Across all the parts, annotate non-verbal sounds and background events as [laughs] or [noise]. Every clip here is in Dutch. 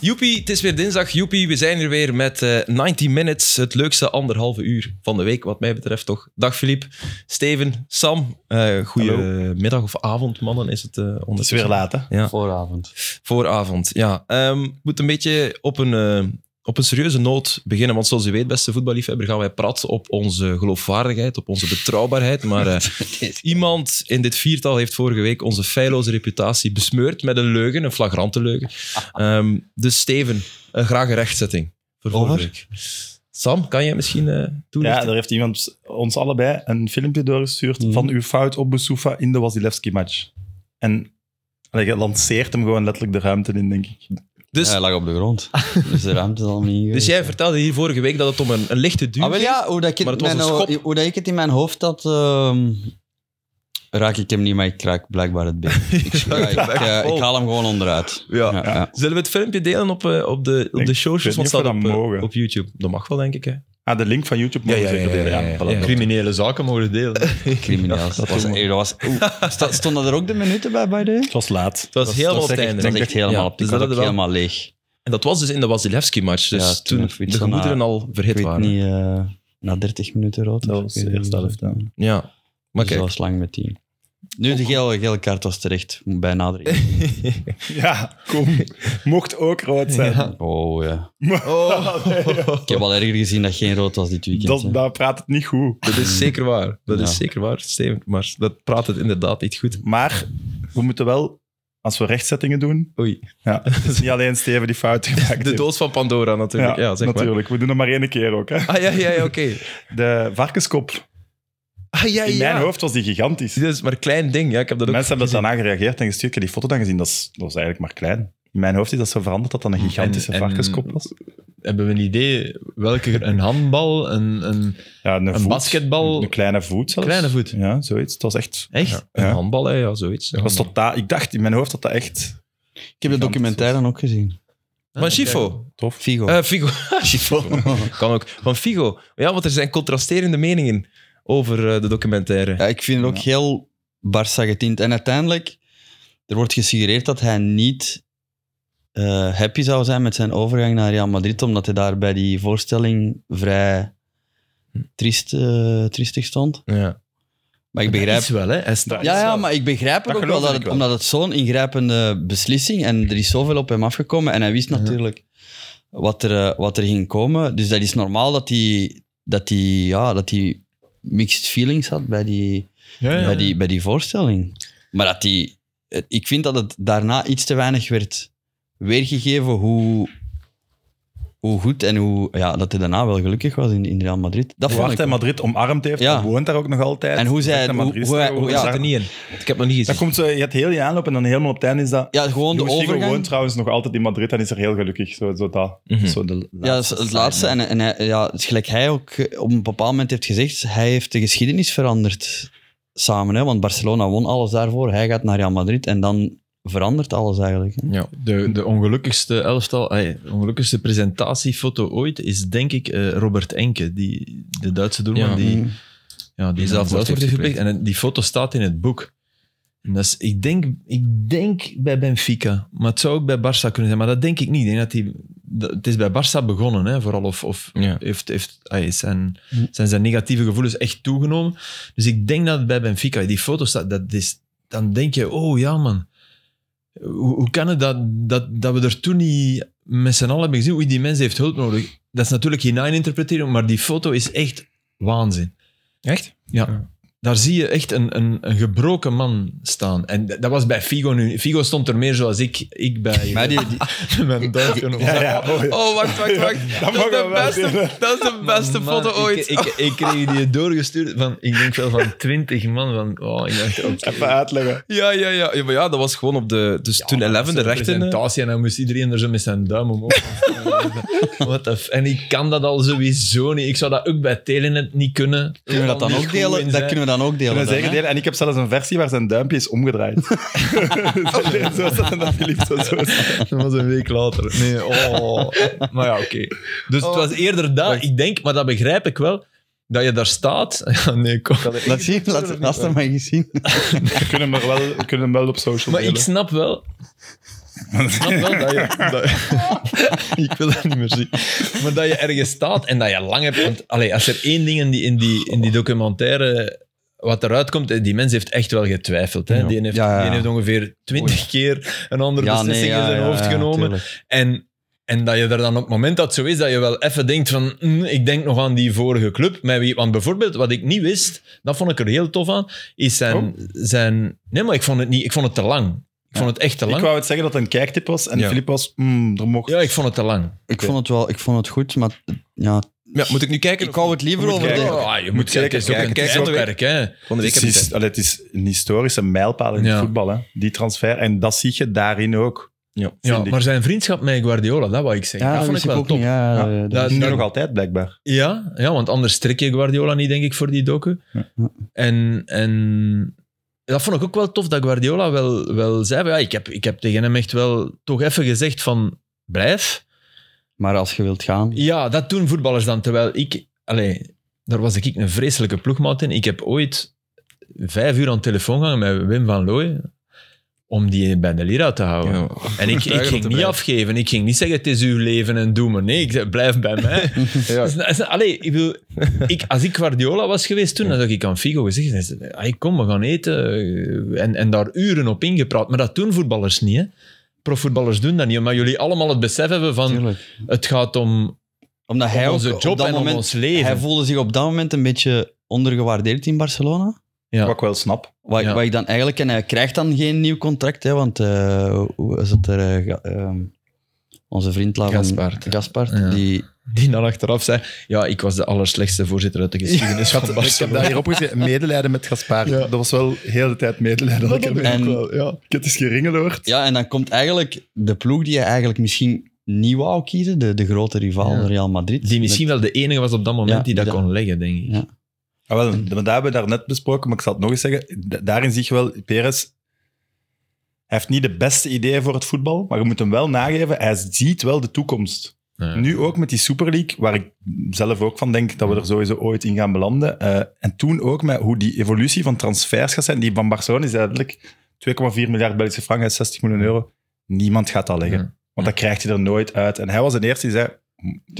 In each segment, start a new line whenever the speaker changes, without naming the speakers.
Joepie, het is weer dinsdag. Joepie, we zijn er weer met eh 90 Minutes. Het leukste anderhalve uur van de week, wat mij betreft toch. Dag Filip, Steven, Sam. Eh Goedemiddag of avond, mannen, is het eh ondertussen.
Het is weer laat, hè?
Ja.
Vooravond.
Vooravond, ja. Ehm moet een beetje op een, eh, op een serieuze noot beginnen. Want zoals u weet, beste voetballiefhebber, gaan wij praten op onze geloofwaardigheid, op onze betrouwbaarheid.
[laughs]
Maar eh, iemand in dit viertal heeft vorige week onze feilloze reputatie besmeurd met een leugen, een flagrante
[laughs]
leugen. Ehm, dus Steven, eh, graag een rechtzetting voor vorige
Over?
week. Sam, kan jij misschien eh
Ja,
toelichten?
daar heeft iemand ons allebei een filmpje doorgestuurd
Mhm.
van uw fout op Boussoufa in de Wasilewski-match. En allee, je lanceert hem gewoon letterlijk de ruimte in, denk ik.
dus,
hij lag op de grond. [laughs] Dus de ruimte is al niet ingewezen.
dus jij vertelde hier vorige week dat het om een, een lichte duw
Ah, wel
ging.
ja, hoe, dat ik, het
Maar het was
mijn-
een schop.
hoe dat ik het in mijn hoofd had, ehm, raak ik hem niet, maar ik raak blijkbaar het been.
[laughs]
Ik, ja, ik, eh, ik haal hem gewoon onderuit.
oh. Ja.
Ja, ja.
Zullen we het filmpje delen op, eh, op de, op
Ik
de
weet
showshows? Want
niet of
het staat
we
op,
dat
eh,
mogen.
op YouTube. Dat mag wel, denk ik. Hè?
Ah, de link van YouTube mogen we zeker delen. Ja, voilà, dat-
criminele zaken mogen delen.
[laughs] Crimineel. dat was, eh, dat was, oeh, sta- stonden er ook de minuten bij, by the way?
Het was laat.
Het was helemaal
dat
op het
zeg ik-
einde.
Dat
denk
is echt helemaal
ja,
op. Ik
dus
was
dat
ook
hadden we
helemaal leeg.
En dat was dus in de Wasilewski-match. Dus
Ja, toen
toen
heeft Fietsen
de gemoederen
na-
al
Ik
verhit
weet
waren.
niet, eh, na 30 minuten rood.
Dat
of
was
ik weet
de
niet
eerste
hoe
helft,
dat-
ja.
Ja, maar
Dus
kijk.
dat was lang met 10. Nu de gele, gele kaart was terecht, bij [laughs] nadering.
Ja, kom. Mocht ook rood zijn. [laughs]
Oh ja.
Oh,
Ik heb al erger gezien dat geen rood was dit weekend. hè.
Dat, daar praat het niet goed.
dat is zeker waar. Dat
Ja.
is zeker waar, Steven. Maar dat praat het inderdaad niet goed.
Maar we moeten wel, als we rechtzettingen doen,
Oei.
ja, het is niet alleen Steven die fout gemaakt heeft.
De doos van Pandora natuurlijk. Ja, zeg
natuurlijk. We doen het maar één keer ook. Hè.
maar. Ah, ja, ja, ja oké.
De varkenskop.
Ah, ja,
In
ja.
mijn hoofd was die gigantisch.
Dat is maar een klein ding. Ja, ik heb dat ook
Mensen hebben daarna gereageerd en gestuurd. Ik heb die foto dan gezien. Dat is, dat is eigenlijk maar klein. In mijn hoofd is dat zo veranderd dat dat een gigantische
En- en-
varkenskop was.
Hebben we een idee welke? Een handbal, een, een
Ja, een,
Een
voet,
basketbal-
Een kleine voet zelfs.
kleine voet.
Ja, zoiets. Het was echt...
Echt?
Ja, een
Ja.
handbal, hè, ja, zoiets. Ja.
het Was totaal, ik dacht in mijn hoofd dat dat echt
Ik heb de documentaire ook gezien.
Van Schifo.
tof
Figo.
Eh, Figo. [laughs] Schifo. Kan ook. Van Figo. Ja, want er zijn contrasterende meningen over eh, de documentaire.
ja, ik vind het ook
Ja.
heel Barça getint. En uiteindelijk, er wordt gesuggereerd dat hij niet eh, happy zou zijn met zijn overgang naar Real Madrid, omdat hij daar bij die voorstelling vrij Hm. triest, eh, triestig stond.
Ja.
Maar ik begrijp...
is wel, hè? Hij staat-
Ja, ja, maar ik begrijp het
Dat
ook wel,
geloof
dat
ik
het,
wel.
omdat het zo'n ingrijpende beslissing en er is zoveel op hem afgekomen en hij wist
Ja.
natuurlijk wat er, eh, wat er ging komen. Dus dat is normaal dat hij, dat hij, ja, dat hij mixed feelings had bij die,
Ja, ja.
bij die, bij die voorstelling. Maar dat hij, eh, ik vind dat het daarna iets te weinig werd weergegeven hoe, hoe goed en hoe, ja, dat hij daarna wel gelukkig was in, in Real Madrid. Dat vond
Wacht
ik
hij
wel.
Madrid omarmd heeft,
Ja.
hij woont daar ook nog altijd.
En hoe zij
Echt
het-
een
hoe-
Madridista
hoe hij- hoe-
geworden.
ja,
Zat er niet in. Ik heb nog niet
Dan
gezien.
komt zo, je hebt heel je aanloop en dan helemaal op het einde is dat...
ja, gewoon de
Luis Figo
overgang.
woont trouwens nog altijd in Madrid en is er heel gelukkig. Zo, zo dat.
Mhm.
Zo de
Ja, dat is het laatste. En, en hij, ja, het is gelijk hij ook eh, op een bepaald moment heeft gezegd, hij heeft de geschiedenis veranderd samen. Hè? Want Barcelona won alles daarvoor, hij gaat naar Real Madrid en dan verandert alles eigenlijk. hè.
Ja.
De, de ongelukkigste elftal, ay, ongelukkigste presentatiefoto ooit is denk ik eh, Robert Enke, die, de Duitse doelman
Ja.
die,
Mm.
ja, die,
Die
zelf
zelfmoord
wordt
heeft
heeft gepleegd.
gepleegd.
En die foto staat in het boek. En dat is, ik, denk, ik denk bij Benfica, maar het zou ook bij Barça kunnen zijn. Maar dat denk ik niet. Ik denk dat die, dat- het is bij Barça begonnen, hè, vooral. Of, of
Ja.
heeft, heeft, ay, zijn, zijn zijn negatieve gevoelens echt toegenomen. Dus ik denk dat het bij Benfica, die foto staat, dat is, dan denk je, oh ja man. Hoe, hoe kan het dat, dat, dat we er toen niet met z'n allen hebben gezien? Oei, die mens heeft hulp nodig. Dat is natuurlijk hinein-interpreteren, maar die foto is echt waanzin.
Echt?
Ja. Daar zie je echt een, een, een gebroken man staan. En dat was bij Figo nu. Figo stond er meer zoals ik, ik bij eh,
Maar die, die-
[laughs] mijn duimpje.
[laughs] Ja, ja. [laughs] Oh, ja.
Oh, wacht, wacht, wacht.
[laughs] Dat mogen we wel delen.
dat is de
Man, ik- Ik, ik, kreeg die doorgestuurd van, ik denk wel van 20 man. Van, oh, ik dacht, oké.
Even uitleggen.
Ja, ja, ja, ja. Maar ja, dat was gewoon op de... Dus toen Eleven de
Zo'n
rechten... eh,
presentatie en dan moest iedereen er zo met zijn duim [laughs] omhoog. What the f- en ik kan dat al sowieso niet. Ik zou dat ook bij Telenet niet kunnen.
kunnen we dat dan
Niet
ook
goed
delen?
in
Dat
zijn.
kunnen we dan ook delen.
En,
dan, hè.
en ik heb zelfs een versie waar zijn duimpje is [laughs] omgedraaid. zo staat en dat Filip zo, zo staat.
[laughs] Dat was een week later. Nee, oh. Maar ja, oké. Dus
Oh.
het was eerder dat, ik denk, maar dat begrijp ik wel, dat je daar staat. [laughs] Ja, nee, kom.
Laat zien, laat, laat hem maar eens zien.
We kunnen hem, er wel, we kunnen hem wel op social
Maar ik
delen.
snap wel snap
[laughs]
wel dat je... Dat, ik wil dat niet meer zien. Maar dat je ergens staat en dat je lang hebt... Want, allee, als er één ding in die, in die, in die documentaire... Wat eruit komt, eh, die mens heeft echt wel getwijfeld. Hè?
Ja.
Die, heeft,
Ja, ja, ja.
die heeft ongeveer twintig keer een andere beslissing in zijn hoofd genomen.
tuurlijk.
En, en dat je er dan op het moment dat het zo is, dat je wel even denkt van, "Mm, ik denk nog aan die vorige club. Met wie, want bijvoorbeeld, wat ik niet wist, dat vond ik er heel tof aan, is zijn...
Oh.
zijn nee, maar ik vond het, niet, ik vond het te lang. Ik
Ja.
vond het echt te
Ik
lang.
wou het zeggen dat het een kijktip was en
Ja.
Filip was, mm, er mocht...
Ja, ik vond het te lang.
Ik vond het wel, ik vond het goed, maar ja,
Ja, moet ik nu kijken?
ik hou het liever
Moet
over
kijken.
de...
Ah, je
Moet
moet
kijken,
kijken, het is ook
kijken.
een
Kijk, van de
tijdperk, hè.
Van de week
Het
heb ik
is,
het.
allee, het is een historische mijlpaal in
Ja.
het voetbal, hè? die transfer. En dat zie je daarin ook.
Ja.
Ja,
vind ik.
maar zijn vriendschap met Guardiola, dat wou ik zeggen. dat vond ik
wist
wel
ook
top.
niet, Ja,
Ja.
eh,
Dat-
nu
dat-
nog altijd, blijkbaar.
Ja, ja, want anders strik je Guardiola niet, denk ik, voor die docu.
Ja.
En, en dat vond ik ook wel tof, dat Guardiola wel, wel zei... van, Ja, ik, heb, ik heb tegen hem echt wel toch even gezegd van... Blijf.
Maar als je wilt gaan,
Ja, dat doen voetballers dan. Terwijl ik... Allee, daar was ik een vreselijke ploegmaat in. Ik heb ooit vijf uur aan de telefoon gehangen met Wim van Looyen om die bij de leraar te houden.
Ja.
En ik, ik
Overtuigen om
ging
te
niet
blijven.
afgeven. Ik ging niet zeggen, het is uw leven en doe maar. Nee, ik zei, blijf bij mij. Dus, allee, ik wil, ik, als ik Guardiola was geweest toen, dan zou ik aan Figo gezegd hebben, "Hey, kom, we gaan eten. Eh, En, en daar uren op ingepraat. Maar dat doen voetballers niet, hè. Profvoetballers doen dat niet. Maar jullie allemaal het besef hebben van,
natuurlijk.
het gaat om,
Omdat
om
hij ook
onze
op
job
dat
en om
moment...
ons leven.
Hij voelde zich op dat moment een beetje ondergewaardeerd in Barcelona.
Ja.
Wat ik wel snap.
Wat,
Ja.
wat ik dan eigenlijk... En hij krijgt dan geen nieuw contract, hè, want eh, hoe is het er... eh, ga- ehm, onze vriend La van-
Gaspard.
Gaspard,
Ja.
die...
Die dan achteraf zei, ja, ik was de allerslechtste voorzitter uit de geschiedenis van
Ik heb
Barcelona.
daar hier opgeschreven. Medelijden met Gaspar. Dat was wel heel de tijd medelijden. dat ik ermee
En-
had. Ik heb dus geringeloord.
Ja, en dan komt eigenlijk de ploeg die hij eigenlijk misschien niet wou kiezen, de, de grote rivaal,
Ja.
Real Madrid.
Die misschien wel de enige was op dat moment
Ja,
die dat
die dat-
kon leggen, denk ik.
Ja.
Ah, wel, maar dat hebben we daarnet besproken, maar ik zal het nog eens zeggen. Da- Daarin zie je wel, Perez hij heeft niet de beste ideeën voor het voetbal, maar je moet hem wel nageven, hij ziet wel de toekomst.
Ja.
Nu ook met die Super League, waar ik zelf ook van denk dat we er sowieso ooit in gaan belanden. Eh, en toen ook met hoe die evolutie van transfers gaat zijn. Die van Barcelona is duidelijk 2,4 miljard Belgische frank en 60 miljoen euro. Niemand gaat dat leggen,
Ja.
want dat krijgt hij er nooit uit. En hij was de eerste die zei,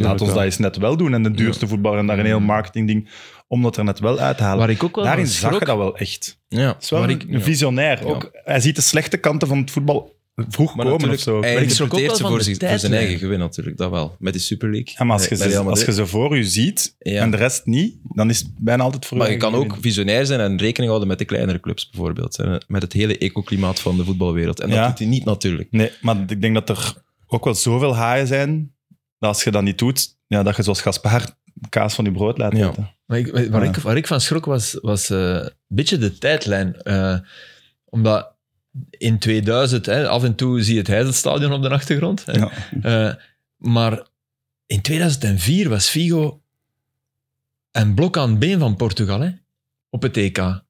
laat ons
wel.
dat eens net wel doen. En de duurste voetballer en daar een heel marketingding om dat er net wel uit te halen.
Mm. Waar ik ook wel van
Daarin zag
schrok-
je dat wel echt.
Ja.
Het is wel
Waar
een
ik- ja.
visionair.
Ja.
Ook, hij ziet de slechte kanten van het voetbal vroeg
Maar
komen
natuurlijk,
of zo.
hij
Maar ik schrok ook
interpreteert
wel
ze
van
voor,
de
zich- voor
tijd,
zijn
hè.
eigen gewin natuurlijk, dat wel. Met die Super League.
Ja, maar als je,
Bij
ze,
Real
als
Madrid.
je ze voor je ziet
Ja.
en de rest niet, dan is het bijna altijd voor
Maar
u
je kan ook
gewin.
visionair zijn en rekening houden met de kleinere clubs bijvoorbeeld. En met het hele ecoklimaat van de voetbalwereld. En dat
Ja.
doet hij niet natuurlijk.
Nee, maar ik denk dat er ook wel zoveel haaien zijn dat als je dat niet doet, ja, dat je zoals Gaspar kaas van je brood laat
Ja.
eten.
Maar ik, waar,
Ja.
ik, waar ik van schrok was, was eh, een beetje de tijdlijn. Eh, omdat in 2000, hè, af en toe zie je het Heizelstadion op de achtergrond. Hè.
Ja.
Eh, maar in 2004 was Figo een blok aan het been van Portugal hè, op het EK.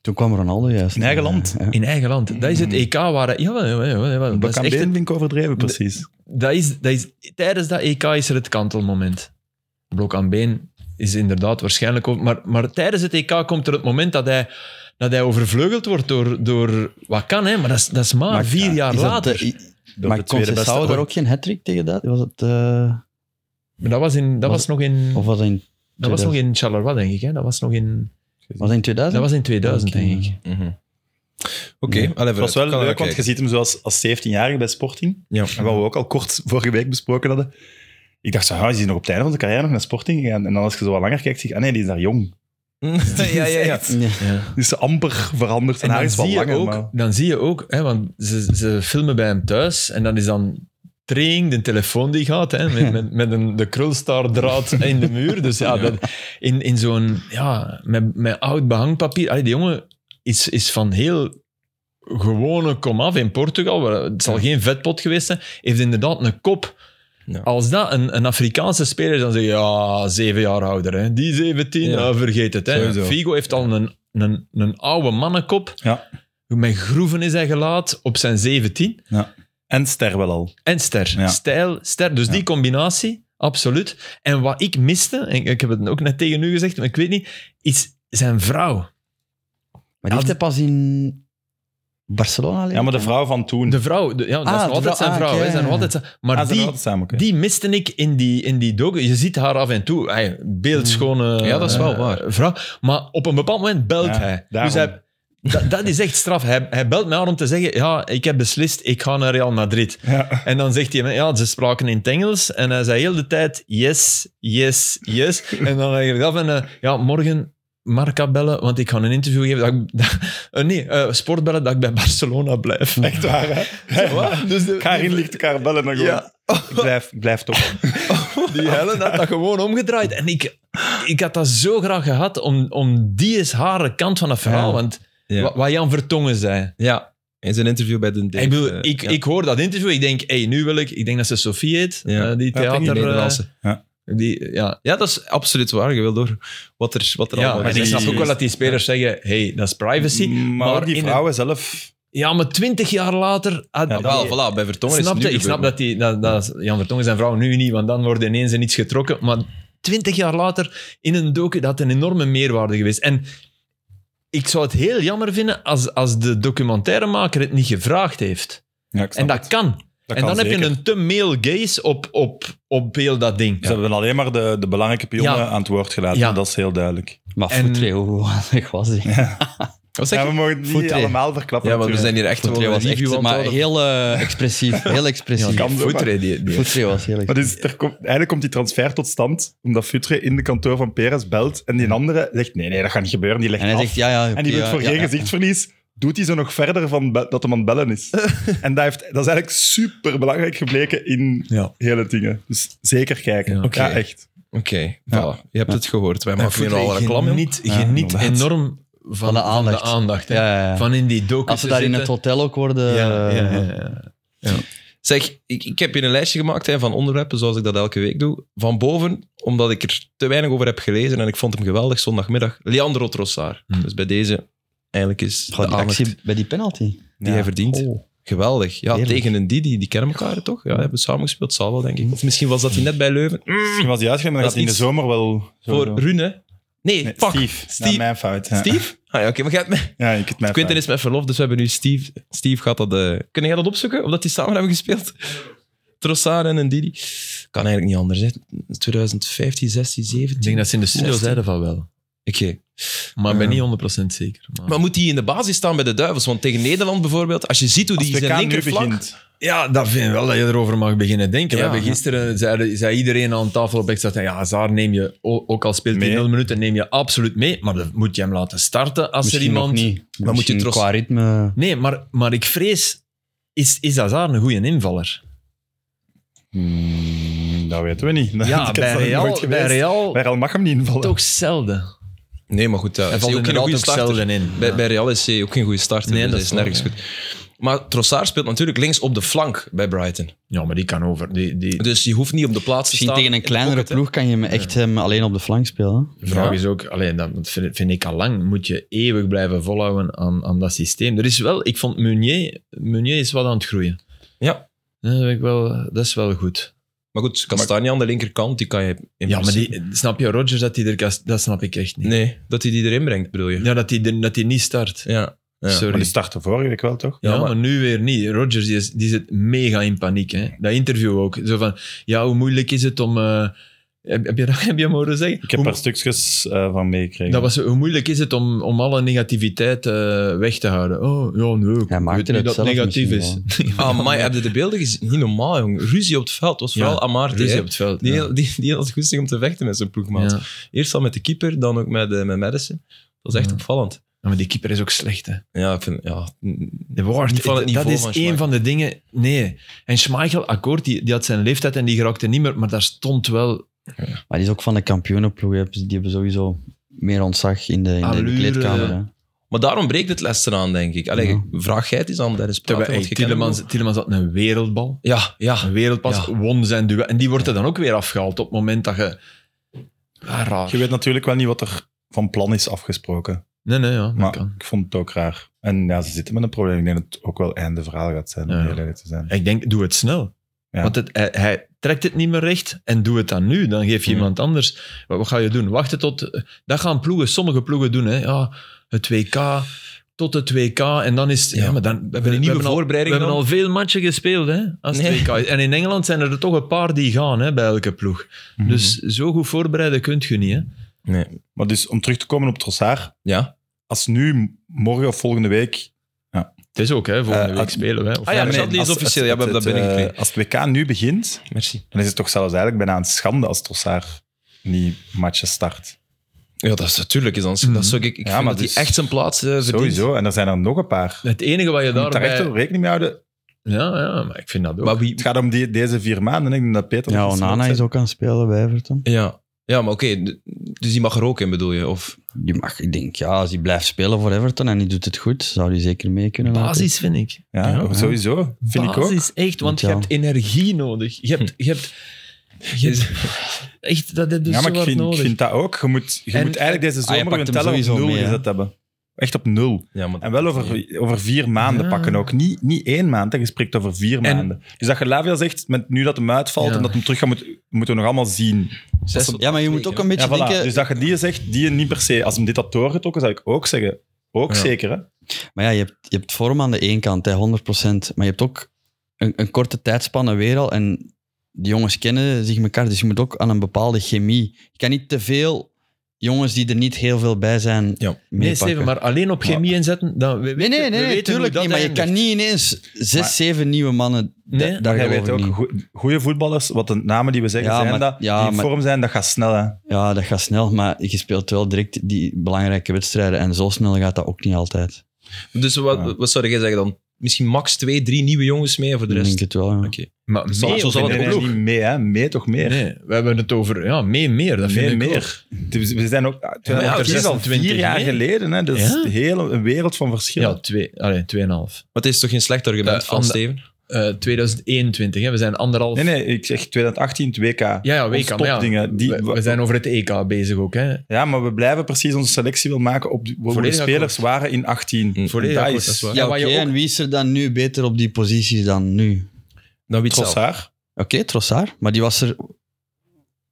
Toen kwam Ronaldo juist. eh,
In eigen land.
Ja.
In eigen land. Dat is
Mm.
het EK waar... hij- Jawel, jawel, jawel, jawel.
Dat,
Dat,
kan
is echt
been vind ik overdreven, precies.
dat is, dat is, tijdens dat EK is er het kantelmoment. Blok aan been is inderdaad waarschijnlijk... ook- Maar, maar tijdens het EK komt er het moment dat hij, dat hij overvleugeld wordt door, door wat kan, hè? maar dat is, dat is maar,
Maar
vier
ja,
jaar
Is dat,
later.
eh, i-
Door
maar
de tweede beste
Conceição daar
ooit.
ook geen hat-trick tegen dat? Was het, eh,
Maar dat was, in, dat was,
Was-
nog in...
of was dat in,
dat was nog in Charleroi, denk ik. Hè? Dat was nog in...
was dat in 2000?
Dat was in 2000,
Oké.
denk ik.
Mhm. Oké,
Nee.
allee, vooruit.
Het was wel
Kan er
leuk,
naar
[laughs]
[laughs]
want je ziet hem zoals als 17-jarige bij Sporting.
Ja.
En wat we ook al kort [laughs] vorige week besproken hadden. Ik dacht zo, ah, is hij nog op het einde van zijn carrière nog naar Sporting gegaan? En dan als je zo wat langer kijkt, zie je, ah nee, die is daar jong.
ja, ja, ja.
Ja.
Ja.
Die is amper veranderd. En,
En
haar
dan
is wel
zie, je
langer,
ook,
maar-
dan zie je ook, hè, want ze, ze filmen bij hem thuis en dan is dan training, de telefoon die gaat, hè, met, met, met een, de krulstaardraad in de muur. Dus ja, dat, in, in zo'n, ja, met, met oud behangpapier. Allee, die jongen is, is van heel gewone komaf in Portugal, waar- het zal geen vetpot geweest zijn, heeft inderdaad een kop.
Ja.
Als dat een, een Afrikaanse speler is, dan zeg je, ja, zeven jaar ouder. Hè. Die 17,
Ja.
ja, vergeet het. Hè.
Sowieso.
Figo heeft al een, een, een oude mannenkop.
Ja.
Met groeven is hij gelaat op zijn 17.
En ster wel al.
En ster.
Ja.
Stijl, ster. Dus
Ja.
die combinatie, absoluut. En wat ik miste, en ik heb het ook net tegen u gezegd, maar ik weet niet, is zijn vrouw.
Maar die
Altijd-
heeft hij pas in Barcelona
Ja, maar de vrouw van toen.
De vrouw, de- ja, dat
Ah,
is nog
de
altijd
vrouw,
zijn
ah,
vrouw.
oké.
hè, zijn nog altijd zijn- maar
Ah, ze
die,
hadden samen, oké.
die miste ik in die, in die docu. Je ziet haar af en toe. Hey, beeldschone
Ja, dat is wel
eh,
waar.
vrouw. Maar op een bepaald moment belt
Ja,
hij.
daarom.
Dus hij dat, dat is echt straf. Hij, hij belt mij aan om te zeggen, ja, ik heb beslist, ik ga naar Real Madrid.
Ja.
En dan zegt hij, me, ja, ze spraken in het Engels. En hij zei heel de tijd, yes, yes, yes. En dan eigenlijk af en eh, ja, morgen Marca bellen, want ik ga een interview geven. Dat ik, [laughs] dat- eh, nee, eh, sport bellen, dat ik bij Barcelona blijf.
[laughs] Echt waar, hè?
Wat? Dus de-
Karin ligt elkaar bellen en gewoon...
Ja.
Ik blijf, ik blijf
[laughs]
toch.
die Helen had dat gewoon omgedraaid. En ik, ik had dat zo graag gehad om, om die is haar kant van het verhaal.
Ja.
Want
Ja.
wa- wat Jan Vertongen zei.
Ja, in zijn interview bij de
ik, bedoel,
eh,
ik,
ja.
ik hoor dat interview, ik denk, hey, nu wil ik... Ik denk dat ze Sophie heet,
Ja.
eh, die
Ja, ik denk
theater...
Die
die
eh,
Nederlandse.
die, ja.
Ja, dat is absoluut waar. Je wil door wat er, wat er
ja,
allemaal
en
is.
ik
die-
snap ook wel dat die spelers zeggen, hey, dat is privacy.
Mm, Maar,
Maar
die
in
vrouwen zelf...
Ja, maar twintig jaar later... had-
Ja, wel, voilà, bij Vertongen is het
snapte,
nu
ik snap
gebeurd.
dat, die, dat, dat Jan Vertongen zijn vrouw nu niet, want dan wordt ineens in iets getrokken. Maar twintig jaar later in een docu, dat had een enorme meerwaarde geweest. En ik zou het heel jammer vinden als, als de documentairemaker het niet gevraagd heeft.
Ja, ik snap
En dat
het.
kan.
Dat
en
kan
dan heb je
zeker.
een te male gaze op, op, op heel dat ding.
Ze hebben alleen maar de, de belangrijke pionnen
Ja.
aan het woord gelaten.
Ja.
Dat is heel duidelijk.
Maar
En-
Footree, hoe [laughs] handig was die?
Wat zeg
Ja, we
je?
mogen het niet
Footree.
allemaal verklappen.
Ja, want we zijn
natuurlijk.
hier echt
Footree
gewoon een
was
review
echt...
aan
Maar
het houden.
heel [laughs] eh, expressief. Heel expressief.
kan zo, maar-
Footree, die- die-
Footree was heel
Maar
expressief.
dus er komt, eigenlijk komt die transfer tot stand omdat Futre in de kantoor van Perez belt en die andere zegt nee, nee, dat gaat niet gebeuren. Die legt
En hij
af.
zegt, ja, ja.
en die wil
ja,
voor
eh, ja,
geen
ja.
gezichtsverlies. Doet hij zo nog verder van be- dat hem aan het bellen is. en dat, heeft, dat is eigenlijk super belangrijk gebleken in
Ja.
hele dingen. Dus zeker kijken. Ja,
Ja. Oké.
echt.
Oké, voilà. Je hebt het gehoord. Wij maken hier al reclame. joh.
Geniet,
Ja,
geniet
inderdaad.
enorm van,
Van de aandacht.
Van, de aandacht, hè.
Ja, ja, ja.
van in die docu
Als ze
te
daar in het
zitten.
hotel ook worden...
Ja, ja,
eh,
ja, ja.
Zeg, ik, ik heb hier een lijstje gemaakt hè, van onderwerpen, zoals ik dat elke week doe. Van boven, omdat ik er te weinig over heb gelezen en ik vond hem geweldig zondagmiddag. Leandro Trossard.
Hm.
Dus bij deze, eigenlijk is de
Goh, die
aandacht
actie bij die penalty.
die hij verdient. Geweldig. Ja,
Heerlijk.
tegen een Didi, die kennen elkaar toch? Ja, hebben samen gespeeld, zal wel, denk ik. Of misschien was dat hij net bij Leuven.
Misschien was hij uitgegaan, maar
Dat
dat gaat hij in de
is
zomer wel...
Voor
sowieso.
Rune. hè? Nee,
Nee,
fuck.
Steve. Ja,
Steve.
mijn fout. Ja.
Steve? Ah, ja, oké, maar jij hebt me-
Ja, ik het mijn
Quinten is
fout.
met verlof, dus we hebben nu Steve. Steve gaat dat... eh, Kun jij dat opzoeken, of dat die samen hebben gespeeld? Trossard en een Didi. Kan eigenlijk niet anders, hè. 2015, 16,
Ik
17.
denk dat ze in de studio
Echt?
zeiden van wel.
Oké.
Maar ik ben
Ja.
niet 100% zeker. Maar,
Maar moet die in de basis staan bij de Duivels? Want tegen Nederland bijvoorbeeld, als je ziet hoe
Als
die
WK
zijn
nu
linkerflank...
begint.
ja, dat vind ik wel dat je erover mag beginnen denken.
Ja.
We hebben gisteren zei, zei iedereen aan tafel op extra tijd, ja, Zaar neem je, o- ook al speelt hij
Mee.
0 minuten, neem je absoluut mee. Maar dan moet je hem laten starten als
Misschien
er iemand...
nog niet.
Maar moet je
Misschien
trots-
Qua ritme...
Nee, maar, maar ik vrees, is, is Azar een goede invaller?
Hmm, dat weten we niet. [laughs] Ik
Ja,
heb
bij
dat nog nooit
Real,
geweest.
bij Real
Bij Real mag hem niet invallen.
toch zelden.
Nee, maar goed,
Hij
dat is
valt
ook geen
inderdaad
goede
ook
starter.
zelden in.
Bij,
Ja.
bij Real is hij ook geen goede starter,
Nee,
dus
dat
hij
is
is nergens
waar,
goed. Maar Trossard speelt natuurlijk links op de flank bij Brighton.
Ja, maar die kan over. Die, die,
Dus je hoeft niet op de plaats te
Misschien
staan.
tegen een
in de
kleinere
pocket, hè.
ploeg kan je hem echt hem alleen op de flank spelen.
De vraag
Ja.
is ook, alleen dat vind, vind ik al lang, moet je eeuwig blijven volhouden aan, aan dat systeem. Er is wel, ik vond Meunier, Meunier is wat aan het groeien.
Ja.
Ja, Dat, vind ik wel, dat is wel goed.
Maar goed, Kastanje aan de linkerkant, die kan je... In
ja, maar
principe-
die, snap je, Rodgers, dat hij er kast- dat snap ik echt niet.
Nee, dat hij die erin brengt, bedoel je?
Ja, dat hij er- dat hij niet start.
Ja. Ja.
Sorry.
Maar die startte vorige week wel, toch?
Ja,
Ja,
maar,
maar
nu weer niet. Rodgers die, is- die zit mega in paniek. Hè. Dat interview ook. Zo van, ja, hoe moeilijk is het om... eh, heb, heb je dat [laughs] heb je hem horen zeggen?
Ik heb
Hoe-
er stukjes eh, van meegekregen.
dat was, hoe moeilijk is het om, om alle negativiteit eh, weg te houden? Oh, ja, nee. ik
Hij maakte
weet niet
het
dat
zelf
negatief
misschien
is. [laughs]
wel.
Ah, maar heb je de beelden gezien? Niet normaal, jong. Ruzie op het veld. Het was vooral
Ja,
Amar.
Ruzie
Die,
op het veld.
die,
ja.
heel- die, die had het goestig om te vechten met zijn ploegmaat.
Ja.
Eerst al met de keeper, dan ook met, eh, met Madison. Dat is echt
Ja.
opvallend.
Ja, maar die keeper is ook slecht, hè.
Ja, ik vind... Ja, mm,
De woord,
Niet van het
dat
niveau
is
van
één
Schmeichel.
van de dingen. Nee. En Schmeichel, akkoord, die, die had zijn leeftijd en die geraakte niet meer, maar daar stond wel
Maar die is ook van de kampioenenploeg. hè. Dus Die hebben sowieso meer ontzag in de, in de
Allure.
kleedkamer. hè.
Maar daarom breekt het Leicester aan, denk ik. Allee,
Ja.
vraag jij het eens aan Dennis Praten,
terwijl
want
hey,
je kent hem
Tielemans, Tielemans had een wereldbal.
wel. Ja, ja.
Een wereldpas,
Ja.
won zijn duel. En die wordt er dan ook weer afgehaald op het moment dat je... Ah, raar.
Je weet natuurlijk wel niet wat er van plan is afgesproken.
Nee, nee, ja, dat
Maar
kan.
ik vond het ook raar. En ja, ze zitten met een probleem. Ik denk dat het ook wel einde verhaal gaat zijn, om
Ja.
heel eerlijk te zijn.
Ik denk, doe het snel.
Ja.
Want het, hij, hij trekt het niet meer recht en doe het dan nu. Dan geef je
Ja.
iemand anders. eh, Wat, wat ga je doen? Wachten tot... Dat gaan ploegen, sommige ploegen doen. Hè. Ja, het WK, tot het WK. En dan is. Ja,
Ja.
maar dan, we hebben,
een nieuwe
we hebben
voorbereiding
Al, we hebben
dan.
al veel matchen gespeeld hè, als het
Nee.
WK is. En in Engeland zijn er toch een paar die gaan hè, bij elke ploeg. Dus zo goed voorbereiden kunt je niet. Hè.
Nee.
Maar dus om terug te komen op Trossard,
Ja.
als nu morgen of volgende week
Het is ook, hè, volgende
Eh,
week
als-
spelen wij. Of
Ah ja,
ja,
maar
nee.
dat is officieel. Ja, we hebben dat
het, eh,
binnengekregen.
Als het WK nu begint,
Merci.
dan is het toch zelfs eigenlijk bijna een schande als Trossard niet matchen start.
Ja, dat is natuurlijk. Is dan,
Mhm.
dat zou ik, ik
Ja,
vind
maar
dat
dus-
hij echt zijn plaats eh, verdient.
Sowieso, en er zijn er nog een paar.
Het enige wat je
Je moet daar echt
daarbij...
wel rekening mee houden.
Ja, ja, maar ik vind dat ook.
Maar eh, wie,
Het gaat om die, deze vier maanden. en Ik denk dat Peter...
Ja,
dat
Onana
zegt.
is ook aan het spelen bij Everton.
ja. ja, maar oké. d- dus die mag er ook in, bedoel je? Of,
Die mag, ik denk, ja, als hij blijft spelen voor Everton en die doet het goed, zou hij zeker mee kunnen. laten.
basis vind ik.
Ja,
Ja,
sowieso. Vind ik ook.
basis, echt, want je
Ja.
hebt energie nodig. Je hebt, je hebt, je hebt- echt, dat heb je
ja, maar
Dus zo
ik
wat
vind, ik
nodig.
vind dat ook. Je moet, je
En-
moet eigenlijk deze
Ah, je
zomer
pakt
een
hem
teller op
sowieso
nul
mee, hè?
gezet hebben. Echt op nul.
ja, maar,
En wel over, over vier maanden
Ja.
pakken ook. Niet, niet één maand, hè. je spreekt over vier
En-
maanden. Dus dat Galavia zegt, met, nu dat hem uitvalt
Ja.
en dat hem terug gaat, moet, moeten we nog allemaal zien.
Zes tot
Ja, maar je
acht
moet ook
weken,
een beetje
Ja, voilà.
denken...
Dus dat je die zegt, die niet per se. Als hem dit had doorgetrokken, zou ik ook zeggen. Ook
Ja.
zeker, hè?
Maar ja, je hebt, je hebt vorm aan de ene kant, hè, 100%. Maar je hebt ook een, een korte tijdspanne weer al. En die jongens kennen zich elkaar, dus je moet ook aan een bepaalde chemie. Je kan niet te veel jongens die er niet heel veel bij zijn
Ja.
Nee,
meepakken.
Steven, maar alleen op chemie inzetten... Dan, we
Nee,
weten-
nee,
we
nee,
weten
nee
hoe
tuurlijk
dat
niet. Maar je kan
eindigt.
niet ineens zes,
Maar-
zeven nieuwe mannen... da-
Nee,
daar
Jij
geloof
weet
ik niet.
ook, goede voetballers, wat de namen die we zeggen
Ja,
zijn,
maar-
dat,
ja,
die in
maar-
vorm zijn, dat gaat snel. Hè.
Ja, dat gaat snel, maar je speelt wel direct die belangrijke wedstrijden. En zo snel gaat dat ook niet altijd.
Dus wat,
Ja.
wat zou jij zeggen dan? Misschien max twee, drie nieuwe jongens mee en voor de
Ik
rest?
denk het wel, ja.
Oké.
Maar
Zal-
mee
zo
of
zal
in
het
de
ook
ploeg?
Nee, niet mee, hè. mee toch meer.
Nee, we hebben het over... Ja, mee, meer. Dat vind
meer,
ik
meer. Het is- We zijn ook
ja,
2010 is al
26
vier jaar
mee.
geleden. Hè. Dat is
Ja.
een hele een wereld van verschil.
ook. Ja, twee, allee, tweeënhalf.
Maar het is toch geen slecht argument
Eh,
van
ander-
Steven?
Eh 2021, hè, we zijn anderhalf...
Nee, nee, ik zeg 2018 het WK. Ja,
Ja, ja, WK. maar ja,
Dingen, die,
we, we zijn over het EK bezig ook. Hè.
ja, maar we blijven precies onze selectie wil maken op die- hoe de
Volledig
spelers waren in 18.
Mm,
volledig
Dat
akkoord,
is
dat is waar.
Ja,
Ja,
oké,
maar je ook-
en wie is er dan nu beter op die posities dan nu?
Dan wie het zelf.
Trossard.
Oké, Trossard, maar die was er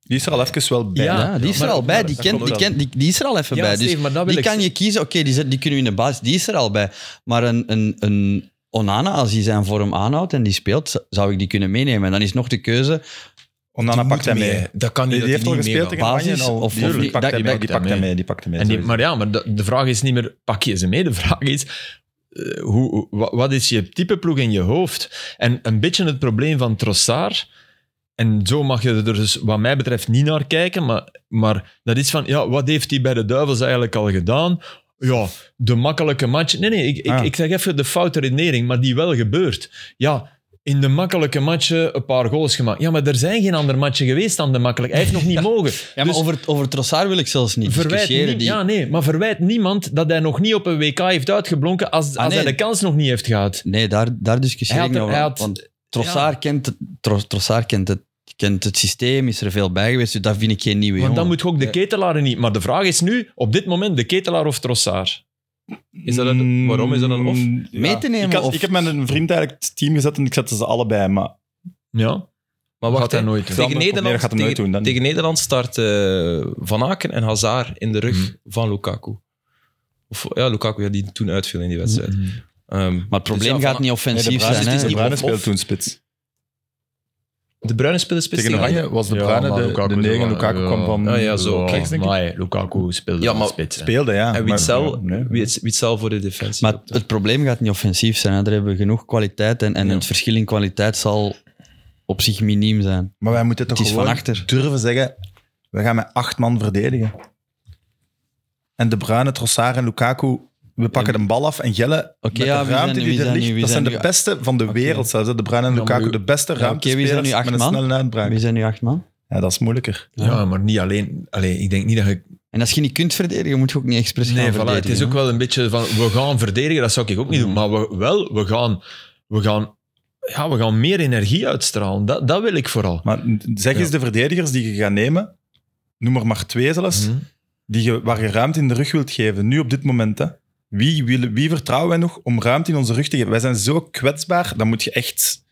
Die is er al even wel bij.
Ja,
Ja, die is er
maar-
al bij.
maar
Die,
dat
kent,
klopt
die,
wel.
kent, die, die is er al even
Ja,
bij. Dus
Steven, maar dat wil
die
ik
kan je kiezen. Oké, die, zet- die kunnen we in de basis. Die is er al bij. Maar een, een, een Onana, als hij zijn vorm aanhoudt en die speelt, z- zou ik die kunnen meenemen. En dan is nog de keuze
Onana
Die
pakt hem
moet
mee.
Dat kan niet.
Die,
dat
die heeft
hij
al
niet
gespeeld
meegaat.
tegen Spanje en
Basis
al.
of-
Tuurlijk,
of
die
niet?
pakt
Dat-
hem mee.
dat-
Die pakt hem mee. Die pakt hem mee.
En die,
sowieso.
maar ja, maar de, de vraag is niet meer, pak je ze mee? De vraag is, eh, hoe, hoe- wa- wat is je type ploeg in je hoofd? En een beetje het probleem van Trossard, en zo mag je er dus wat mij betreft niet naar kijken, maar, maar dat is van, ja, wat heeft hij bij de Duivels eigenlijk al gedaan? Ja, de makkelijke match. Nee, nee, ik,
Ah.
ik, ik zeg even de foute redenering, maar die wel gebeurt. Ja, in de makkelijke matchen een paar goals gemaakt. Ja, maar er zijn geen andere matchen geweest dan de makkelijke. Hij heeft nog niet mogen.
Ja, maar
Dus-
over, over Trossard wil ik zelfs niet
Verwijt
discussiëren.
niem-
Die,
Ja, nee, maar verwijt niemand dat hij nog niet op een WK heeft uitgeblonken als, als
nee.
hij de kans nog niet heeft gehad.
Nee, daar, daar discussieer
Hij
ik
had
niet
er-
over.
hij had-
want Trossard, kent, het, Tro- Trossard kent, het, kent het systeem, is er veel bij geweest. Dus dat vind ik geen nieuwe
Want
jongen.
dan moet je ook de
Ja.
ketelaren niet. Maar de vraag is nu, op dit moment, de ketelaar of Trossard?
Is dat een- waarom is dat een of?
Mm, ja.
Mee te nemen
Ik, had-
of-
ik heb met een vriend eigenlijk het team gezet en ik zette ze allebei. Maar
Ja.
Maar wacht,
Gaat hij
hè.
nooit doen.
tegen,
Nee, dat
Nederland,
gaat hem nooit
tegen,
doen, dan niet.
tegen Nederland start eh, Van Aken en Hazard in de rug
Hmm.
van Lukaku. Of, ja, Lukaku ja, die toen uitviel in die
Mhm.
wedstrijd. Ehm,
maar het
dus
probleem
ja,
gaat
Van-
niet
nee, de
offensief
Bruyne,
zijn.
is de
hè.
hè.
Bruyne
Of-
speelde
of-
toen spits.
De Bruine spelen spits
Tegen
tegen
Oranje was de
Ja,
Bruyne
maar
de, de
Lukaku zo
negen.
wel,
Lukaku
ja.
kwam van
Ah, ja, zo, oké.
rechts, denk ik.
Maar Lukaku speelde
Ja,
wel
maar-
spits. hè.
Speelde, ja.
En
maar-
Witzel,
ja, nee.
Witz- Witzel voor de defensie.
Maar het probleem gaat niet offensief zijn. Hè. Daar hebben we genoeg kwaliteit en, en
Ja.
het verschil in kwaliteit zal op zich miniem zijn.
Maar wij moeten toch
Het is van
gewoon
achter.
durven zeggen, we gaan met acht man verdedigen. En De Bruyne, Trossard en Lukaku, we pakken de bal af en Gelle,
Oké,
met
ja,
de
wie
ruimte
zijn- wie
die er
zijn nu-
ligt,
wie
dat
zijn
zijn de
nu-
beste van de wereld zelfs. hè. De Bruyne en
Ja, maar
Lukaku,
u-
de beste
oké, wie zijn nu
ruimtespelers
acht
met een
man?
snelle uitbraak.
Wie zijn nu acht man?
Ja, dat is moeilijker.
Ja, maar niet alleen. Allee, ik denk niet dat je.
En als je niet kunt verdedigen, moet je ook niet expres
Nee,
gaan
voilà,
verdedigen.
het is ook
hè.
wel een beetje van. We gaan verdedigen, dat zou ik ook niet doen. Maar we, wel, we gaan, we, gaan, ja, we gaan meer energie uitstralen. Dat, dat wil ik vooral.
Maar n- zeg eens de verdedigers die je gaat nemen, noem er maar twee zelfs,
Mhm.
die je, waar je ruimte in de rug wilt geven, nu op dit moment. Hè. Wie, willen- wie vertrouwen wij nog om ruimte in onze rug te geven? Wij zijn zo kwetsbaar, dan moet je echt...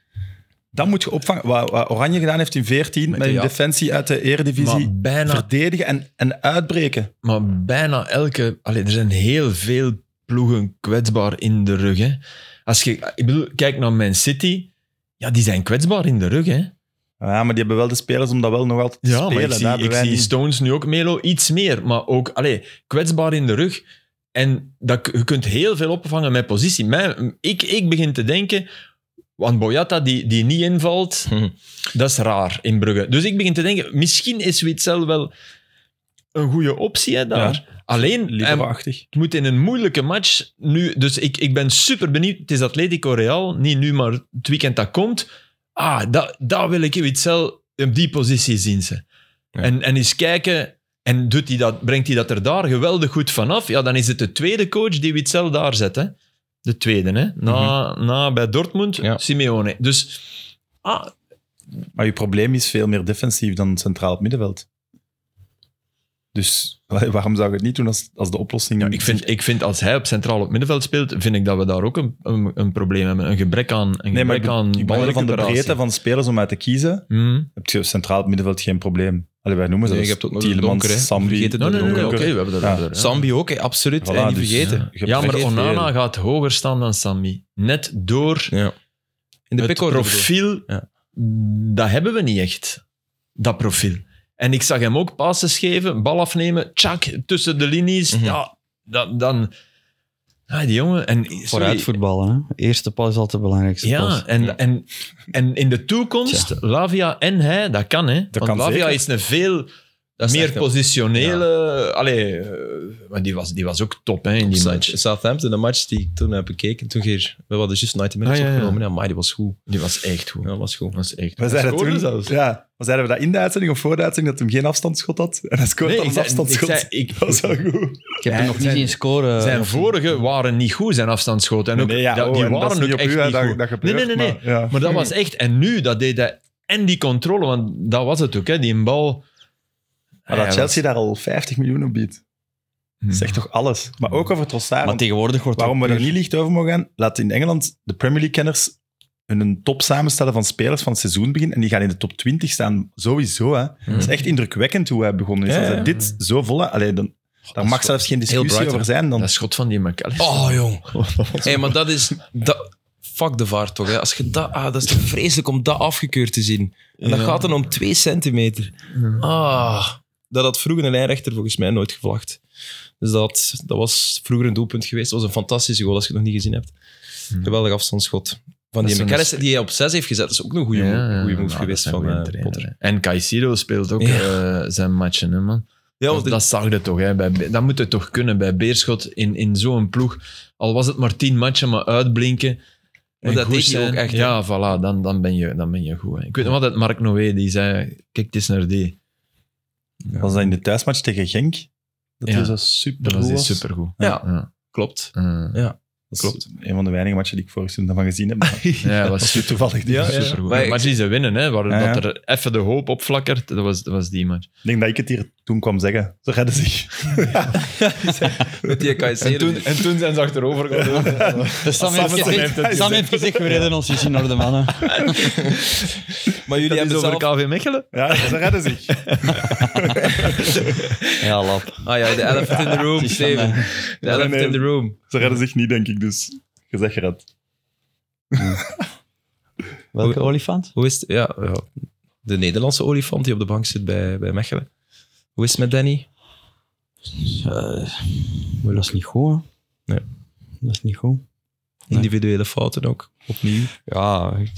Dat moet je opvangen. Wat, wat Oranje gedaan heeft in 14, met,
de
hun
ja-
defensie uit de eredivisie.
Maar bijna
verdedigen en, en uitbreken.
Maar bijna elke... Allee, er zijn heel veel ploegen kwetsbaar in de rug. Hè. Als je, ik bedoel, kijk naar Man City. Ja, die zijn kwetsbaar in de rug. Hè.
Ja, maar die hebben wel de spelers om dat wel nog altijd te
Ja, maar
spelen.
ik
Daar
zie,
hebben
ik
wij
zie
niet-
Stones nu ook Melo iets meer. Maar ook allee, kwetsbaar in de rug. En dat, je kunt heel veel opvangen met positie. Mijn, ik, ik begin te denken... Want Boyata, die, die niet
[laughs]
invalt,
Hm.
dat is raar in Brugge. Dus ik begin te denken, misschien is Witzel wel een goede optie hè, daar. Alleen, hij
Libero-achtig.
moet in een moeilijke match nu... Dus ik, ik ben super benieuwd. Het is Atletico Real, niet nu, maar het weekend dat komt. Ah, dat, dat wil ik Witzel op die positie zien. Ze.
Ja.
En, en eens kijken... En doet hij dat, brengt hij dat er daar geweldig goed vanaf? Ja, dan is het de tweede coach die Witzel daar zet. Hè? De tweede, hè? Na,
Mhm.
na bij Dortmund,
Ja.
Simeone. Dus... Ah,
Maar je probleem is veel meer defensief dan centraal op middenveld. Dus [laughs] wa- waarom zou je het niet doen als, als de oplossing...
Ja, ik, vind, ik vind als hij op centraal op middenveld speelt, vind ik dat we daar ook een, een, een probleem hebben. Een gebrek aan, een
Nee, maar
gebrek
ik,
aan
ik bedoel van de
balrecuperatie.
breedte van spelers om uit te kiezen,
Mhm.
heb je op centraal op middenveld geen probleem. Allee, wij noemen ze
Nee,
dat.
je hebt ook nog de donker, hè. Vergeet het
Nee, nee, nee, nee,
donker.
oké, we hebben dat. we
Ja.
hebben dat, ja.
Sambi ook, hè, absoluut.
Voilà,
en niet
dus,
vergeten.
Je hebt
Ja, maar
vergeet
Onana
veel.
gaat hoger staan dan Sambi. Net door
Ja. In de
het
pickorde bedoel
profiel,
Ja.
dat hebben we niet echt. Dat profiel. En ik zag hem ook passes geven, bal afnemen, tjak, tussen de linies.
Mhm.
Ja, dat, dan... Ah, die jongen... En, sorry,
Vooruit voetballen. Hè? Eerste pas is altijd de belangrijkste
Ja,
pas.
en,
Ja.
En, en in de toekomst, Lavia en hij, dat kan hè. Want
kan
Lavia
zeker.
is een veel
Dat is
meer
echt een-
positionele... Allee, eh, maar die was, die was ook top hè, in die
Sa-
match.
Southampton, de match die ik toen heb bekeken. Toen hier, we hadden juist 90 minutes
Ah, ja, ja.
opgenomen. Ja, maar die was goed.
Die was echt goed.
Ja, was goed.
was echt
We
goed.
zeiden
Scoorde
toen
zelfs.
Ja, we zeiden we dat in de uitzending of voor de uitzending dat hij hem geen afstandsschot had. En hij scoort
Nee,
dan
ik
een
zei, ik
afstandsschot.
zei, ik,
Dat is wel goed.
Ik heb hem nog niet
zijn-
zien scoren.
zijn vorige waren niet goed, zijn afstandsschoten. En ook,
Eh, Nee, ja,
dat-
oh,
die
en dat is
waren
niet
ook
op
echt
u, hè,
niet
dat-
goed.
dat gebeurt,
nee, nee, nee. nee.
maar, ja.
Maar dat was echt... En nu, dat deed hij... En die controle, want dat was het ook, hè, die bal...
Maar dat
Hij
Chelsea daar al 50 miljoen op biedt,
was-
zegt toch alles. Maar ook over Trossard.
maar
want
tegenwoordig wordt
waarom we
dat
er
puur-
niet licht over mogen gaan, laat in Engeland de Premier League-kenners hun top samenstellen van spelers van het seizoen begin en die gaan in de top 20 staan, sowieso. Hè. Het is echt indrukwekkend hoe hij begonnen is.
Ja,
Als hij
ja.
dit zo vol... Allee, dan, daar mag zelfs geen discussie
Brighton.
over zijn. Dan,
Dat schot van die McAllister.
Oh, jong.
[laughs]
Hé, maar dat is... Dat, fuck de vaart toch, hè. Als je dat, ah, dat is toch vreselijk om dat afgekeurd te zien. En dat
Ja.
gaat dan om twee centimeter. Ah. Dat had vroeger een lijnrechter volgens mij nooit gevlacht. Dus dat, dat was vroeger een doelpunt geweest. Dat was een fantastische goal, als je het nog niet gezien hebt.
Hmm.
Geweldig afstandsschot. Van
Dat
die
is zo'n-
McAllister die hij op zes heeft gezet, dat is ook een goede
Ja,
move, goede
ja,
move
ja,
geweest
dat is
van
een
eh,
goeie
Potter.
trainer, hè. En Caicedo speelt ook
Ja.
eh, zijn matchen, hè, man.
Ja, want
dat, dat zag je toch, hè. Bij, Be- dat moet het toch kunnen bij Beerschot in, in zo'n ploeg. Al was het maar tien matchen, maar uitblinken.
Maar
En
dat
goed
deed hij
zijn.
ook echt, hè.
Ja, voilà, dan, dan, ben, je, dan ben je goed. Hè. Ik weet nog altijd Mark Noé, die zei, kijk, het is naar die.
was dat in de thuismatch tegen Genk? Dat
Ja.
hij zo super
Dat was
was.
die supergoed.
Ja.
ja.
klopt.
Eh,
Dat
Klopt.
is een van de weinige matchen die ik vorig seizoen daarvan gezien heb. Maar
ja,
[laughs]
dat
dat was [laughs]
was nu toevallig niet.
Ja, ja.
supergoed.
Maar
Maar
ik-
die ze winnen, hè. Waar,
Ja, ja.
Dat er even de hoop opflakkert, dat was, dat was die match.
Ik denk dat ik het hier toen kwam zeggen. Ze redden zich.
Met
[laughs]
die Caicedo.
en toen zijn ze achterover
Dus
Sam
Sam, heeft
heeft het
gezegd, Sam
gezegd.
heeft gezegd, we redden ons hier naar de mannen.
maar jullie hebben zelf...
KV Mechelen?
Ja, ze redden zich.
Ja, lap.
Ah ja, de elephant in the room,
Het is van, eh,
Steven. De
Nee,
elephant
nee.
in the room.
Ze redden zich niet, denk ik. Dus je zegt gered.
Welke olifant?
Hoe is het? Ja, ja, de Nederlandse olifant die op de bank zit bij, bij Mechelen. Hoe is het met Danny?
dat is niet goed, hè.
Nee.
Dat is niet goed.
Individuele fouten ook, opnieuw.
Ja, ik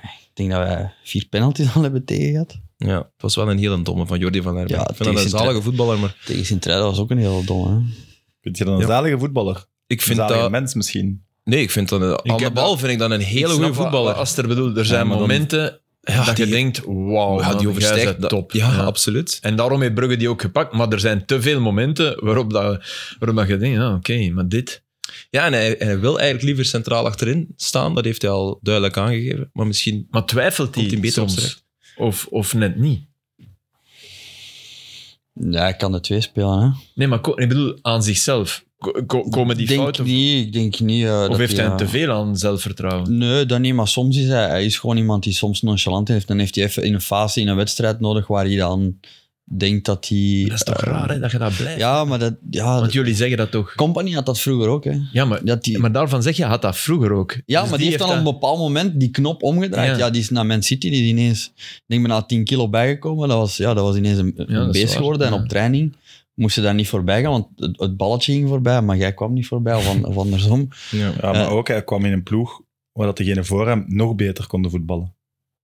ik denk dat wij vier penalties al hebben tegen gehad.
Ja, het was wel een hele domme van Jordi van Herben.
Ja,
ik vind dat een
tegen Sint-
zalige voetballer, maar
Tegen Sint-Truiden was ook een heel dom, hè.
Vind je dan een
Ja.
zalige voetballer?
ik
Een
vind
zalige
dat...
mens misschien.
Nee, ik vind dat... een- Aan de
heb
bal
dat-
vind ik dan een hele goede voetballer.
Als er bedoel, er zijn
maar dan-
momenten
Ja,
dat je
die- Oh,
denkt, wauw,
ja,
man,
die
jij
overstijgt
bent
dat.
top.
Ja,
Ja.
absoluut.
En daarom heeft Brugge die ook gepakt. Maar er zijn te veel momenten waarop, dat, waarop dat je denkt, ja, oké, maar dit...
Ja, en hij, en hij wil eigenlijk liever centraal achterin staan. Dat heeft hij al duidelijk aangegeven. Maar misschien...
Maar twijfelt
Komt hij
hij
beter op
soms?
terecht?
Of, of net niet?
Ja, ik kan de twee spelen, hè.
Nee, maar ko- ik bedoel, aan zichzelf. Ko- ko- komen die
ik denk
fouten...
Niet, ik denk niet... eh,
of
dat
heeft
die,
hij
eh,
te veel aan zelfvertrouwen?
Nee, dat niet, maar soms is hij, hij is gewoon iemand die soms nonchalant heeft. Dan heeft hij even in een fase in een wedstrijd nodig waar hij dan denk dat hij...
Dat is toch
eh,
raar, hè, dat je dat blijft.
Ja, maar dat... Ja,
Want jullie zeggen dat toch.
Company had dat vroeger ook, hè.
Ja, maar,
Dat die,
maar daarvan zeg je, had dat vroeger ook.
ja,
Dus
maar die heeft dan op een bepaald moment die knop omgedraaid.
Ja.
Ja, die is naar Man City, die is ineens... Ik denk bijna 10 kilo bijgekomen. Dat was, ja, dat was ineens een, een
dat is
beest
waar,
geworden.
ja.
En op training moest ze daar niet voorbij gaan, want het, het balletje ging voorbij, maar jij kwam niet voorbij, of, an- of andersom.
Ja.
Ja, maar
Eh.
ook, hij kwam in een ploeg waar dat degenen voor hem nog beter konden voetballen.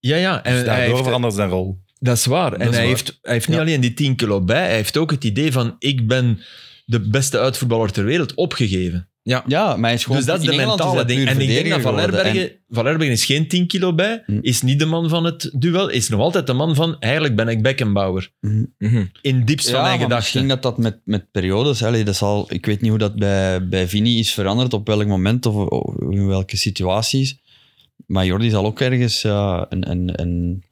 Ja, ja. En
Dus
eh, hij
daardoor
heeft-
verandert zijn rol.
dat is waar. en
is
hij,
waar.
Heeft, hij heeft niet
Ja.
alleen die 10 kilo bij, hij heeft ook het idee van, ik ben de beste uitvoetballer ter wereld opgegeven.
Ja, maar hij is gewoon...
dus dat is
in
de
Engeland
mentale
dat
ding.
puur
En ik denk dat
verdediger
Van
geworden. En-
Herbergen, Van Herbergen is geen 10 kilo bij,
Hm.
is niet de man van het duel, is nog altijd de man van, eigenlijk ben ik Beckenbauer.
Mhm.
Mhm.
In diepst van mijn
maar
gedachten.
Misschien dat dat met, met periodes, allee, dat zal, ik weet niet hoe dat bij, bij Vini is veranderd, op welk moment of, of in welke situaties. Maar Jordi zal ook ergens ja, een. een, een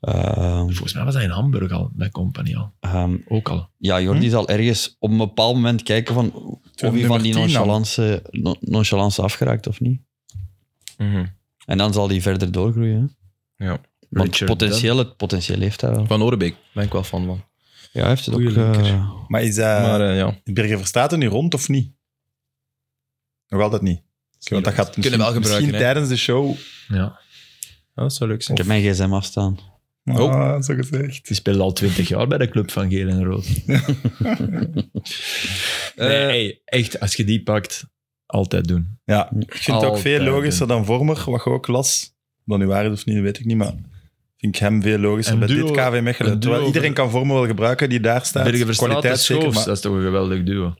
eh,
Volgens mij was hij in Hamburg al, bij Company al.
ehm,
Ook al.
ja, Jordi zal ergens op een bepaald moment kijken van of hij
nummer
van die
10 dan.
nonchalance, no- nonchalance afgeraakt of niet.
Mhm.
En dan zal hij verder doorgroeien. hè.
Ja.
Want
Richard
potentieel, het potentieel heeft hij wel.
Van Orebeek ben ik wel fan van.
Ja, hij heeft het ook.
Goeie linker.
eh,
Maar is eh
Maar eh, ja.
Birger Verstaat er nu rond of niet? Nog altijd niet. Want dat gaat
Kunnen we wel
misschien-
gebruiken,
Misschien
hè.
tijdens de show.
Ja.
Ja, dat zou leuk zijn.
ik heb mijn gsm afstaan.
Ah,
Oh.
zo gezegd.
Die speelde al 20 jaar bij de club van Geel en Rood. Nee,
Eh,
hey, echt, als je die pakt, altijd doen.
Ja, ik vind het ook veel
Altijd.
logischer dan Vormer, wat je ook las. Dan nu waar is of niet, weet ik niet, maar vind ik hem veel logischer
Een
bij
duo-
dit KV
een
Mechelen.
duo
Terwijl iedereen
over-
kan Vormer wel gebruiken die daar staat.
Bergen Verstraat en
Kwaliteit zeker,
Schoofs,
maar
dat is toch een geweldig duo.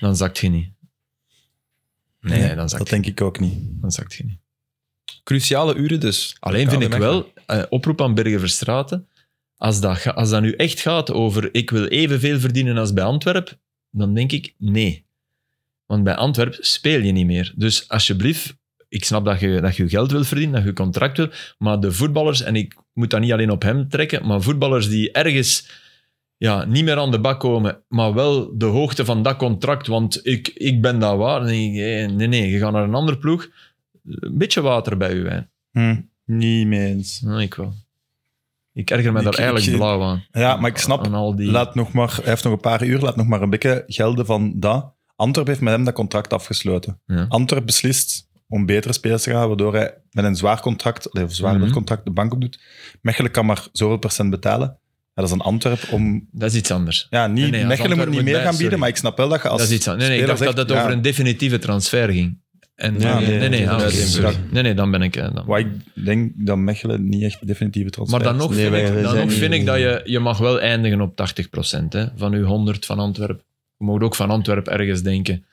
Dan zakt je niet. Nee,
Nee,
nee, dan, zakt
dat
je,
denk ik ook niet.
dan zakt je niet.
Cruciale uren dus.
Alleen
Ja,
vind
dat
ik
merk
wel, eh, oproep aan Bergen Verstraten, als dat, ga- als dat nu echt gaat over ik wil evenveel verdienen als bij Antwerp, dan denk ik nee. Want bij Antwerp speel je niet meer. Dus alsjeblieft, ik snap dat je dat je geld wil verdienen, dat je contract wil, maar de voetballers, en ik moet dat niet alleen op hem trekken, maar voetballers die ergens ja, niet meer aan de bak komen, maar wel de hoogte van dat contract, want ik, ik ben daar waar. Nee, nee, nee, nee, je gaat naar een ander ploeg. Een beetje water bij je wijn.
Hm, niet mee eens.
Nee, ik wel. Ik erger me
Ik-
daar
ik-
eigenlijk
ik-
blauw aan.
Ja, maar ik snap,
Aan al die...
Laat nog maar, hij heeft nog een paar uur, laat nog maar een beetje gelden van dat. Antwerp heeft met hem dat contract afgesloten.
Ja.
Antwerp beslist om betere spelers te gaan, waardoor hij met een zwaar contract, of een zwaar
Mhm.
contract de bank op doet. Mechelen kan maar zoveel procent betalen. Ja, dat is aan Antwerp om...
Dat is iets anders.
Ja, niet,
Nee, nee, als
Mechelen moet
Antwerp
niet meer
moet bij,
gaan bieden,
sorry.
maar ik snap wel dat je als
dat is iets anders. Nee, nee, ik dacht
speler
dat het
zegt,
over
ja,
een definitieve transfer ging. En,
Ja,
nee, nee, nee,
nee,
nee,
dat
ah,
is-
oké, sorry. nee, nee, dan ben ik... eh, Dan.
Wat ik denk dat Mechelen niet echt definitieve transfer
Maar dan nog
is.
Nee,
vind,
wij- wij
ik, dan
zijn
nog
niet-
vind ik dat je, je mag wel eindigen op 80% hè, van uw 100 van Antwerpen. Je mag ook van Antwerpen ergens denken.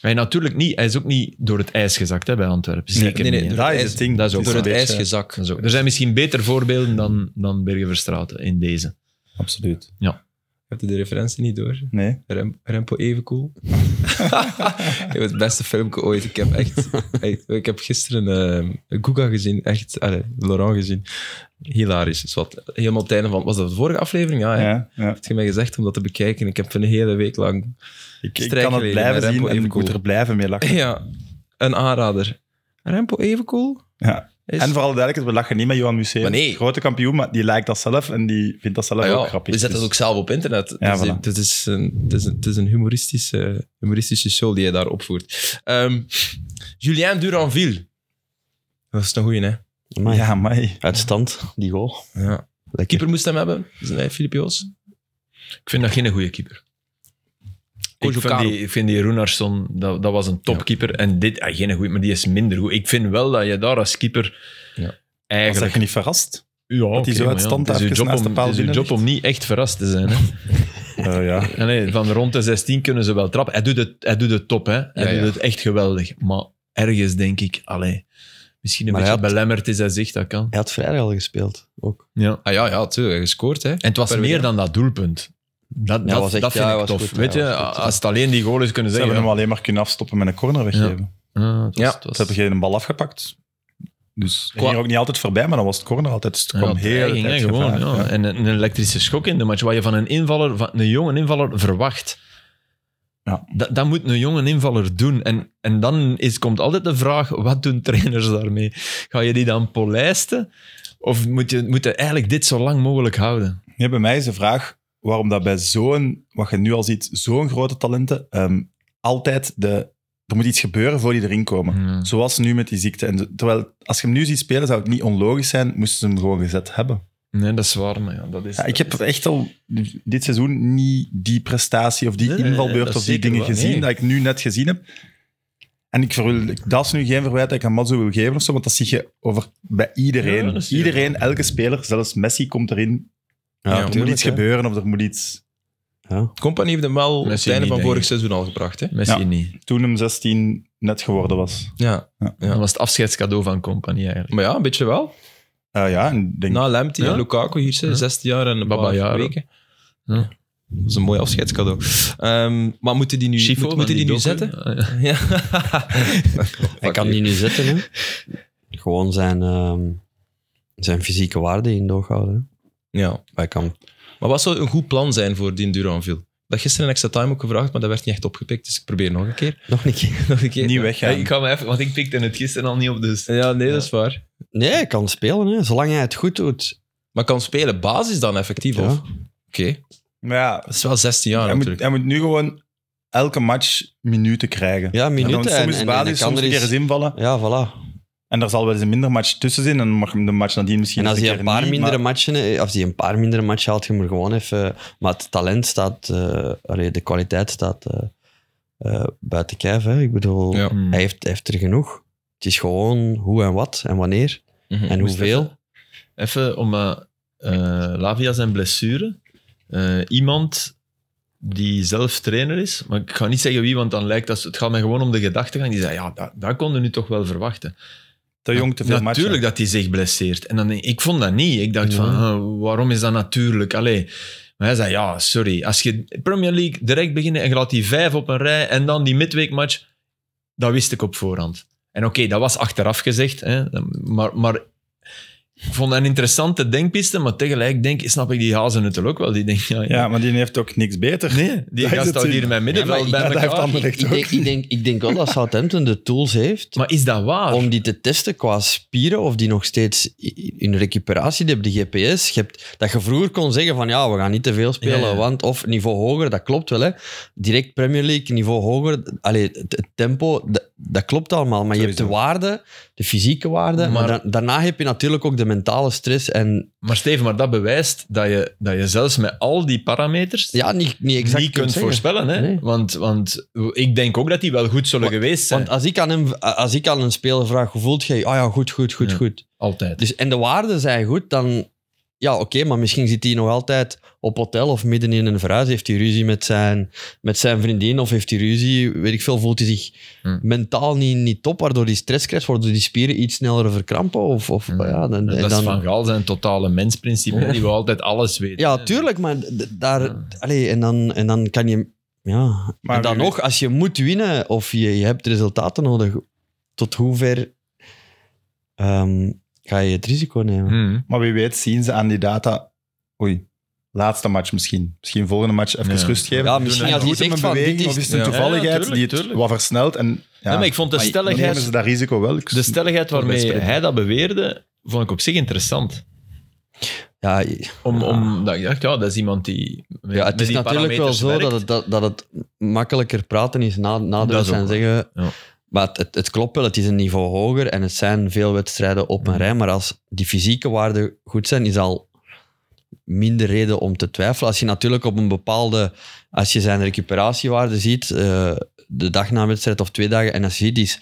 Hij, natuurlijk niet, hij is ook niet door het ijs gezakt hè, bij Antwerpen.
Nee,
Zeker
nee, nee,
niet, hè.
door-
Dat is het ding.
dat is ook
Door
een
het
beetje-
ijs gezakt.
Dat is ook- Er zijn misschien beter voorbeelden dan, dan Bergen-Verstraten in deze.
Absoluut.
Heb je de referentie niet door?
Nee.
Rem, Rempo even cool. [laughs] het beste filmpje ooit. Ik heb echt. echt- ik heb gisteren eh Guga gezien. Echt. allee, Laurent gezien. Hilarisch. Dus wat, helemaal het einde van. Was dat de vorige aflevering?
Ah,
Ja, hè?
Ja, ja.
Heb je mij gezegd om dat te bekijken? Ik heb een hele week lang.
Ik, ik
Strijk
kan het
geleden, maar
blijven
Remco
zien en
even
ik moet
cool.
er blijven mee lachen.
Ja, een aanrader. Rempo even cool? [laughs]
Ja.
Is,
En vooral duidelijk, we lachen niet met Johan Museum.
Maar nee.
Grote kampioen, maar die lijkt dat zelf en die vindt dat zelf
Ah ja,
ook grappig.
We zetten
Dus
het ook zelf op internet.
Ja,
dus
voilà.
dit- dit is een, het is een, het is een humoristische, humoristische show die je daar opvoert. Ehm, Julien Duranville. Dat is een goeie, hè?
Amai.
Ja, maar
Uit stand, die goal.
Ja.
Lekker.
Keeper moest hem hebben. Dat is een Filipio's.
Ik vind dat geen goede keeper. Ik
Kojo
vind,
Karo.
die, ik vind die Runarsson, dat, dat was een topkeeper. En dit, ah, geen goede, maar die is minder goed. Ik vind wel dat je daar als keeper
Ja.
was dat
eigenlijk...
je niet verrast?
[laughs]
ja, oké,
hij zo
maar
uit stand
het is uw
even
job
naast de
om-
paal
Het is uw
binnen
job om niet echt verrast te zijn. Hè?
Eh, ja.
Ja, nee, van rond de 16 kunnen ze wel trappen. Hij doet het, hij doet het top, hè. Hij
Ja,
doet
ja.
het echt geweldig. Maar ergens denk ik, allee, misschien een
Maar hij
beetje belemmerd is hij zich, dat kan.
Hij had vrijdag al gespeeld, ook.
Ja.
Ah ja, ja, tuurlijk. Gescoord, hè?
En het was
Per
meer
weer.
dan dat doelpunt. Dat, dat,
was echt-
dat vind
ja,
ik
hij was
tof.
goed,
Weet
hij
je,
was goed, ja.
als het alleen die goal is kunnen
Ze hebben
zeggen...
hem alleen maar kunnen afstoppen met een corner weggeven.
ja, Ah, het was-
Ja,
het was-
Ze hebben geen bal afgepakt. Dus
Qua-
hij ging er ook niet altijd voorbij, maar dan was het corner altijd. Dus het
Ja,
kwam
het
heel
dreiging,
tijd
hè, gewoon.
gevaar.
ja.
Ja.
En een, een elektrische schok in de match, wat je van een invaller, van een jonge invaller verwacht.
Ja.
Dat, dat moet een jonge invaller doen. En, en dan is, komt altijd de vraag, wat doen trainers daarmee? Ga je die dan polijsten? Of moet je, moet je eigenlijk dit zo lang mogelijk houden?
Nee, bij mij is de vraag waarom dat bij zo'n, wat je nu al ziet, zo'n grote talenten, ehm, altijd de, er moet iets gebeuren voor die erin komen.
Ja.
Zoals nu met die ziekte. En de- terwijl, als je hem nu ziet spelen, zou het niet onlogisch zijn, moesten ze hem gewoon gezet hebben.
Nee, dat is waar, maar ja, dat is...
Ja, ik heb echt al dit seizoen niet die prestatie of die
Nee, nee, nee,
invalbeurt
dat
of die
zeker
dingen
wel.
gezien
Nee.
dat ik nu net gezien heb. En ik verwil, dat is nu geen verwijt dat ik aan Matzo wil geven of zo, want dat zie je over, bij iedereen.
Ja, dat is-
iedereen, elke speler, zelfs Messi komt erin. Ja, er moet
tuurlijk,
iets
hè.
gebeuren of er moet iets...
Company heeft hem wel op het
Messi
einde
niet,
van
denk
vorig
ik.
seizoen al gebracht. Hè?
Messi
Ja.
eh, niet.
Toen hem 16 net geworden was.
Ja. Ja.
Dat was het afscheidscadeau van Company eigenlijk.
Maar ja, een beetje wel.
Eh, ja, en ik denk,
Nou,
Na Lemty
Ja.
en Lukaku hier,
Ja.
zijn 16 jaar en een
Baba
paar
Jaro.
weken.
Ja.
Dat is een mooi afscheidscadeau. Ehm, maar moeten die nu,
Schifo
moet-
van
moeten die nu
docu.
zetten? [laughs]
Ah, ja.
Ja.
Hij kan die nu zetten, hè. Gewoon zijn, ehm, zijn fysieke waarde in doog houden. hè.
ja.
Hij kan
Maar wat zou een goed plan zijn voor die Duranville? Dat gisteren een extra time ook gevraagd, maar dat werd niet echt opgepikt. Dus ik probeer nog een keer. [laughs]
nog een keer...
Nog een keer.
niet weggaan.
eh, ik ga me even... Want ik pikte het gisteren al niet op, dus...
Ja, nee, dat is waar.
Nee, hij kan spelen, hè. Zolang hij het goed doet.
Maar kan spelen basis dan effectief?
Ja.
of? Oké,
Maar ja,
dat is wel 16 jaar
Ah,
hij, moet,
natuurlijk.
hij moet nu gewoon elke match minuten krijgen.
Ja,
dan
minuten. En,
soms
en,
is
en hij
basis,
kan
soms
er
een keer
eens...
eens invallen.
Ja, voilà.
En daar zal wel eens een minder match tussen zijn. En dan mag hem de match nadien misschien
En als
eens
hij
keer
een paar
niet,
mindere
maar-
matchen, eh, als hij een paar mindere matchen haalt, je moet gewoon even. Maar het talent staat, eh, allee, de kwaliteit staat eh, eh, buiten kijf. Hè. Ik bedoel,
Ja.
Hmm.
hij, heeft, hij heeft er genoeg. Het is gewoon hoe en wat en wanneer
Mhm.
en
moest
hoeveel.
Even om eh, eh, Lavia zijn blessure. Eh, iemand die zelf trainer is, maar ik ga niet zeggen wie, want dan lijkt dat... Het gaat mij gewoon om de gedachtegang. Die zei, ja, dat, dat konden nu toch wel verwachten.
Te jong, te veel matchen.
Natuurlijk dat hij zich blesseert. En dan, ik vond dat niet. Ik dacht
Ja.
van, ah, waarom is dat natuurlijk? Allee. Maar hij zei, ja, sorry. Als je Premier League direct beginnen en je laat die vijf op een rij en dan die midweekmatch, dat wist ik op voorhand. En oké, dat was achteraf gezegd. Hè, maar, maar ik vond dat een interessante denkpiste, maar tegelijk denk, snap ik die hazen het ook wel. Die denkt, ja, ja.
Ja, maar die heeft ook niks beter.
Nee, die
Daar is
gast
het
houdt
in.
hier mijn middenveld
Ja,
bij
dat
maar
heeft
elkaar.
dan- Anderlecht
ik, denk,
ook.
ik, denk, ik denk wel dat Southampton de tools heeft
Maar is dat waar?
om die te testen qua spieren of die nog steeds i- in recuperatie die hebben, die GPS. Je hebt, dat je vroeger kon zeggen van ja, we gaan niet te veel spelen,
Ja, ja.
want of niveau hoger, dat klopt wel. Hè. Direct Premier League, niveau hoger, allee, het, het tempo, dat, dat klopt allemaal. Maar je hebt de
Sowieso.
waarde, de fysieke waarde, maar,
Maar-
da- daarna heb je natuurlijk ook de mentale stress en
Maar Steven, maar dat bewijst dat je, dat je zelfs met al die parameters...
ja, niet, niet exact
niet kunt
zeggen.
voorspellen. Hè?
Nee.
Want, want ik denk ook dat die wel goed zullen
Wa-
geweest zijn.
Want als ik, aan hem, als ik aan een speler vraag, hoe voelt jij? je? Ah ja, goed, goed, goed,
Ja.
goed.
Altijd.
Dus, en de waarden zijn goed, dan... Ja, oké, maar misschien zit hij nog altijd op hotel of midden in een verhuis. Heeft hij ruzie met zijn, met zijn vriendin of heeft hij ruzie, weet ik veel, voelt hij zich
Hmm.
mentaal niet, niet top, waardoor hij stress krijgt, waardoor die spieren iets sneller verkrampen. Of, of,
Hmm.
ja, dan, en
dat
dan-
is Van Gaal zijn totale mensprincipe, hè, die we altijd alles weten.
ja,
hè.
tuurlijk, maar d- d- daar...
Ja.
Allee, en, dan, en dan kan je... Ja.
Maar
en dan
wie weet-
nog, als je moet winnen of je, je hebt resultaten nodig, tot hoever ehm, ga je het risico nemen?
Hmm.
Maar wie weet zien ze aan die data... Oei, laatste match misschien. Misschien volgende match even
Ja.
rust geven.
Ja,
Doen
misschien
en
als die
doet hem
zegt
een
van, dit
beweging
is-
Of is het een
Ja.
toevalligheid
Ja, ja, tuurlijk,
die het
tuurlijk.
wat versnelt? En, ja.
Nee, maar ik vond de
Maar dan nemen ze
stelligheid,
dat risico wel. Ik-
de stelligheid waarmee
Wedstrijd.
hij dat beweerde, vond ik op zich interessant.
Ja, je-
Om,
Ja.
om, dat, ik dacht, ja, dat is iemand die met,
Ja, het
met
is
die
natuurlijk wel
parameters
zo
werkt.
dat het, dat, dat het makkelijker praten is na, na de
Dat is ook
wedstrijd
waar,
zeggen.
ja.
Maar het, het, het klopt wel, het is een niveau hoger en het zijn veel wedstrijden op een
Mm.
rij. Maar als die fysieke waarden goed zijn, is al minder reden om te twijfelen. Als je natuurlijk op een bepaalde... Als je zijn recuperatiewaarde ziet, eh, de dag na een wedstrijd of twee dagen, en als je ziet, die is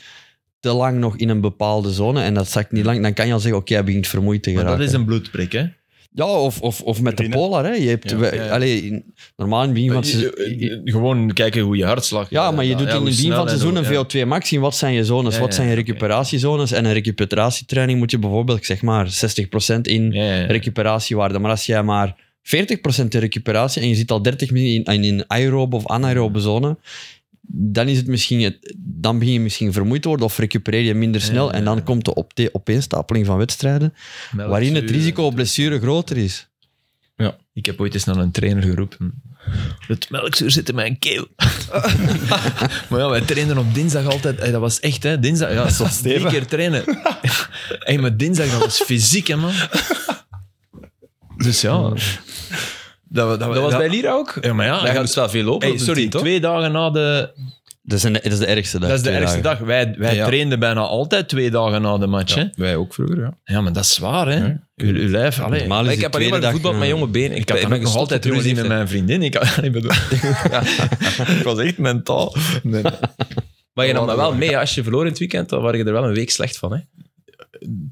te lang nog in een bepaalde zone en dat zakt niet lang, dan kan je al zeggen, oké, hij begint vermoeid te
Mm. Maar
geraken.
dat is een bloedprik, hè?
Ja, of, of, of met de
Winnen.
polar. Hè. Je hebt,
Ja.
we-
Ja, eh, ja.
allee, in- normaal in het begin van het seizoen-
Gewoon kijken hoe je hartslag...
Ja, maar je doet in
hoe
het begin
snel
van het
en
seizoen een
hoe- ja.
VO2 max zien. Wat zijn je zones?
Ja,
wat
ja,
zijn je
oké.
recuperatiezones? En een recuperatietraining moet je bijvoorbeeld, ik zeg maar, 60% in
Ja, ja, ja.
recuperatiewaarde. Maar als jij maar 40% in recuperatie en je zit al 30 minuten in, in aerobe of anaerobe zone, dan, is het misschien het, dan begin je misschien vermoeid te worden of recupereer je minder snel.
ja,
En dan
ja.
komt de opte- opeenstapeling van wedstrijden,
Melk,
waarin het
zuur.
risico op blessure groter is.
Ja.
Ik heb ooit eens naar een trainer geroepen. Het melkzuur zit in mijn keel. [laughs] maar ja, wij trainden op dinsdag altijd. Hey, dat was echt, hè. Dinsdag, ja, tot drie
stevig.
keer trainen. hey, maar dinsdag, dat was fysiek, hè, man. Dus ja. Dat, we- dat, we-
Dat was
dat-
bij Lira ook?
Ja, maar ja.
Hij
gaat-
moest wel veel lopen.
hey,
op de
sorry,
tien, toch?
twee dagen na de...
Dat is, een- dat is de ergste dag.
Dat is de
twee
ergste
dagen.
dag. Wij, wij
Ja.
trainden bijna altijd twee dagen na de match, hè.
Ja, wij ook vroeger, ja.
Ja, maar dat is zwaar, hè.
Ja.
Uw, uw lijf... Allee,
Normaal is
ik
die
heb alleen maar
tweede dag,
voetbal
eh,
met jonge benen.
Ik had dan ook nog altijd ruzie met mijn vriendin. Ik, had- ik bedoel, ik was echt mentaal. Nee,
Maar je nam dat wel mee. hè. Als je verloor in het weekend, dan waren je er wel een week slecht van. Hè?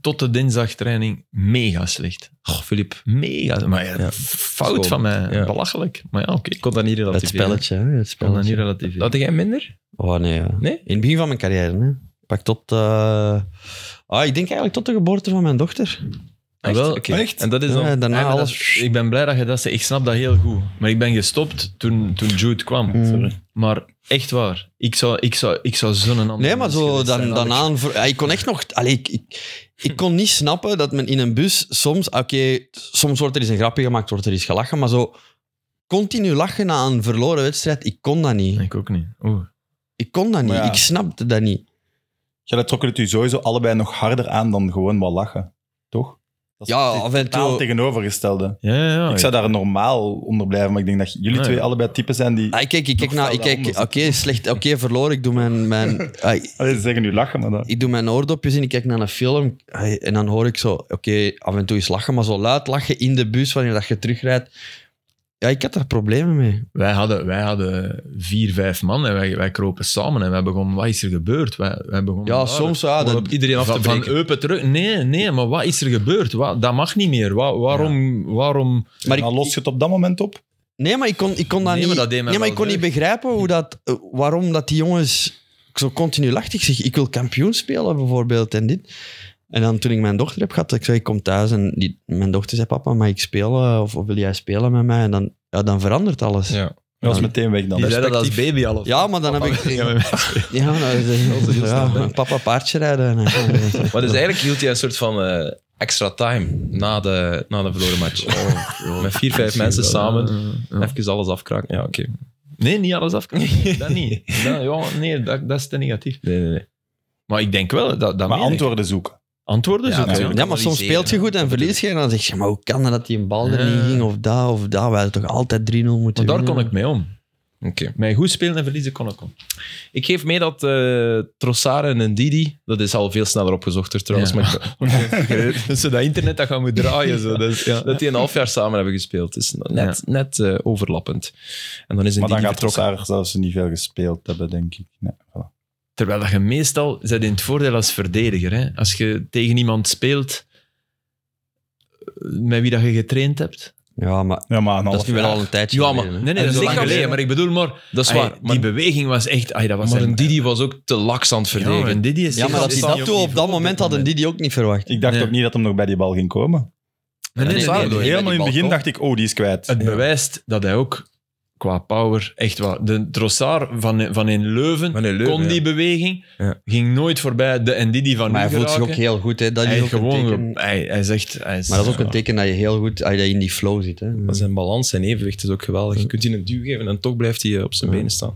Tot de dinsdagtraining mega slecht.
Oh, Filip.
Mega. Maar ja,
Ja.
fout
Schoon.
van mij.
Ja.
Belachelijk. Maar ja, oké.
Ik kon dat niet
Het
relativeren.
spelletje, hè. Het
Ik kan dat
spelletje.
niet relatief.
Had jij minder?
Oh nee, ja.
Nee?
In het begin van mijn carrière, hè. Pak tot... eh, Ah, ik denk eigenlijk tot de geboorte van mijn dochter.
Echt?
wel,
Oké.
echt?
En dat is dan...
Ja, daarna
Ja, maar dat-
alles...
ik ben blij dat je dat zegt. Ik snap dat heel goed. Maar ik ben gestopt toen, toen Jude kwam.
Sorry.
Maar echt waar. Ik zou, ik zou, ik zou zo'n ander
Nee, maar
mens
zo
geweest
dan,
zijn, Alex.
daarna... ver- Ja, ik kon echt nog... Allee, ik, ik, ik kon niet snappen dat men in een bus soms... ah, Oké, soms wordt er eens een grapje gemaakt, wordt er eens gelachen, maar zo... Continu lachen na een verloren wedstrijd, ik kon dat niet.
Ik ook niet. Oeh.
Ik kon dat niet.
Maar ja.
Ik snapte dat niet.
Ja, dat trokken het u sowieso allebei nog harder aan dan gewoon wat lachen. Toch? Dat is
Ja,
het
af en
totaal
toe-
tegenovergestelde.
Ja, ja, ja.
ik zou daar normaal onder blijven, maar ik denk dat jullie
Ah,
twee
ja.
allebei typen zijn die...
Ah, ik kijk, ik kijk
Nog
naar... Ik
verder
kijk, oké,
anders.
slecht... Oké, verloren, ik doe mijn... mijn ah, ik-
Allee, ze zeggen nu lachen, maar dat...
ik doe mijn oordopjes in, ik kijk naar een film hey, en dan hoor ik zo, oké, af en toe eens lachen, maar zo luid lachen in de bus wanneer dat je terugrijdt. Ja, ik had daar problemen mee.
Wij hadden, wij hadden vier, vijf man en wij, wij kropen samen en wij begonnen, wat is er gebeurd? Wij, wij begonnen
Ja,
daar
soms ja,
om
dat,
op iedereen af te
van, van
breken.
Eupen terug. Nee, nee, maar wat is er gebeurd? Wat, dat mag niet meer. Wa- waarom, waarom...
maar
dan
ik,
los je het op dat moment op.
nee, maar ik kon, ik kon dat
Nee, maar
niet...
dat deed mij
nee, maar
wel
ik kon niet begrijpen hoe dat, eh, waarom dat die jongens zo continu lachten. Ik zeg, ik wil kampioen spelen bijvoorbeeld en dit. En dan toen ik mijn dochter heb gehad, ik zei, ik kom thuis en die, mijn dochter zei, papa, mag ik spelen? Of, of wil jij spelen met mij? En dan, ja, dan verandert alles.
Ja.
Ja,
Dat was
Ja.
meteen weg dan.
Die zei dat als
Perspectief.
baby al. of-
maar dan heb ik...
[laughs] Ja, maar-
[laughs] Ja, nou,
is heel
ja,
snel, hè.
papa paardje
[laughs]
rijden. En,
Maar dus eigenlijk hield hij een soort van eh, extra time na de, na de verloren match.
Oh,
Met vier, vijf mensen samen.
Ja.
Even alles afkraken. Ja, oké.
Nee, niet alles
[laughs]
af. dat niet. Dat, ja, nee, dat, dat is te negatief.
Nee, nee, nee.
Maar ik denk wel dat... dat
Maar
meen ik.
antwoorden zoeken.
Antwoorden
Ja,
zoeken,
natuurlijk.
ja.
ja, maar soms speelt je goed en verlies je. En dan zeg je, maar hoe kan dat dat die een bal er niet ging? Of dat, of dat. We hadden toch altijd 3-0 moeten
Want daar
winnen?
kon ik mee om.
Oké.
Met goed spelen en verliezen kon ik om.
Ik geef mee dat eh Trossard en een Didi, dat is al veel sneller opgezocht trouwens,
Ja.
maar
[laughs] Dus zo dat internet dat gaan moet draaien. Zo. Dat is, ja.
Eh, dat die een half jaar samen hebben gespeeld. Het is net, net eh, overlappend. En dan is een
Maar dan
Didi
gaat
vertrokken.
Trossard zelfs niet veel gespeeld hebben, denk ik. Nee, voilà.
Terwijl dat je meestal zit in het voordeel als verdediger. Hè? Als je tegen iemand speelt eh, met wie dat je getraind hebt.
Ja, maar
Ja, maar een
dat
half
is nu wel
jaar.
al een tijdje
Ja, maar-
geleden, hè.
Nee, nee, dat is
zeker
lang
als-
geleden. Maar ik bedoel maar...
Dat is
ai,
waar. maar,
die beweging was echt... Ai, dat was
maar
echt-
een Didi was ook te laks aan het
Ja,
verdedigen.
maar een Didi is
Ja, maar dat
is
hij dat
niet
toe op dat
niveau
moment hadden die die ook niet verwacht.
Ik dacht
Nee.
ook niet dat hem nog bij die bal ging komen.
Nee, nee, nee,
Trossard
nee,
door.
nee.
Helemaal in
bal
het begin
komt.
dacht ik, oh, die is kwijt.
Het bewijst dat hij ook qua power echt wat... De Trossard van, van in Leuven,
Van in Leuven,
kon die
ja. beweging.
beweging, ging nooit voorbij de en Didi van
Maar hij
nu
voelt zich ook
geraken.
heel goed. Hè. Dat
Hij
is
heeft
ook een
gewoon...
teken.
ge- Hij, hij zegt... Hij is,
Maar dat is ook
ja.
een teken dat je heel goed dat je in die flow zit. Hè.
Maar zijn balans, zijn evenwicht is ook geweldig. Je kunt hij een duw geven en toch blijft hij eh, op zijn benen staan.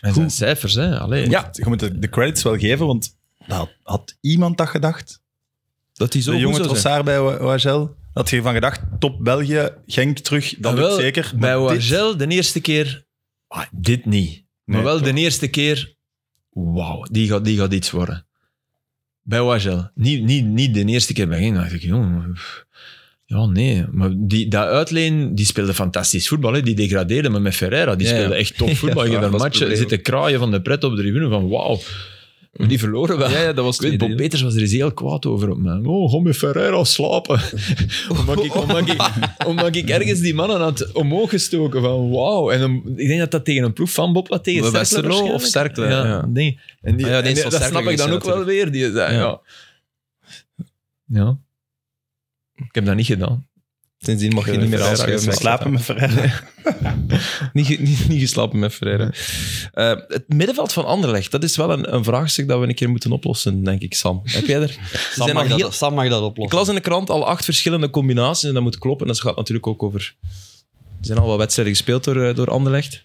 En zijn cijfers, hè. Allee.
Ja, je moet de, de credits wel geven, want had, had iemand dat gedacht?
Dat hij zo
De
goed
jonge
zou zijn.
Trossard bij O- OHL? Had je van gedacht, top België, Genk terug, dat
Jawel,
lukt zeker.
Ah, Bij
Maar
[laughs]
dit-
Wagel de eerste keer... ah, dit niet. maar
Nee,
wel
toch?
de eerste keer... Wauw, die gaat, die gaat iets worden. Bij Wagel. Niet, niet, niet de eerste keer bij Genk. dacht ik, jongen... pff, Ja, nee. Maar die, dat uitleen, die speelde fantastisch voetbal. Hè. Die degradeerde me met Ferreira. Die
Ja,
speelde
ja.
echt top voetbal.
Ja,
Je hebt
dat was
daar matchen
het probleem.
zitten kraaien van de pret op de tribune. Van wauw, die verloren wel.
Ja, ja, dat was
Ik weet, Bob
idee.
Peters was er eens heel kwaad over op mij. Oh, ga met Ferreira slapen. omdat, ik, omdat, ik,
[laughs]
omdat ik ergens die mannen had omhoog gestoken van wauw. En dan- ik denk dat dat tegen een ploeg van Bob was, tegen
Bij
Cercle
Westerlo of
waarschijnlijk.
Cercle, ja.
nee. En die,
Ah ja, die
en
is
die-
van
dat
Cercle
snap ik dan
geweest,
ook wel weer. Die, zei,
Ja.
ja. Ja. Ik heb dat niet gedaan.
Sindsdien mag je niet meer aanschuiven.
Slapen met Ferreira.
Niet, ge- niet, niet geslapen met Ferreira. Eh, het middenveld van Anderlecht, dat is wel een, een vraagstuk dat we een keer moeten oplossen, denk ik, Sam. Heb
[laughs]
jij er? Ze
Sam,
zijn al
mag
heel...
dat, Sam mag dat
Ik
oplossen.
las in de krant al acht verschillende combinaties en dat moet kloppen. En dat gaat natuurlijk ook over... Er zijn al wat wedstrijden gespeeld door, eh, door Anderlecht.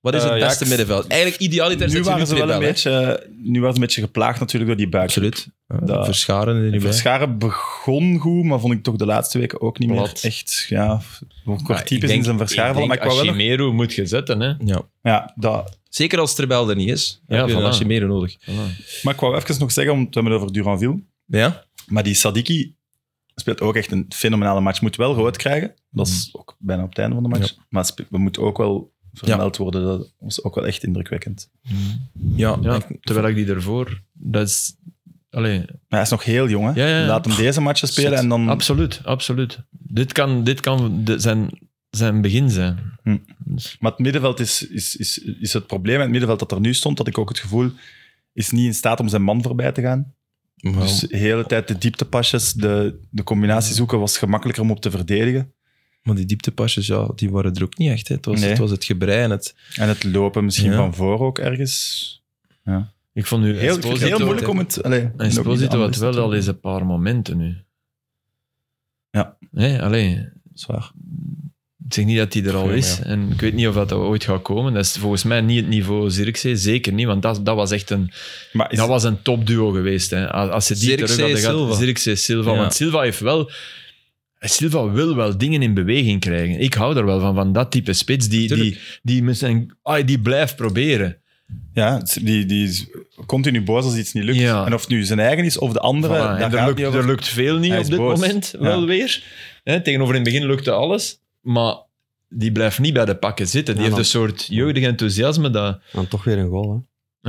Wat is
Eh,
het
ja,
beste
ik-
middenveld? Eigenlijk idealiter
Nu
zet je
waren ze
twee
wel een
bellen, hè?
beetje, nu waren ze een beetje geplaagd natuurlijk door die buik.
Absoluut. Eh, Ja,
Dat-
Verscharen er niet bij.
Verscharen begon goed, maar vond ik toch de laatste weken ook niet meer
Plat.
echt. Ja,
Maar
kort
ik
typisch
denk-
in zijn
ik
verscharen. vallen,
denk
Maar ik wou wel. nog-
Casemiro moet je zetten, hè.
Ja.
Ja, dat,
Zeker als Trebel er niet is. Ja, heb je
voilà.
een Casemiro nodig.
Voilà.
maar ik wou even nog zeggen, om we hebben het over Duranville.
Ja?
Maar die Sadiki speelt ook echt een fenomenale match. Moet wel rood krijgen. Dat is
Mm.
ook bijna op het einde van de match. Maar spe- we moeten ook wel vermeld worden. Dat was ook wel echt indrukwekkend.
Ja.
Ja,
ik-
terwijl ik die ervoor... Dat is... Allee,
Maar hij is nog heel jong, hè?
Ja, ja, ja.
Laat hem deze matchen spelen en dan...
absoluut, absoluut. Dit kan, dit kan de- zijn, zijn begin zijn.
Hm.
Dus-
Maar het middenveld is, is, is, is het probleem. En het middenveld dat er nu stond, had ik ook het gevoel, is niet in staat om zijn man voorbij te gaan.
Wel,
Dus de hele tijd de dieptepasjes, de, de combinatie zoeken was gemakkelijker om op te verdedigen.
Maar die dieptepasjes, ja, die waren er ook niet echt. Hè. Het, was,
Nee.
het was het gebrei en het...
En het lopen misschien
Ja.
van voor ook ergens.
Ik vond
Heel,
nu
ik vind het
Esposito-
heel moeilijk om het... Allee,
En
ook niet
Esposito had
anders
wel
te doen.
al eens een paar momenten nu.
Ja.
Nee, alleen.
Zwaar.
Ik zeg niet dat hij er al
Ja,
is. En ik weet niet of dat ooit gaat komen. Dat is volgens mij niet het niveau Zirkzee. Zeker niet, want dat, dat was echt een,
Maar is,
dat was een topduo geweest. Hè. Als als ze die
Zirkzee,
terug hadden gehad...
Silva.
Zirkzee, Silva.
Ja.
Want Silva heeft wel... Silva wil wel dingen in beweging krijgen. Ik hou er wel van, van dat type spits. Die, die, die, met zijn, ah, die blijft proberen.
Ja, het- die, die is continu boos als iets niet lukt.
Ja.
En of het nu zijn eigen is of de andere,
Voilà,
daar
en
gaat
er,
het
lukt,
niet over.
er lukt veel niet
Hij
op
is
dit
boos.
moment,
Ja.
wel weer. Hè, tegenover in het begin lukte alles, maar die blijft niet bij de pakken zitten. Die
Ja,
heeft een soort jeugdig enthousiasme dat...
Dan toch weer een goal, hè.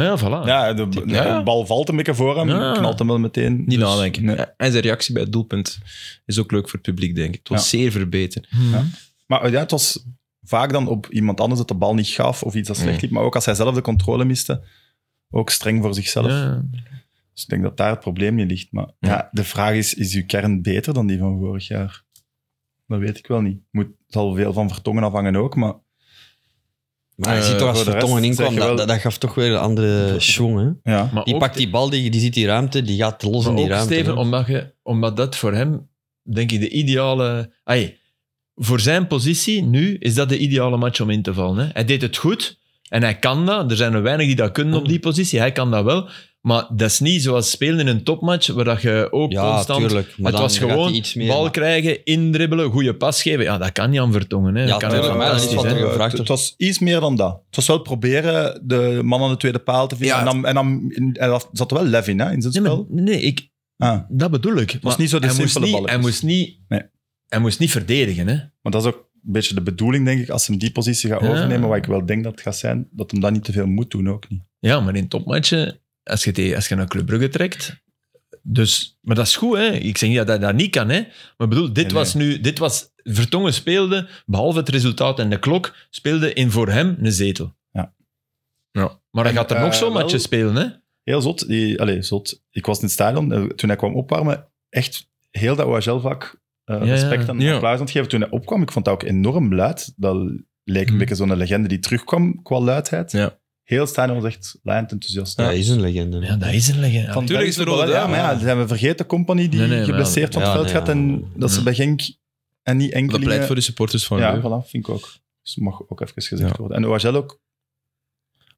Ja, voilà.
Ja, de, de
Ja.
bal valt een beetje voor hem,
Ja.
knalt hem wel meteen.
Niet
Dus,
nadenken.
nee.
En zijn reactie bij het doelpunt is ook leuk voor het publiek, denk ik. Het was zeer verbeterd.
Mhm.
Ja. Maar eh, ja, het was vaak dan op iemand anders dat de bal niet gaf of iets dat slecht
Mm.
liep. Maar ook als hij zelf de controle miste, ook streng voor zichzelf.
Ja.
Dus ik denk dat daar het probleem niet ligt. Maar
Ja.
ja. de vraag is, is uw kern beter dan die van vorig jaar? Dat weet ik wel niet. Moet, het zal veel van Vertongen afhangen ook, maar...
Maar je
Eh,
ziet toch als
voor de
Vertongen
rest
inkwam,
zeg je
dat,
wel-
dat, dat gaf toch weer een andere schwung, hè.
Ja,
Maar
Die
ook-
pakt die bal, die, die ziet die ruimte, die gaat los
maar
in die
ook,
ruimte.
Steven,
hè.
omdat, je, omdat dat voor hem, denk ik, de ideale... Ai, voor zijn positie nu is dat de ideale match om in te vallen. Hè. Hij deed het goed en hij kan dat. Er zijn er weinig die dat kunnen op die positie. Hij kan dat wel. Maar dat is niet zoals spelen in een topmatch, waar dat je ook
ja,
constant
tuurlijk. Maar
het
dan
was
gaat
gewoon
hij iets meer...
bal krijgen, indribbelen, goede pas geven. Ja, dat kan niet aan vertongen. Hè.
Ja,
dat kan
tuurlijk,
niet
maar dat is
fantastisch,
wat
hè.
er gevraagd
het, het
wordt.
was iets meer dan dat. Het was wel proberen de man aan de tweede paal te vinden.
Ja.
En, dan, en, dan, en er zat wel lef in, hè, in zijn
Nee, maar,
spel.
nee ik,
Ah,
dat bedoel ik. Het
niet zo de
hij moest
simpele
niet,
balletjes.
Hij moest niet,
Nee.
hij moest niet verdedigen. Hè.
maar dat is ook een beetje de bedoeling, denk ik, als ze hem die positie gaat
Ja.
overnemen, wat ik wel denk dat het gaat zijn, dat hem dat niet te veel moet doen, ook niet.
Ja, maar in topmatchen, als je, tegen- als je naar Club Brugge trekt... Dus, maar dat is goed, hè. Ik zeg niet dat hij dat niet kan, hè. Maar ik bedoel, dit
Nee, nee.
was nu... Dit was, Vertongen speelde, behalve het resultaat en de klok, speelde in voor hem een zetel.
Ja.
ja. Maar hij
En,
gaat er
eh,
nog zo'n
wel-
matje spelen, hè.
Heel zot. Die, allez, zot. Ik was in het stadion eh, toen hij kwam opwarmen. Echt heel dat OHL-vak eh,
Ja, ja.
respect en
Ja.
applaus aan het geven. Toen hij opkwam, ik vond dat ook enorm luid. Dat leek een
Hmm.
beetje zo'n legende die terugkwam qua luidheid.
Hm. Ja.
Heel het stadion was echt laaiend enthousiast.
Ja, is een legende.
Ja, dat is een legende.
Van
Tuurlijk is het
Belgisch voetbal,
rode
Ja,
duim,
maar ja,
ja.
ze hebben vergeten compagnie die
Nee, nee, maar
geblesseerd van het
ja,
veld
nee,
gaat en
ja.
dat ze bij Genk en niet
Dat
enkelingen...
pleit voor de supporters van
ja,
Leuven.
voilà, vind ik ook. Dus dat mag ook even gezegd
Oh, Ja.
worden. En OHL ook,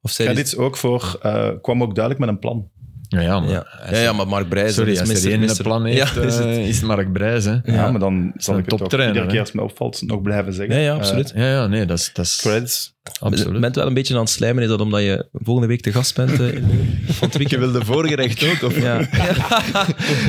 Of zij
Credits ook voor, eh, kwam ook duidelijk met een plan.
Ja, ja, maar...
ja. Ja, ja, maar Mark Brijs
Sorry,
is
als er
minister-
één
minister-
plan heeft,
Ja, is het.
eh, is het Mark Brijs. Hè?
Ja,
Ja.
maar dan zal
een
ik het ook
toptrainer,
iedere
hè?
keer als het me opvalt nog blijven zeggen.
Ja, ja, absoluut.
Ja, ja, nee, dat is, dat is
Eh, credits.
Absoluut. Je [laughs]
absoluut.
bent wel een beetje aan het slijmen, is dat omdat je volgende week te gast bent? eh, in de- van het
Je
[laughs]
weekend?
wilde voorgerecht ook, [laughs] of?
Ja.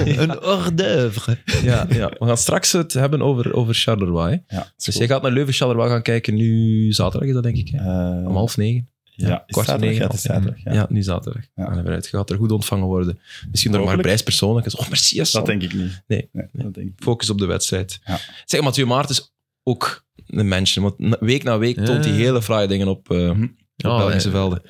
Een hors d'oeuvre.
Ja, ja, we gaan straks het hebben over, over Charleroi. hè.
Ja,
Dus jij gaat naar Leuven Charleroi gaan kijken nu zaterdag, is dat denk ik. Hè?
Eh,
Om half negen.
ja, is
kwart voor
zaterdag,
negen,
ja, het is
half
zaterdag.
Ja,
Ja.
nu zaterdag.
Ja.
En eruit. Je gaat er goed ontvangen worden. Misschien door Mark
Mogelijk.
Brijs persoonlijk. is, Oh, merci. hè, Sam.
Dat denk ik niet.
Nee.
Dat denk ik.
Focus op de wedstrijd.
Ja.
Zeg, Mathieu Maarten is ook een mensje. Want na- week na week
Ja. Mhm.
toont hij hele fraaie dingen op, eh, op
Ja,
Belgische velden.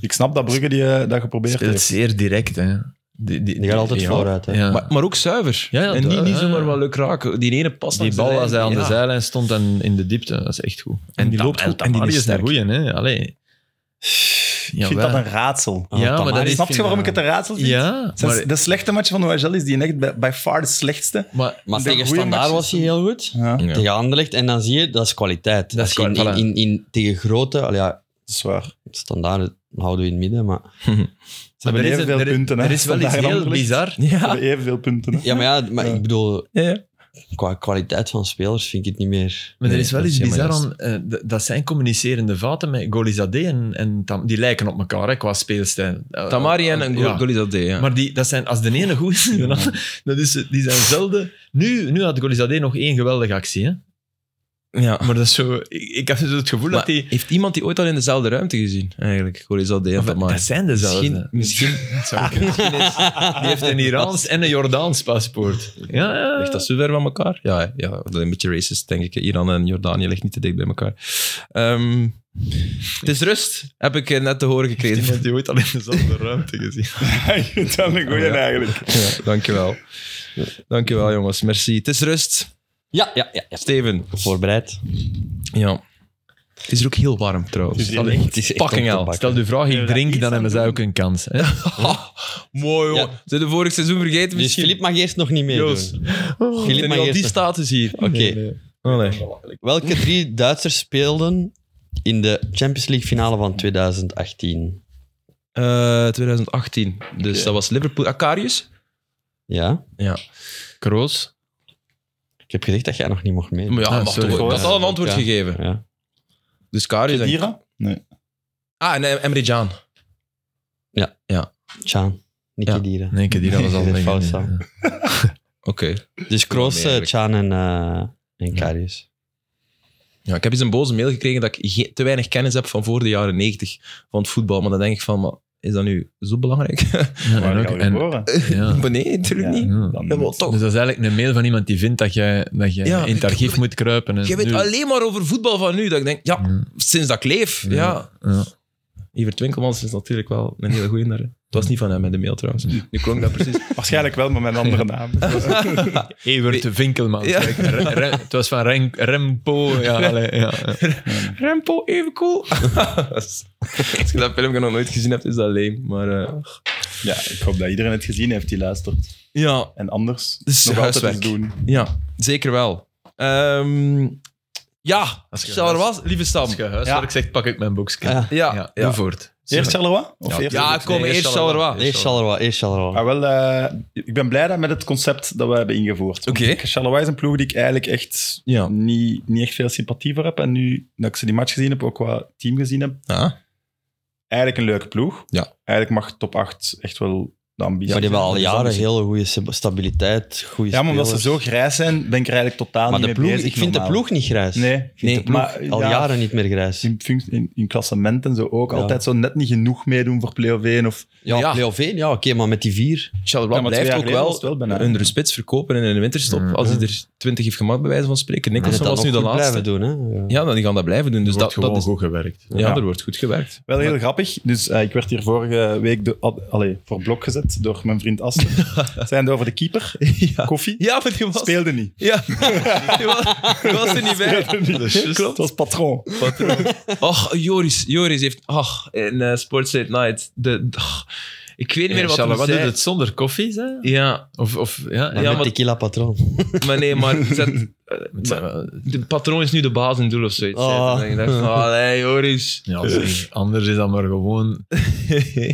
ik snap dat Brugge die, eh, dat geprobeerd
speelt
heeft.
zeer direct, hè. Die, die,
Die gaat altijd
ja.
vooruit. Hè.
Ja.
Maar, maar ook zuiver.
Ja, ja,
en niet,
dat-
niet
ja,
zomaar
ja.
wel leuk raken. Die ene pas
die bal als hij aan de
zijde.
zijlijn stond en in de diepte, dat is echt goed.
En die
Tam-
loopt goed,
Tamari
en die is
is een
sterk.
goeie, hè. Allee.
ik vind dat een raadsel.
Ah,
Ja, maar dat is... eh,
Snap je waarom ik het een raadsel vind?
Ja,
Dat is
maar...
de slechte match van OHL is die echt bij, by far de slechtste.
maar
Maar
De
tegen
goeie
Standaard
matches
was hij heel goed.
Ja, dat
Tegen Anderlecht. En dan zie je, dat is kwaliteit.
Dat is
Als je in,
kwaliteit,
in, in- tegen grote... Al ja,
is waar.
Standaard houden we in het midden, maar...
Ze hebben
er is-
evenveel
er-
punten. hè.
Er is wel iets
Vandaag en
heel
Anderlecht.
bizar.
Ze
Ja.
hebben evenveel punten. hè.
Ja, maar, ja, maar
Ja.
ik bedoel,
Ja,
[laughs]
ja.
qua kwaliteit van spelers vind ik het niet meer...
Maar er
Nee,
is wel
dat
iets
is helemaal
bizar aan. eh, d- dat zijn communicerende vaten met Golizadeh en, en Tam- die lijken op elkaar hè, qua speelstijl. Eh,
Tamari en
eh,
een
ja.
ja. Golizadeh, ja.
Maar die, dat zijn, als de ene goed is, [laughs] dan de andere- dat is, die zijn zelden. Nu, nu had Golizadeh nog één geweldige actie. Hè?
ja.
Maar dat is zo, ik, ik heb zo het gevoel
Maar
dat die.
heeft iemand die ooit al in dezelfde ruimte gezien, eigenlijk? Golizadeh en
Maar
Tamari.
dat zijn dezelfde.
Misschien, misschien
Sorry, misschien is- [laughs] die heeft een Iraans en een Jordaans paspoort. Ja, ja.
ligt dat zo ver van elkaar. Ja, hè. ja, dat is een beetje racist, denk ik. Iran en Jordanië ligt niet te dicht bij elkaar. Ehm, het is rust, heb ik eh, net te horen
Ik
[laughs] gekregen.
heb die ooit al in dezelfde ruimte gezien.
Ik vind dat een goeie
Ja.
eigenlijk.
Ja, dankjewel. Dankjewel, jongens. Merci. Het is rust.
Ja, ja, ja. ja.
Steven.
Voorbereid.
Ja. [laughs] Het is hier ook heel warm,
Het
trouwens.
is hier-
Het is echt
Fucking
om te
hell.
pakken.
Stel de vraag,
Ja,
ik drink,
iets
dan
aan
hebben zij
doen.
ook een kans. Hè?
Ha, mooi, hoor.
Ja.
Zijn de vorig seizoen vergeten
Dus
misschien?
Filip mag eerst nog niet meedoen.
Joost.
Oké.
Oh, Filip
mag
mag
eerst
die
nog-
status hier. Oh, Allee.
Welke drie Duitsers speelden in de Champions League finale van 2018?
Eh, 2018. Dus dat was Liverpool. Acarius?
Ja?
Kroos.
Ik heb gezegd dat jij nog niet mocht meedoen.
Maar ja,
Ah,
mag
sorry.
toch, dat had al een antwoord
Ja.
gegeven.
Ja.
Dus Karius en...
Kedira? Nee.
Ah, en eh, Emre Can.
Tjaan. Nicky
Ja.
Dieren.
Nee, die dat was al
Dat is fout,
weg.
Sam.
Oké.
Dus Kroos,
Nee,
eh,
eigenlijk.
Tjaan en, eh en Karius.
Ja, ik heb eens een boze mail gekregen dat ik ge- te weinig kennis heb van voor de jaren 90 van het voetbal. Maar dan denk ik van, maar is dat nu zo belangrijk?
Ja, en
Waar
ook,
gaan we
en,
horen?
ja.
[laughs] Maar nee, natuurlijk
Ja.
niet.
Ja.
Dan
Ja, maar
moet-
toch.
Dus dat is eigenlijk een mail van iemand die vindt dat je, dat je
Oh. Ja,
in het
ik-
archief moet kruipen. En
Je weet
nu-
alleen maar over voetbal van nu. Dat ik denk, ja,
Ja,
sinds dat ik leef. Ja.
ja.
Evert Winkelmans is natuurlijk wel een hele goeie daar. hè. Het was niet van hem in de mail trouwens. Nu klonk dat precies.
Waarschijnlijk wel, maar met een andere naam.
Evert Winkelman.
Ja.
kijk. Re- Re- het was van Ren- Rempo. Ja, allee, ja,
[laughs]
ja.
Rempo, even cool. [laughs] Als je dat filmpje nog nooit gezien hebt, is dat leem. Maar eh,
Ja, ik hoop dat iedereen het gezien heeft die luistert.
ja,
En anders
Dus
nog altijd
huiswerk.
eens doen.
ja, zeker wel. Ehm, ja,
Als je
Charleroi,
huis-
lieve Sam.
Als je huiswerk zegt, pak ik mijn boekje.
Ah,
Ja,
ja.
Ja, ja.
doe voort.
Eerst Charleroi? Of
Ja,
eerst
ja kom,
Nee,
eerst
eerst
Charleroi.
Charleroi.
Eerst Charleroi, eerst Charleroi.
Ah, wel, eh, ik ben blij dat met het concept dat we hebben ingevoerd. Want
Oké.
ik- Charleroi is een ploeg die ik eigenlijk echt
Ja.
niet, niet echt veel sympathie voor heb. En nu dat ik ze die match gezien heb, ook qua team gezien heb,
Ah.
Ja.
eigenlijk een leuke ploeg.
Ja.
Eigenlijk mag top 8 echt wel de ambitie
maar die hebben al
zijn.
jaren
Dus dat is-
hele goede stab- stabiliteit, goede
Ja, maar omdat ze
spelers.
zo grijs zijn, ben ik er eigenlijk totaal
Maar
niet
de
mee
ploeg,
bezig.
ik vind de
normaal.
ploeg niet grijs.
Nee, ik vind
Nee,
de
ploeg
maar,
Al
ja,
jaren niet meer grijs.
In, funct- in, in klassement en zo ook.
Ja.
Altijd zo net niet genoeg meedoen voor play-off 1 of
Ja,
Ja.
play-off één, ja, oké, maar met die vier.
Charleroi
Ja, maar twee
blijft
jaar
ook
geleden was
wel,
het wel bijna.
hun spits verkopen en in de winterstop.
Mhm.
Als hij er 20 heeft gemaakt, bij wijze van spreken.
En
Nicholson
Mm. dat
was nu
nog
de
goed
laatste.
blijven doen, hè. Ja.
Ja, dan die gaan dat blijven doen. Dus dat, dat is,
goed gewerkt.
ja,
Ja.
er wordt goed gewerkt.
Wel heel grappig. Dus eh, ik werd hier vorige week de, ad- allee, voor blok gezet door mijn
[laughs]
vriend Aster. Zijnde over de keeper.
Ja,
Koffie.
ja maar die was... [laughs]
Speelde niet.
Ja, die was, die was er niet
[laughs]
bij.
Speelde niet.
Klopt.
Het was patroon.
Och, Joris, Joris heeft... Ach, in eh, Sports Late Night. De, ach, ik weet niet meer wat hij
wat doet
zei.
het zonder koffies? Hè?
Ja,
Of, of, ja,
Maar
Ja,
met
maar-
tequila patroon.
maar nee, maar... Zet,
Het zijn wel-
de patroon is nu de baas in doel of zoiets.
Ah.
En dan dacht ik, allee, Joris.
ja, zeg, anders is dat maar
[laughs]
gewoon...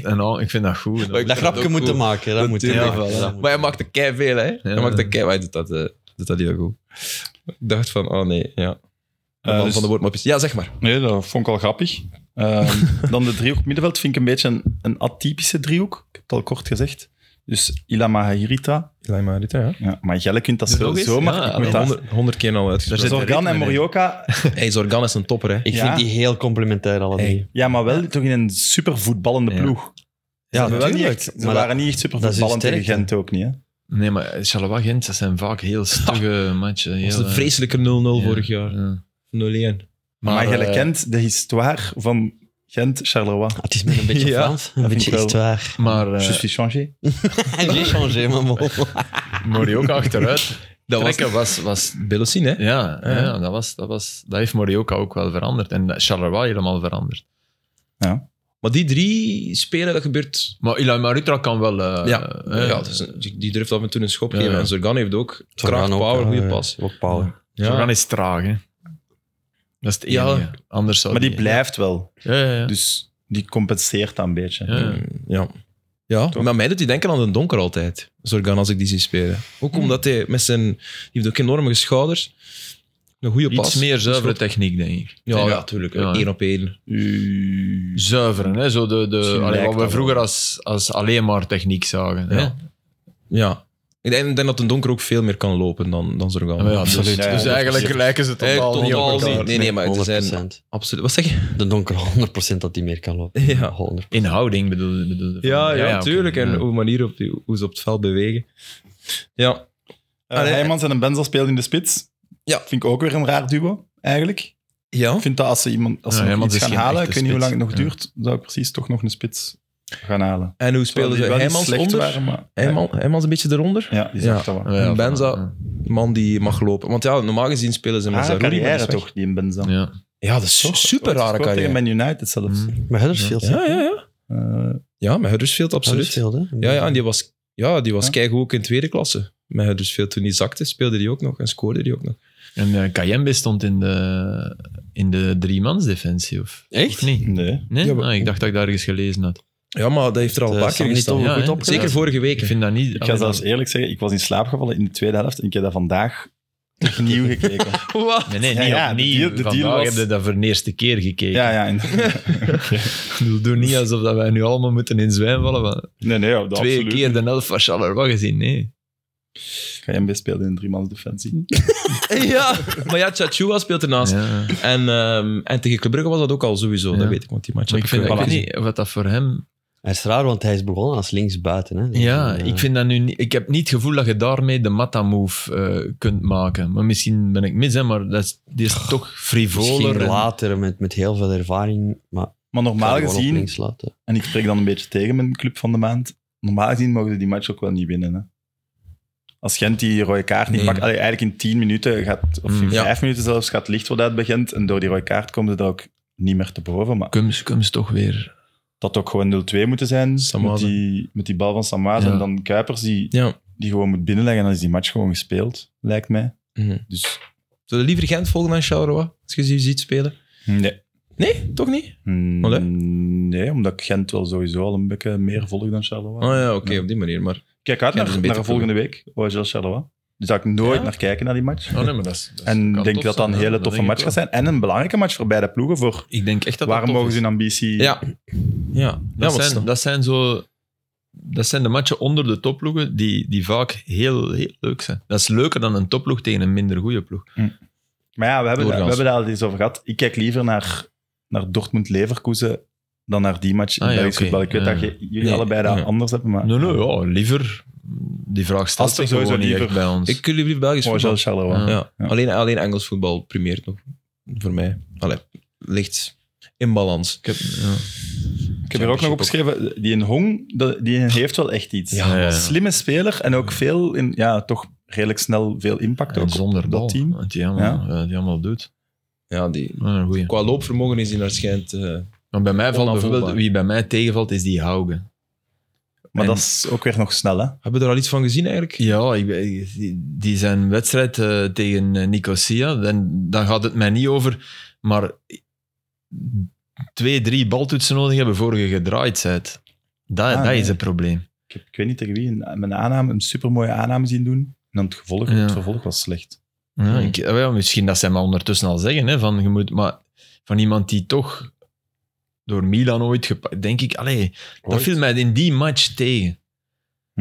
En al, ik vind dat goed.
Maar ik
Dat
vind
grapje
ook
moeten
goed.
maken, dat,
Dat
moet je
doe je
maken.
wel, hè.
dat moet
Maar hij
je
maakte kei veel, hè? Hij
Ja.
maakte kei, maar hij doet dat, eh, doet dat heel goed. Ik dacht van, oh nee, ja.
Eh,
van,
dus-
van de woordmapjes. Ja, zeg maar.
Nee, dat vond ik al grappig. Ehm, [laughs] dan de driehoek middenveld vind ik een beetje een, een atypische driehoek. Ik heb het al kort gezegd. Dus Ilama Hirita.
Lijma, dit ja.
Ja, maar Jelle kunt dat
Doe
zo,
nog eens.
zomaar.
Ja,
ik moet
ja.
dat,
100, 100 keer al uitgesproken.
zit een
Zorgan
ritme
en
in.
Morioka
Hey, Zorgan is een topper, hè?
Ik
Ja.
vind die heel complementair, alle drie.
Hey.
Ja, maar wel toch in een super voetballende
Ja.
ploeg.
Ja,
ze hebben wel niet
tuurlijk,
echt- ze
maar
waren niet echt super
dat is hun
voetballend tegen
sterkte.
Gent ook niet. Hè?
Nee, maar Charleroi Gent, dat zijn vaak heel stugge matchen.
Ah. Dat was
heel,
een
eh,
vreselijke 0-0 vorig
ja,
jaar.
ja.
0-1.
Maar,
Maar,
jij
eh,
kent de histoire van Gent, Charleroi.
Ah, Het is met een beetje
Ja,
Frans. Een
vind
beetje
ik wel.
histoire.
[laughs] Maar eh,
Je suis changé.
J'ai changé, man. [laughs]
Morioka achteruit.
[laughs]
Dat was, was, was
Belosin, hè?
Ja,
Ja.
ja. dat, was, dat, was, dat heeft Morioka ook wel veranderd. En Charleroi helemaal veranderd.
Maar die drie spelen, dat gebeurt...
Maar Ilai Marutra kan wel... eh,
ja,
eh,
ja dus- dat is een- die die durft af en toe een schop
Ja,
geven.
ja.
En Zorgan heeft ook kracht, power, goede pas.
eh, Ook power.
Ja.
Zorgan is traag, hè. Dat is het enige.
Ja.
Anders zou
Maar die
die-
blijft wel.
Ja, ja, ja.
Dus die compenseert dat een beetje.
Ja.
Ehm, Ja. Ja,
Toch?
maar mij doet hij denken aan de donker altijd. Zorgan, als ik die zie spelen. Ook omdat hij met zijn... Die heeft ook enorme schouders. Een goede
Dus Iets
pas.
meer zuivere
Schot.
techniek, denk ik.
Ja, ja, tuurlijk.
Ja, ja.
Eén op één.
U-
Zuiveren, hè. Zo de, de,
Misschien
allee,
lijkt
wat we
dat
vroeger
wel.
als, als alleen maar techniek zagen. Hè?
Ja. Ja. Ik denk, ik denk dat de donker ook veel meer kan lopen dan, dan Zorgan.
Maar ja, dus-
Absoluut.
Dus,
Ja, ja,
eigenlijk
dat is-
lijken ze totaal,
Hey,
niet op
totaal
elkaar.
niet. Nee, nee, maar het zijn...
100%.
Absoluut. Wat zeg je? [laughs]
De donker 100% dat die meer kan lopen.
Ja.
100%.
In houding bedoel je? bedoel je van-
Ja, ja,
oké,
tuurlijk. en
ja.
hoe, manier op die, hoe ze op het veld bewegen. Ja,
Eh,
Allee.
Heijmans en een Benzel speelden in de spits.
Ja.
Vind ik ook weer een raar duo, eigenlijk.
ja.
Ik vind dat als ze, iemand, als ze nog
Ja, Heijmans
iets
is
gaan
geen
halen, ik
echte
weet niet hoe lang het nog
spits.
duurt, zou ik precies toch nog een spits gaan halen.
En hoe
Terwijl
speelden ze?
die wel niet
Heijmans
slecht
onder?
waren, maar...
Heijman- Heijmans een beetje eronder?
Ja, die zag
Ja.
dat wel.
Ja,
En Benza-
van-
Man die mag lopen. Want ja, normaal gezien spelen ze met
Rare
Zarouri, maar die
Ah, carrière
is weg.
toch, die in Benza.
ja. Ja.
Ja, dat is
Toch?
super rare
Gescoord
carrière. Mm.
tegen Man United zelfs.
Mm.
Maar Huddersfield.
Ja, ja, ja.
Eh,
Ja, met Huddersfield, absoluut.
Huddersfield, hè?
Ja, ja, en die was, ja, die was
Ja.
keigoed ook in tweede klasse. Met Huddersfield toen hij zakte, speelde hij ook nog en scoorde hij ook nog.
En eh, Kayembe stond in de, in de driemansdefensie, of,
Echt?
of niet?
nee.
Nee?
Ja, maar-
Ah, ik dacht dat ik daar ergens gelezen had.
Ja, maar dat heeft er al
Het,
een
eh,
paar keer
Sam niet
gestaan.
over
[laughs] Ja,
goed
hè?
opgelet.
Zeker vorige week.
Ik vind dat niet...
Ik ga zelfs eerlijk zeggen, ik was in slaap gevallen in de tweede helft en ik heb dat vandaag opnieuw
[laughs]
gekeken.
Wat?
Nee, nee,
Ja,
niet
ja, de deal-
opnieuw.
de deal
Vandaag
was-
heb je dat voor de eerste keer gekeken.
ja, ja. en-
Ik bedoel, doe niet alsof dat wij nu allemaal moeten in zwijm vallen. want
[laughs] Nee, nee, ja, dat
twee
absoluut.
keer de helft van Charleroi gezien, nee.
Ik ga MB spelen in een driemans defensie.
Ja, maar ja, Chachua speelt ernaast.
Ja.
En, ehm, en tegen Club Brugge was dat ook al sowieso,
Ja.
dat weet ik. Want die match
Maar
heb
ik vind ik
wel
weet
gezien.
niet wat dat voor hem...
Hij is raar, want hij is begonnen als linksbuiten. Hè? Dus,
Ja,
eh,
ik vind dat nu niet... Ik heb niet het gevoel dat je daarmee de Mata-move eh, kunt maken. Maar misschien ben ik mis, hè, maar dat is, die is toch frivoler.
Misschien
en-
later met, met heel veel ervaring. Maar
Maar normaal
ik ga gewoon op
gezien,
links laten.
en ik spreek dan een beetje tegen mijn club van de maand, normaal gezien mogen ze die match ook wel niet winnen. Hè? Als Gent die rode kaart niet
Nee.
pakt, allee, eigenlijk in 10 minuten, gaat, of in
Mm.
Ja.
5 minuten zelfs, gaat het licht worden uit bij Gent. En door die rode kaart komen ze daar ook niet meer te boven. Maar
Kums, Kums toch weer.
dat ook gewoon 0-2 moeten zijn met
Samazen.
die, met die bal van Samazen.
Ja.
En dan Kuipers die,
Ja.
die gewoon moet binnenleggen. En dan is die match gewoon gespeeld, lijkt mij.
Mhm.
Dus
Zullen we liever Gent volgen dan Charleroi, als je ze ziet spelen?
nee.
Nee, toch niet?
Mm,
Allee?
Nee, omdat ik Gent wel sowieso al een beetje meer volg dan Charleroi.
Oh ja, oké,
Ja.
op die manier. Maar
Kijk uit
Ja, dat
naar,
is een
naar
beter
volgende week, OSL Charleroi. Dus daar ga ik nooit
Ja?
naar kijken, naar die match.
Oh nee, maar dat is, dat is-
en
kan
ik denk dat
tof
dat
zijn,
een
hè.
hele toffe
denk
match
ik
gaat
wel.
zijn. En een belangrijke match voor beide ploegen. Voor
Ik denk echt dat
waarom
dat tof
mogen ze
is.
hun ambitie...
ja, ja. ja
Dat,
want
zijn,
dan-
dat zijn zo... Dat zijn de matchen onder de topploegen die, die vaak heel, heel leuk zijn. Dat is leuker dan een topploeg tegen een minder goede ploeg.
Maar ja, we hebben, we
Doorgaans.
hebben daar al eens over gehad. Ik kijk liever naar, naar Dortmund-Leverkusen dan naar die match in
Ah ja,
Belgisch
oké.
voetbal. Ik weet
Ja.
dat je, jullie
Nee,
allebei dat
ja.
anders hebben, maar...
Nee, nee, ja, liever. Die vraag stelt
Als er
zich
sowieso
gewoon niet echt
liever-
bij ons.
Ik wil liever Belgisch voetbal.
OSL Charleroi.
Ja.
Ja.
Ja.
Alleen, alleen Engels voetbal primeert nog voor mij. Allee, ligt in balans.
Ik heb, ja.
Ik heb er ook nog opgeschreven, die in Hong, dat- die heeft wel echt iets.
Ja, ja.
Slimme speler en ook veel, in, ja, toch redelijk snel veel impact
En
ook.
zonder
op
bal.
dat team.
Wat die allemaal, eh, die allemaal doet.
Ja, die,
Maar een goeie.
qua loopvermogen is hij naar schijnt. eh,
Maar bij mij valt
Onafvoelbaar.
bijvoorbeeld... Wie bij mij tegenvalt, is die Haugen.
Maar
En-
dat is ook weer nog snel, hè?
hebben we er al iets van gezien eigenlijk?
Ja, ik, ben- ik- die- die zijn wedstrijd eh, tegen eh, Nicosia, dan, dan gaat het mij niet over, maar twee, drie baltoetsen nodig hebben voor je gedraaid bent. Dat,
Ah,
dat
nee.
is het probleem.
Ik, heb, ik weet niet tegen wie, een, mijn aanname, een supermooie aanname zien doen. En dan het, gevolg,
Ja.
het vervolg was slecht.
Ja,
Hmm.
ik- eh, wel, misschien dat zij maar ondertussen al zeggen, hè, van, je moet, maar van iemand die toch door Milan ooit gepakt, denk ik, allee, dat
Ooit.
viel mij in die match tegen.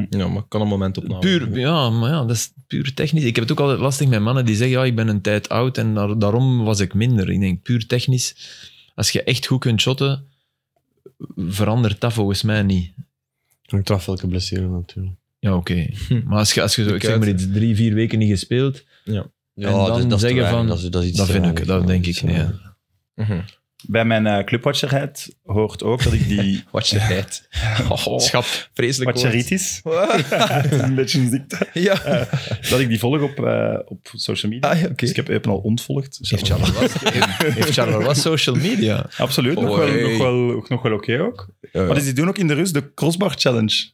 Ja, maar kan een moment opnemen.
Puur, ja, maar ja, dat is puur technisch. Ik heb het ook altijd lastig met mannen die zeggen, ja, ik ben een tijd oud en daar- daarom was ik minder. Ik denk, puur technisch, als je echt goed kunt shotten, verandert dat volgens mij niet.
Hangt eraf welke blessure natuurlijk.
Ja, oké.
Hm.
Maar als je, als je zo,
De
ik zeg maar
kuiten.
iets, drie, vier weken niet gespeeld,
Ja.
En dan
is te
zeggen
weinig,
van-
dat is, dat is iets
dat
te
vind ik,
weinig,
dat
ja,
denk
is
ik
te
niet.
weinig.
ja.
Mhm.
bij mijn eh, clubwatcherheid hoort ook dat ik
[laughs]
die
Watcherheid. Oh,
schat
vreselijk woord.
watcheritis, [laughs] een beetje een ziekte,
Ja.
dat ik die volg op, eh, op social media.
Ah, ja, oké.
Dus ik heb Eupen al ontvolgd. Dus
Heeft Charleroi heeft- heeft Charleroi social media?
Absoluut, nog
Oh,
wel,
hey.
nog wel, ook nog wel oké ook.
Ja.
Maar dus die doen ook in de rust de crossbar challenge.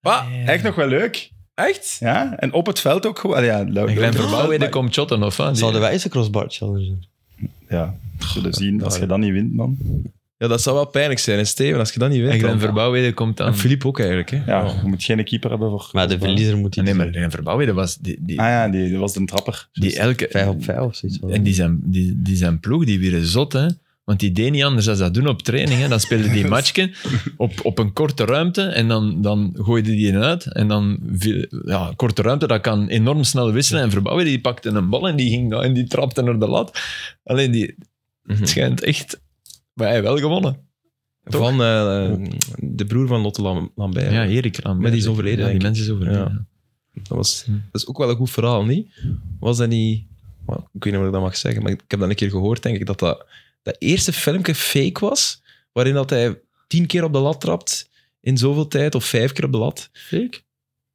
Ah,
Echt nog wel leuk.
echt?
Ja, en op het veld ook gewoon. Ja, leuk.
Een klein
leuk.
verbouwing komt shotten of wat?
Zouden wij eens een crossbar challenge doen?
Ja, zullen zien
Oh.
als je dat niet wint, man.
Ja, dat zou wel pijnlijk zijn, hè, Steven, als je dat niet weet.
En Glenn
dan-
Verbouwheden komt dan.
En Filip ook eigenlijk, hè?
Ja,
Oh.
je moet geen keeper hebben voor.
Maar de verliezer moet iets
Nee, maar Glenn Verbouwheden was die, die,
Ah ja, die, die was een trapper. Dus-
die elke.
Vijf op vijf of zoiets.
En die zijn, die, die zijn ploeg, die weer zot, hè. Want die deed niet anders dan dat doen op training. Hè. Dan speelde [laughs] die matchje op, op een korte ruimte en dan, dan gooide die eruit. En dan, viel- ja, korte ruimte, dat kan enorm snel wisselen. En verbouwen, die pakte een bal en die ging daar en die trapte naar de lat. Alleen, die,
Mhm.
het schijnt echt... Maar hij heeft wel gewonnen. Toch?
Van eh, de broer van Lotte Lam Lambert.
Ja, Erik Ramberg.
Maar die is overleden,
Ja, die
denk ik.
mensen is overleden.
Ja.
ja.
Dat, was, dat is ook wel een goed verhaal, niet? Was dat niet... Well, ik weet niet of ik dat mag zeggen, maar ik heb dat een keer gehoord, denk ik, dat dat, dat eerste filmpje fake was, waarin dat hij tien keer op de lat trapt in zoveel tijd, of vijf keer op de lat.
Fake?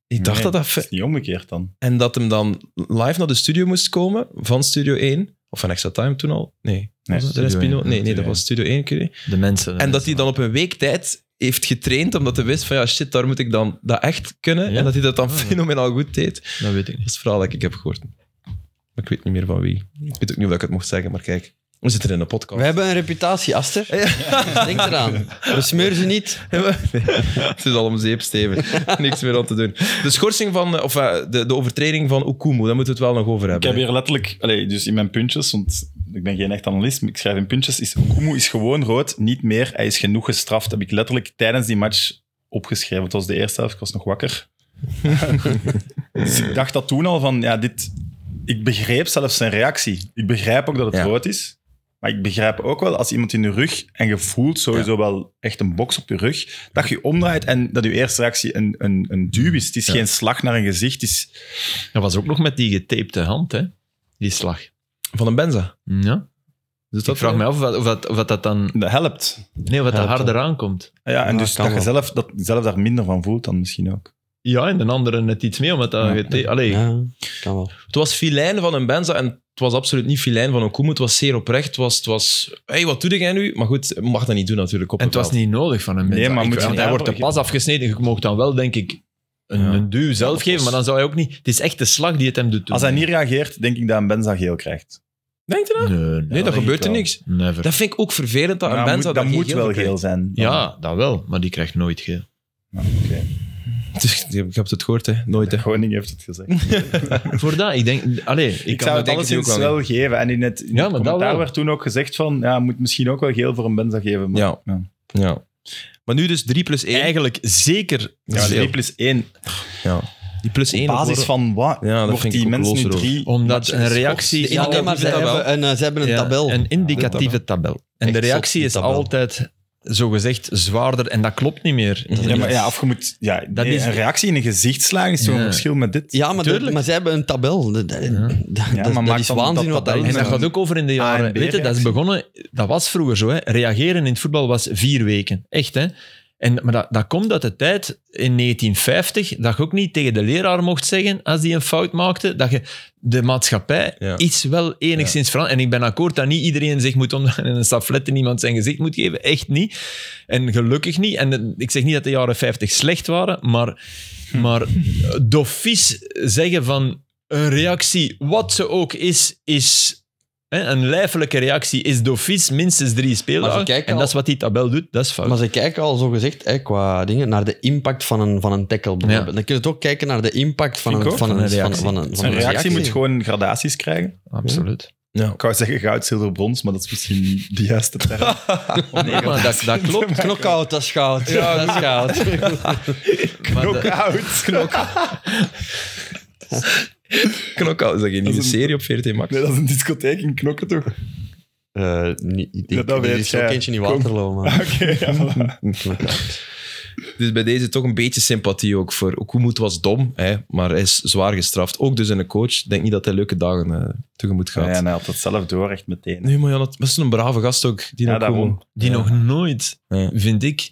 Ik dacht
Nee,
dat dat...
is
fe-
niet omgekeerd dan.
En dat hem dan live naar de studio moest komen, van Studio 1, of van Extra Time toen al. Nee,
Nee,
was dat
Studio
Respino?
1,
Nee, nee, dat
Studio
was Studio 1, kun je
De mensen.
En dat hij dan op een week tijd heeft getraind, omdat hij wist van ja, shit, daar moet ik dan dat echt kunnen.
Ja?
En dat hij dat dan
Ah, ja.
fenomenaal goed deed. Dat
Dat weet ik niet.
is het verhaal dat ik heb gehoord. Maar ik weet niet meer van wie. Ik weet ook niet of ik het mocht zeggen, maar kijk. We zitten in een podcast.
We hebben een reputatie, Aster. [laughs] Denk eraan. We smeuren ze niet.
Nee, [laughs] het is al om zeep, Steven. Niks meer aan te doen. De schorsing van, eh, of eh, de, de overtreding van Okumu, daar moeten we het wel nog over
Ik
hebben.
heb hier letterlijk, allee, dus in mijn puntjes, want ik ben geen echt analist, maar ik schrijf in puntjes, is Okumu is gewoon rood, niet meer, hij is genoeg gestraft. Heb ik letterlijk tijdens die match opgeschreven. Het was de eerste helft, ik was nog
[laughs]
wakker. dus ik dacht dat toen al van, ja, dit... Ik begreep zelfs zijn reactie. Ik begrijp ook dat het
Ja.
rood is. Maar ik begrijp ook wel, als iemand in je rug, en je voelt sowieso wel echt een box op je rug, dat je omdraait en dat je eerste reactie een, een, een duw is. Het is geen slag naar een gezicht, het is...
Dat was ook nog met die getapte hand, hè. Die slag.
Van een Benza.
Ja.
Dus
ik vraag me af of dat, eh, of dat, of dat dan...
Dat helpt.
Nee, of dat
Helpt
harder aankomt.
Ja, en
Ja,
dus
kan
dat je
wel.
zelf, dat, je zelf daar minder van voelt dan misschien ook.
Ja, en de andere net iets meer, omdat dat...
Ja.
gete- Allee,
Ja, kan wel.
Het was filijn van een Benza en het was absoluut niet filijn van Okumu. Het was zeer oprecht. Het was, het was hey, wat doe jij nu? Maar goed, je mag dat niet doen natuurlijk. Op
En het was
veld.
niet nodig van een
Nee,
mens.
maar
Ik-
moet je
want hij
daar-
wordt de pas afgesneden. Je mocht dan wel, denk ik, een,
Ja.
een duw zelf
dat
geven,
was-
maar dan zou hij ook niet... Het is echt de slag die het hem doet doen.
Als hij niet reageert, denk ik dat een Benza geel krijgt.
Denk je dat?
Nee, nee,
Nee,
dat
dat
denk ik
gebeurt er
wel.
niks.
never.
Dat vind ik ook vervelend dat een
Maar
Benza
Nou,
geen
moet, dat moet
geel
wel
voor
geel
krijgt.
zijn. Dan-
Ja, dat wel, maar die krijgt nooit geel.
Ja, oké.
Dus, [laughs] je hebt het gehoord, hè? Nooit, hè?
Groningen heeft het gezegd. ik,
Voor dat, ik denk... Allee, ik, kan
zou
me
het
denken die ook
alleszins
wel-
wel geven. En in het, in
Ja,
het
maar dat
commentaar
wel.
werd toen ook gezegd van, ja, moet misschien ook wel geel voor een Benza geven. Maar,
Ja.
ja.
ja. Maar nu dus 3 plus 1.
Eigenlijk zeker...
Ja,
Ja,
geel.
3 plus 1.
Ja. Die plus 1.
Op dus basis van wat
Ja, dat
wordt
vind ik
die
ook
mensen nu
loser ook.
drie
Omdat een
matches
reactie...
Ja,
Ja, nee, maar ze
tabel.
hebben een, eh, ze hebben een
Ja,
tabel.
Een indicatieve tabel.
Echt
En de
zot,
reactie
die
is
tabel.
altijd zogezegd zwaarder en dat klopt niet meer.
gescoord. Ja, maar ja, of je moet... Ja,
Dat
nee,
is-
een reactie in een gezichtslaag is zo'n
Ja.
verschil met dit.
Ja, maar, de,
Tuurlijk. Mhm.
maar ze hebben een tabel. Dat, dat,
Ja.
dat-
maar
dat
maak
is
dan
waanzin
dat
wat dat
tabel.
is.
En dat gaat ook over in de
A en
jaren.
B
Weet je, dat is
reactie.
begonnen, dat was vroeger zo. Hè. Reageren in het voetbal was vier weken. Echt, hè? En, maar dat, dat komt uit de tijd in 1950 dat je ook niet tegen de leraar mocht zeggen als die een fout maakte. Dat je de maatschappij
Ja.
iets wel enigszins veranderd. En ik ben akkoord dat niet iedereen zich moet omdraaien en een staflet in iemand zijn gezicht moet geven. Echt niet. En gelukkig niet. En eh, ik zeg niet dat de jaren 50 slecht waren, maar,
Hm.
maar dofies zeggen van een reactie, wat ze ook is, is... Hè, een lijfelijke reactie is dofies minstens drie
Maar
speeldagen.
ze kijken
En
al-
dat is wat die tabel doet, dat is fout.
Maar ze kijken al zo gezegd hè, qua dingen naar de impact van een, van een tackle. bijvoorbeeld. Dan kun je ook kijken naar de impact van
Ik
een,
ook,
van
van
een,
een
van,
reactie.
van een, van
Een
een
reactie moet gewoon gradaties krijgen.
Absoluut.
Ja.
Ik wou zeggen goud, zilver, brons, maar dat is misschien niet de juiste
[laughs]
term.
Nee, maar dat, dat klopt.
[laughs] Knockout, dat is goud. [laughs] Ja, dat is goud.
Maar
[laughs]
dat-
Knockout. Knok.
Knockout is dat geen nieuwe
een-
serie op 14 Max?
Nee, dat is een discotheek in
[laughs]
Knokken, toch? Oké,
Eh, niet- ik denk,
Ja, dat
er
weet
is
jij.
ook eentje in
Kom.
[laughs] Waterloo, maar...
ja, voilà.
Knockout.
Dus bij deze toch een beetje sympathie ook voor. Ook Koemoed was dom, hè, maar hij is zwaar gestraft. Ook dus in een coach. Ik denk niet dat hij leuke dagen eh, tegemoet gaat.
Ja, en hij had dat zelf door, echt meteen.
Nee, maar ja, dat is een brave gast ook. Die
Ja,
ook
daarom.
gewoon-
Die
Ja.
nog nooit,
Ja.
vind ik.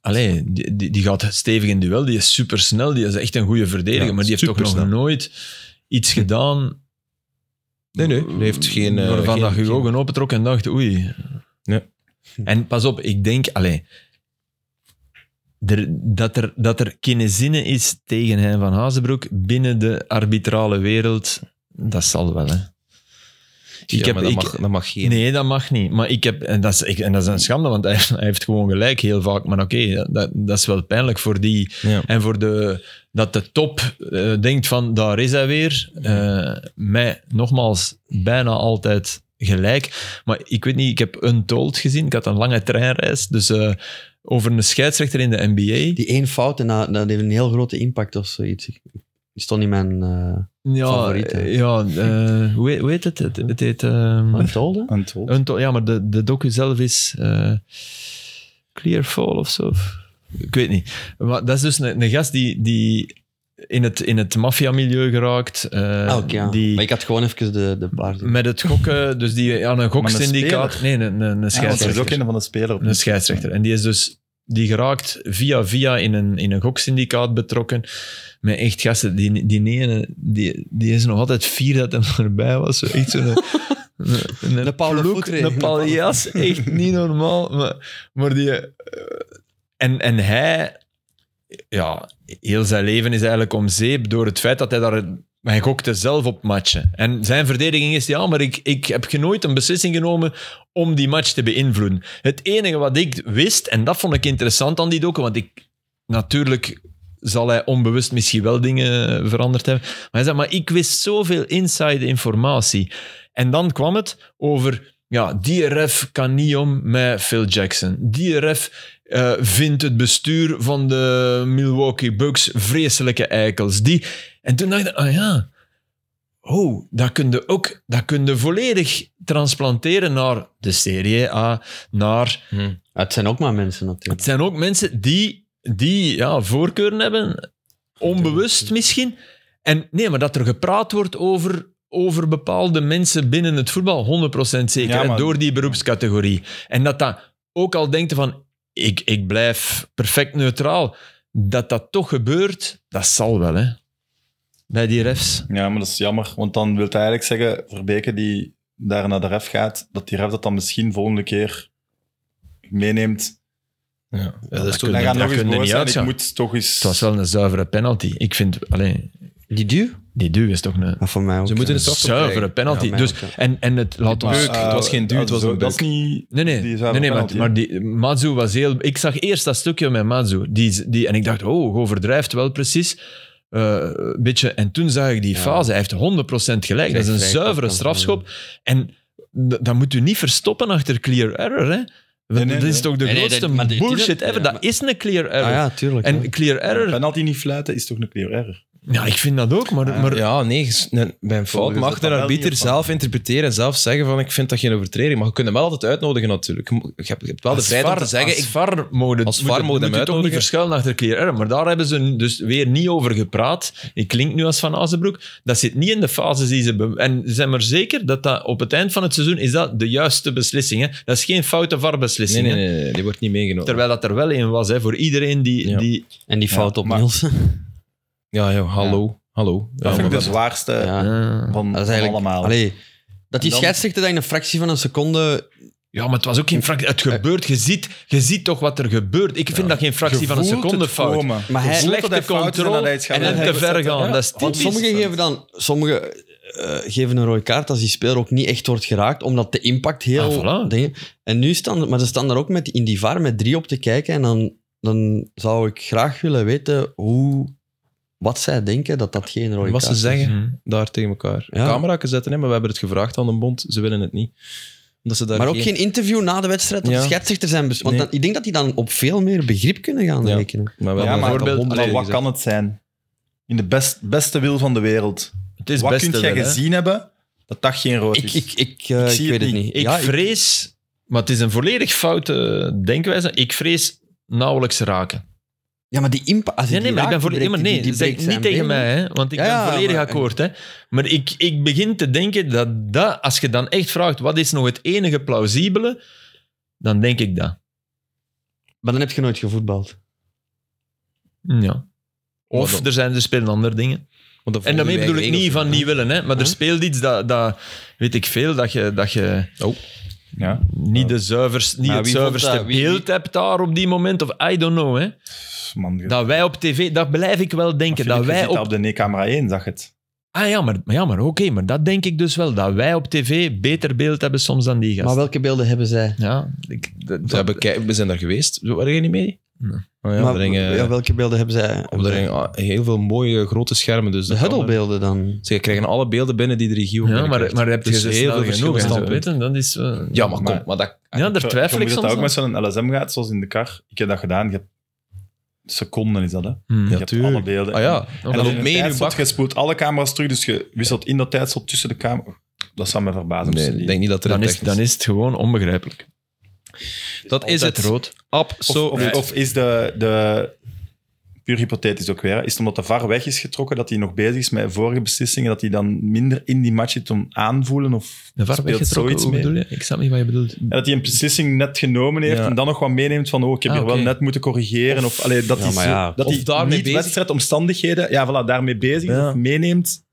Allee, die, die, die gaat stevig in duel, die is supersnel, die is echt een goede verdediger,
Ja,
maar die heeft toch nog
supersnel.
nooit iets gedaan.
Nee, nee, die heeft geen, eh,
Waarvan
geen-
dat je je
geen-
ogen opentrok en dacht, oei.
Ja.
En pas op, ik denk, allee, er, dat, er, dat er kinezine is tegen Hein van Hazenbroek binnen de arbitrale wereld, dat zal wel, hè.
Ja,
Ik heb-
maar dat,
ik-
mag, dat mag geen.
Nee, dat mag niet. Maar ik heb, en, dat is, ik- en dat is een schande, want hij, hij heeft gewoon gelijk heel vaak. Maar oké, dat, dat is wel pijnlijk voor die.
Ja.
En voor de, dat de top eh, denkt van, daar is hij weer. Eh mij, nogmaals, bijna altijd gelijk. Maar ik weet niet, ik heb Untold gezien. Ik had een lange treinreis. Dus eh, over een scheidsrechter in de NBA.
Die één fout, en dat, dat heeft een heel grote impact of zoiets. Ik- Die stond in mijn... eh
ja,
favoriet, hè.
ja eh, hoe, heet- hoe heet het? Het, het heet... ehm,
Antolde?
Untold.
Unto- ja, maar de, de docu zelf is eh, Clear Fall of zo. Ik weet niet. Maar dat is dus een, een gast die, die in het, in het maffiamilieu geraakt. eh,
Ah, oké, ja.
Die
Maar ik had gewoon even de, de paard.
met het gokken, dus die aan een goksyndicaat.
speler?
Nee, een, een,
Ja,
een
want er is
scheidsrechter.
ook een van de spelers.
Een scheidsrechter. En die is dus die geraakt via via in een, in een goksyndicaat betrokken. Met echt gasten, die, die, ene, die, die is nog altijd fier dat hem [laughs] erbij was. Zo, echt zo'n... Een, een,
De Paulo
ploek,
Futre.
Een paljas, echt niet normaal. Maar, maar die... eh, En, en hij... Ja, heel zijn leven is eigenlijk om zeep door het feit dat hij daar... Maar hij gokte zelf op matchen. En zijn verdediging is, ja, maar ik, ik heb ge- nooit een beslissing genomen om die match te beïnvloeden. Het enige wat ik wist, en dat vond ik interessant aan die docu, want ik, natuurlijk zal hij onbewust misschien wel dingen eh, veranderd hebben. Maar hij zei, maar ik wist zoveel inside informatie. En dan kwam het over, ja, die ref kan niet om met Phil Jackson. Die ref eh, vindt het bestuur van de Milwaukee Bucks vreselijke eikels. Die... En toen dacht ik, ah ja, oh, dat kun je ook, dat kun je volledig transplanteren naar de Serie A, naar
Ah, het zijn ook maar mensen natuurlijk.
het zijn ook mensen die, die ja, voorkeuren hebben, onbewust misschien. En nee, maar dat er gepraat wordt over, over bepaalde mensen binnen het voetbal, 100% zeker,
Ja,
hè,
maar-
door die beroepscategorie. En dat dat ook al denkt van, ik, ik blijf perfect neutraal, dat dat toch gebeurt, dat zal wel, hè. Bij die refs.
Ja, maar dat is jammer, want dan wil hij eigenlijk zeggen, Verbeke die daar naar de ref gaat, dat die ref dat dan misschien volgende keer meeneemt.
Ja.
dat is toch-
dan
dat
gaan nog
kun
eens
je
boos
niet
zijn, ik
uitslaan.
moet toch eens...
Het was wel een zuivere penalty. Ik vind, alleen
Die duw?
die duw is toch een
Ah, voor mij ook.
Ze moeten
ja.
het straf toch
zuivere
krijgen.
penalty.
Ja, mij
dus,
ook, ja. Eh,
en, en het laat ons...
Beuk, het was geen duw, het was
eh, zo-
een
Dat is
beuk.
niet...
Nee, nee,
Die
nee,
zuivere
nee maar,
penalty,
maar die, Mazu was heel... Ik zag eerst dat stukje met Mazu. Die, die, en ik dacht, oh, je overdrijft wel precies. Eh, een beetje. En toen zag ik die
Ja.
fase. Hij heeft 100% gelijk. Dat is een
Krijgt vrij
zuivere
kort,
strafschop. En d- dat moet u niet verstoppen achter clear error. Hè?
Nee, nee,
dat is
nee.
toch de
Nee, nee, dat-
grootste
maar dit-
bullshit
ja,
ever.
maar-
dat is een clear error.
Ah ja, tuurlijk.
En
ja.
clear
Een
error,
penalty niet fluiten is toch een clear error?
ja, ik vind dat ook, maar, maar
Ah, Ja, nee, ges- nee, bij een fout
Volgens de
mag de
tabel
arbiter
hiervan.
zelf interpreteren en zelf zeggen van ik vind dat geen overtreding. Maar je kunt hem wel altijd uitnodigen natuurlijk. Je mo- Je hebt, je hebt wel de
Als
vrijheid om
VAR-
te zeggen...
als
Ik,
VAR mode,
Als VAR mode hem
moet je toch niet
uitnodigen.
verschuilen achter Clear Error. Maar daar hebben ze dus weer niet over gepraat. Ik klink nu als Van Azenbroek. Dat zit niet in de fases die ze... be- En zijn maar zeker dat, dat op het eind van het seizoen is dat de juiste beslissing. Hè? Dat is geen foute
nee,
VAR-beslissing.
nee,
hè.
nee, nee, die wordt niet meegenomen.
Terwijl dat er wel in was, hè, voor iedereen die...
Ja.
die
En die fout
Ja,
op
maar-
[laughs] Nielsen.
Ja, ja, hallo. Hallo. Ja,
Dat vind ik
maar-
de zwaarste
Ja.
ja.
van,
Dat is
van
eigenlijk...
allemaal.
Allee, dat die
En dan-
scheidsrechter dat in een fractie van een seconde...
maar het was ook geen fractie. Het gebeurt. Je ziet, je ziet toch wat er gebeurt. Ik vind dat geen
Je
fractie van een
voelt het
seconde fout.
komen.
Maar
Je
hij-
voelt dat
Slechte
hij fout is en dat hij
controle
iets gaat
en dan te
hebben.
ver gaan.
Ja.
Dat is
Want
typisch.
sommigen geven dan... Sommigen eh, geven een rode kaart als die speler ook niet echt wordt geraakt, omdat de impact heel...
Ah, voilà.
dingen- En nu staan... Maar ze staan daar ook met, in die VAR met drie op te kijken en dan, dan zou ik graag willen weten hoe... Wat zij denken dat dat geen rode
Wat ze
kaart is.
zeggen
Mhm.
daar tegen elkaar.
Ja.
Camera zetten, hè, maar we hebben het gevraagd aan de bond. Ze willen het niet. Omdat ze daar
Maar ook geen interview na de wedstrijd dat
Ja.
de scheidsrechter zijn... bes- Want
Nee.
dan, ik denk dat die dan op veel meer begrip kunnen gaan
Ja.
rekenen.
Maar we
Ja,
hebben
maar,
het al
bijvoorbeeld,
honderd
maar wat
keer gezegd.
kan het zijn? In de best, beste wil van de wereld.
Het is
Wat
best
kun
te
jij
wel, hè.
gezien hebben dat dat geen rood
Ik,
is?
ik, ik, eh,
Ik
ik
zie
weet
het niet.
het niet.
Ik
Ja, ik-
vrees, maar het is een volledig foute denkwijze. Ik vrees nauwelijks raken.
Ja, maar die impact... Als
Nee, nee, maar ik ben volledig- ja, maar nee, zeg niet tegen mij, hè, want ik
Ja, ja,
ben volledig
maar-
akkoord. Hè. Maar ik, ik begin te denken dat, dat, als je dan echt vraagt wat is nog het enige plausibele, dan denk ik dat.
Maar dan heb je nooit gevoetbald.
Mm, Ja.
Maar
Of
dan-
er, zijn, er spelen andere dingen. En daarmee bedoel ik niet van niet willen, hè? maar er
Huh?
speelt iets dat, dat weet ik veel, dat je, dat je
Ja.
niet, de zuivers, niet
Maar
het
wie vond
zuiverste
dat? Wie- wie-
beeld hebt daar op die moment. Of I don't know. Hè?
Man, je-
Dat wij op tv, dat blijf ik wel denken.
Filip,
Dat
je
wij
zit
op,
op de nee-camera 1, zag het.
ah ja, maar, maar ja, maar oké, maar dat denk ik dus wel. Dat wij op tv beter beeld hebben soms dan die
Maar
gasten.
welke beelden hebben zij?
Ja, ik, dat-
We, hebben kei- we zijn daar geweest. Waren jij niet mee?
Nee.
Oh ja,
maar,
er hingen,
ja, welke beelden hebben zij?
op- er hingen, ah, heel veel mooie grote schermen. Dus
De huddlebeelden dan.
Ze krijgen alle beelden binnen die de regio
ja, maar, maar heb je
Dus
ze
heel
snel
veel
genoeg.
verschillende
En zo,
standpunten.
weten, dat is, eh,
Ja, maar kom.
Maar-
Maar dat,
ja, daar twijfel ik
je moet
soms
dat ook
aan.
met zo'n LSM gaat, zoals in de kar. Ik heb dat gedaan. Je hebt seconden is dat, hè?
Hmm.
Je
Ja,
hebt
tuurlijk.
alle beelden.
ah ja,
En
En
dat
dan
loopt mee
in
in
een
uw
tijdslot,
bak.
je spoelt alle camera's terug, dus je wisselt in dat tijdslot tussen de camera's. Dat zou me verbazen.
Nee,
misschien
ik
niet.
denk niet dat er
Dan
een
is,
technisch-
dan is het gewoon onbegrijpelijk.
Dat is
Altijd
het.
rood.
of,
Absoluut.
of, of is de, de... Puur hypothetisch ook weer. hè. Is het omdat de VAR weg is getrokken, dat hij nog bezig is met vorige beslissingen, dat hij dan minder in die match zit om aanvoelen? Of
De VAR
speelt
weggetrokken,
zoiets
hoe
mee?
bedoel je? Ik snap niet wat je bedoelt.
En dat hij een beslissing net genomen heeft
Ja.
en dan nog wat meeneemt van oh, ik heb
Ah,
hier
oké.
wel net moeten corrigeren. Of, allee, dat
Ja,
hij,
maar
zo-
ja.
dat
Of
hij
daarmee
niet
bezig-
wedstrijdomstandigheden ja, voilà, daarmee bezig is
Ja.
of meeneemt.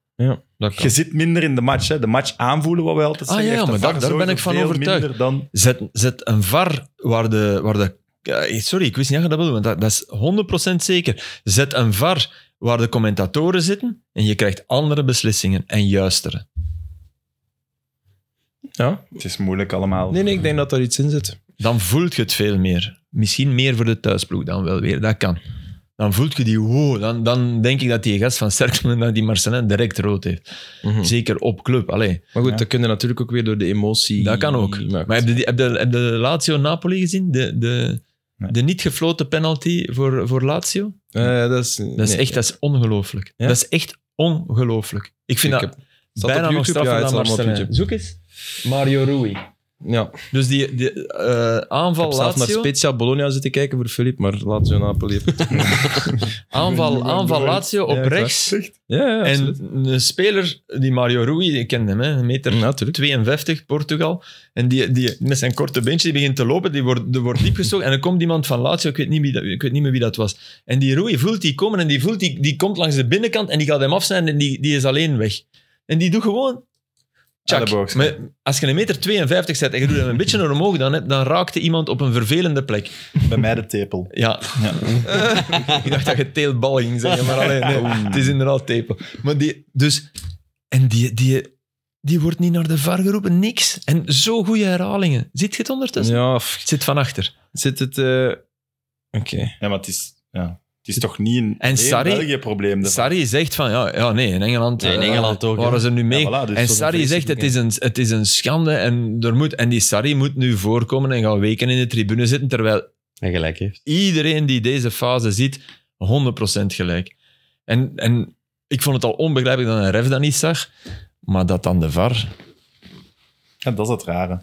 Dat
Je zit minder in de match. Hè. De match aanvoelen, wat wij altijd
Ah,
zeggen.
ja,
heeft de
maar
VAR
daar- daar ben ik
sowieso
van
veel
overtuigd.
minder Dan,
Zet, zet een VAR waar de... Waar de eh, sorry, ik wist niet dat je dat bedoelde, want dat, dat is 100% zeker. Zet een VAR waar de commentatoren zitten en je krijgt andere beslissingen en juistere.
Ja?
het is moeilijk allemaal.
Nee, nee, ik denk dat daar iets in zit.
Dan voelt je het veel meer. Misschien meer voor de thuisploeg dan wel weer, dat kan. Dan voelt je die wow, dan, dan denk ik dat die gast van Cerkelen, dat die Marcelin direct rood heeft.
Hm.
Zeker op club, allee.
Maar goed,
Ja.
dat kun je natuurlijk ook weer door de emotie...
Dat kan ook.
maken.
Maar heb je, die- heb je, heb je Lazio Napoli gezien? De, de,
Nee.
de niet gefloten penalty voor, voor Lazio?
Eh, dat is,
Dat is echt dat is ongelooflijk.
Ja?
Dat is echt ongelooflijk. Ik vind
Ik
dat
heb- Staat
bijna
op
nog
YouTube?
straffer
Ja, het
dan
staat allemaal op
Marcelin. Zoek eens. Mario Rui.
Ja,
Dus die, die eh,
ik heb
aanval
zelf naar
Lazio,
Spezia Bologna zitten kijken voor Filip, maar Lazio Napoli
[laughs]
heeft het.
aanval, aanval Lazio op
Ja, ik
rechts.
Ja, ja,
En
absoluut.
een speler, die Mario Rui, ik ken hem, hè, een meter
Ja, natuurlijk.
52, Portugal. En die, die met zijn korte beentje die begint te lopen, die wordt, die wordt diep gestoken. En dan komt iemand van Lazio, ik weet, niet wie dat, ik weet niet meer wie dat was. En die Rui voelt die komen en die voelt die, die komt langs de binnenkant en die gaat hem afsnijden en die, die is alleen weg. En die doet gewoon... Tjak.
Elleboogschap.
Maar als je een meter 52 zet en je doet hem een beetje naar omhoog, dan, dan raakte iemand op een vervelende plek.
Bij mij de tepel.
Ja. [laughs] ik dacht dat je teelbal ging zeggen, maar alleen, nee, het is inderdaad tepel. Maar die, dus, en die, die, die wordt niet naar de VAR geroepen, niks. En zo goede herhalingen. Ziet je het ondertussen?
Ja, f-
Het zit van achter.
zit het... eh, Oké.
Ja, maar het is, ja, het is toch niet een
En
alleen
Sarri-
België-probleem. daarvan.
Sarri zegt van, ja, ja nee, in Engeland,
Nee, in
eh,
Engeland ook,
waren
hè.
ze nu mee.
Ja, voilà, dus
en
zo'n
Sarri zegt, het is, een, het is een schande en, er moet, en die Sarri moet nu voorkomen en gaan weken in de tribune zitten, terwijl
En gelijk heeft.
iedereen die deze fase ziet, 100% gelijk. En, en ik vond het al onbegrijpelijk dat een ref dat niet zag, maar dat dan de VAR.
Ja, dat is het rare.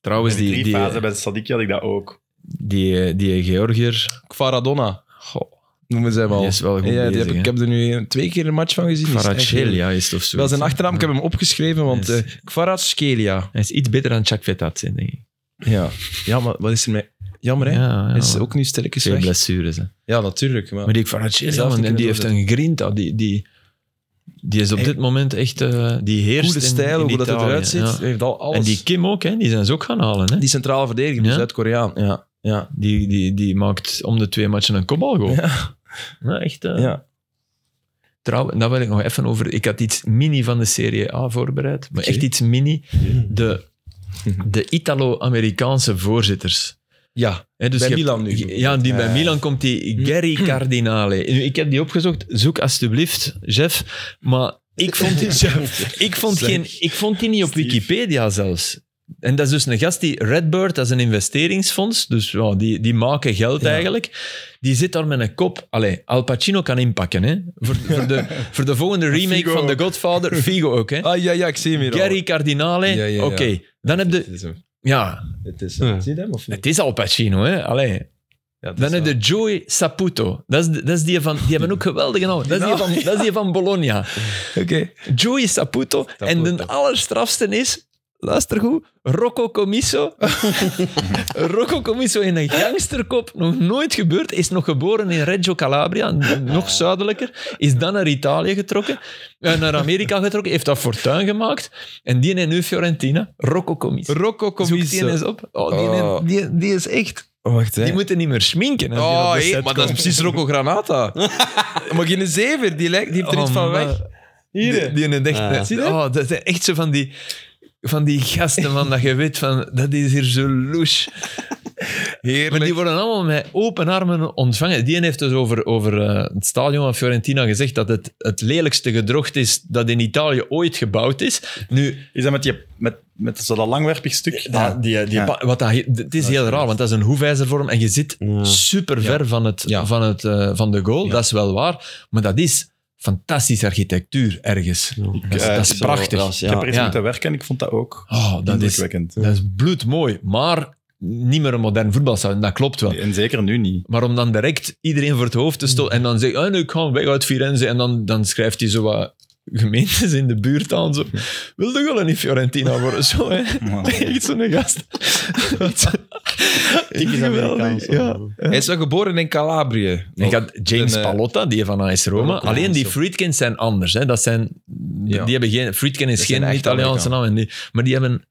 Trouwens,
in
Dus die,
die
die, eh,
fase bij Sadiki had ik dat ook.
eh,
die, die Georgiër,
Kvaradonna
goh,
noemen ze hem al.
die is wel goed
ja, die
bezig.
heb, ik-
hè.
ik heb er nu een- twee keer een match van gezien. Die is echt heel-
Kvaratskhelia is het of zo.
Wel zijn achternaam, ik heb hem opgeschreven, want
Yes.
eh Kvaratskhelia.
Hij is iets beter dan Chuck Vetatse, denk ik.
Ja. ja, maar wat is er mee? Jammer, hè?
ja,
Hij is
maar
ook nu sterk
Veel
weg.
blessures. Hè.
Ja, natuurlijk. Maar,
Maar die Kvaratskhelia,
Zelf
man,
niet
en die
kunnen
heeft een grinta. Die, die, die is op
Hey.
dit moment echt... eh, die heerst
goede
in-
stijl,
in
hoe dat het
Italië,
eruit ziet.
ja.
Heeft al alles.
En die Kim ook, hè, die zijn ze ook gaan halen. Hè.
Die centrale verdediger, die
Ja?
Zuid-Koreaan. Ja. Ja.
Die, die, die maakt om de twee matchen een kopbalgoal. Ja. echt. eh,
Ja.
Trouw, daar wil ik nog even over. Ik had iets mini van de Serie A voorbereid. Maar
Oké.
echt iets mini. De, de Italo-Amerikaanse voorzitters.
[laughs] ja.
Hè, dus
Bij
je hebt-
Milan nu Ah. Mm. bijvoorbeeld.
Ja, die, bij
Ja.
Milan komt die Gary Cardinale. Nu, Ik heb die opgezocht. Zoek alstublieft, Jeff. Maar ik
[laughs]
vond, die- Jeff, ik vond,
Zeg.
geen, ik vond die niet op
Steve.
Wikipedia zelfs. En dat is dus een gast die Redbird, dat is een investeringsfonds, dus ja, die, die maken geld
Ja.
eigenlijk. Die zit daar met een kop. Allee, Al Pacino kan inpakken, hè? Voor, voor, de, voor de
[laughs]
volgende remake
Figo
van
ook.
The Godfather, Figo ook, hè?
Ah, ja, ja, ik zie hem hier al.
Gary Cardinale,
Ja, ja, ja.
oké. Dan heb
Het
je,
is hem.
ja,
Het is eh,
Ja.
Zie je hem of niet?
het is Al Pacino, hè? Allee.
Ja, dat
Dan
is
heb
wel-
je Joey Saputo. Dat is, dat is die van... Die hebben ook geweldige naam. Dat is die
Nou,
van, dat is die van Bologna.
Oké.
Joey Saputo. En de allerstrafste is, luister goed, Rocco
[laughs]
Comiso. Rocco Comiso in een gangsterkop, nog nooit gebeurd, is nog geboren in Reggio Calabria, n- nog zuidelijker, is dan naar Italië getrokken, eh, naar Amerika getrokken, heeft dat fortuin gemaakt. En die in nu Fiorentina, Rocco Comiso.
Rocco
Zoek die
Comiso.
eens op. Oh, die,
Oh.
die, die is echt...
Wacht, hè.
Die moeten niet meer schminken. als Oh, die
Oh,
op de
hé,
set
maar dat is
komt.
precies Rocco
[laughs]
Granata. maar geen zever, die, lijkt, die heeft er
Oh,
iets van
man.
weg.
Die, die in het echt,
Ah.
Zie je? Oh, dat zijn echt zo van die, van die gasten, man, dat je weet van, dat is hier zo louche. Maar
Heerlijk.
die worden allemaal met open armen ontvangen. Die heeft dus over, over eh, het stadion van Fiorentina gezegd dat het het lelijkste gedrocht is dat in Italië ooit gebouwd is. Nu,
Is dat met, die, met, met zo dat langwerpig stuk?
dat- die, eh, die,
Ja.
pa- wat dat, het is heel raar, want dat is een hoefijzervorm en je zit
Ja.
super ver van, het,
Ja.
van, het, eh, van de goal. Dat is wel waar, maar dat is fantastische architectuur ergens. Dat is,
eh,
dat is
zo-
prachtig.
dat is-
Ik heb
ja.
er eens
Ja.
moeten werken en ik vond dat ook
Oh, dat is,
indrukwekkend.
dat is bloedmooi, maar niet meer een modern voetbalstadion. Dat klopt wel.
En zeker nu niet.
Maar om dan direct iedereen voor het hoofd te stoten en dan zeggen, oh, nee, ik ga weg uit Firenze. En dan, dan schrijft hij zo wat gemeentes in de buurt aan. Zo. Wil je wel niet Fiorentina worden? Zo, hè? [laughs] Echt zo'n gast.
Typisch Amerikaans.
Geweldig, ja.
Hij is wel geboren in Calabrië.
Ik had James
Een, eh,
Palotta, die van AS Roma.
Palotta,
Alleen die
zo.
Friedkins zijn anders. Hè. Dat zijn,
Ja.
die hebben geen, Friedkin is
Dat zijn
geen
echt
Italiaanse naam.
Amerikanen.
En die, maar die hebben,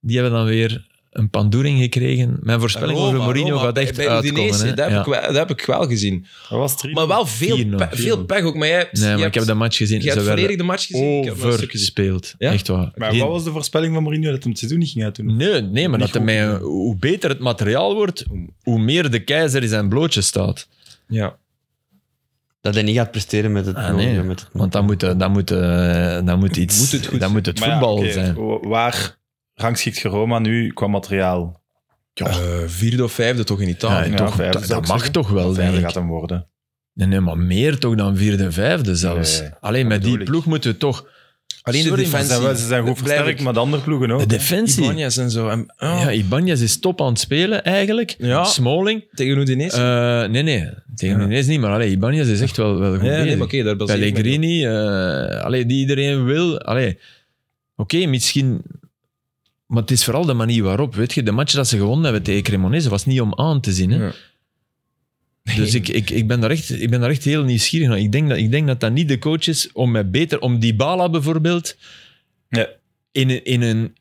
die hebben dan weer een pandoering gekregen. Mijn voorspelling over Mourinho gaat echt
bij
uitkomen.
Udinese,
hè.
dat, heb
Ja.
ik wel, dat heb ik wel gezien.
Dat was drie.
Maar wel veel,
4-0,
pe- veel
4-0.
pech ook. Maar jij hebt,
Nee, maar
je
ik heb
hebt,
de match gezien.
je
Ze
hebt volledig
werden
de match gezien. Ik heb maar een stuk gezien.
overgespeeld.
Ja?
Echt waar.
Maar
Geen-
wat was de voorspelling van Mourinho dat hem het seizoen niet ging uitdoen?
Nee, nee, maar
Niet
dat de
goed.
mij- hoe beter het materiaal wordt, hoe meer de keizer in zijn blootje staat.
Ja.
Dat hij niet gaat presteren met het...
Ah, nee.
met het
Want dan moet, eh, dan moet, eh, dan moet iets...
Moet het goed
dan moet het
Maar ja,
voetbal
oké,
zijn.
wa- Waar rangschikt je Roma nu qua materiaal?
Eh, vierde of vijfde toch in Italië.
Ja,
Ja,
toch,
vijfde
dat,
zou
dat
ik
mag
zeggen.
toch wel, denk
Vijfde
ik.
gaat hem worden.
Nee, nee, maar meer toch dan vierde en vijfde zelfs.
Nee,
Alleen met die
bedoel ik.
ploeg moeten we toch...
Alleen de
Sorry, maar
Ze
defensie.
zijn, wel- ze zijn goed
Dat blijf
versterkt,
ik.
maar de andere ploegen ook.
De
hè.
defensie.
Ibanez en zo. En, oh,
Ja, Ibanez is top aan het spelen eigenlijk.
Ja.
Smalling.
tegen Udinese.
Eh, nee, nee. Tegen
Ja.
Ineens niet, maar allee, Ibanez is echt wel, wel goed
Ja, nee,
bezig.
maar oké, daar baseer ik me op.
Pellegrini, eh, allee, die iedereen wil. Allee, Oké, misschien... Maar het is vooral de manier waarop. Weet je, de match dat ze gewonnen hebben tegen Cremonese was niet om aan te zien. Hè?
Ja.
Dus ik, ik, ik, ben daar echt, ik ben daar echt heel nieuwsgierig naar. Ik denk dat ik denk dat, dat niet de coach is om met beter... Om Dybala bijvoorbeeld...
Ja.
In, een- in een...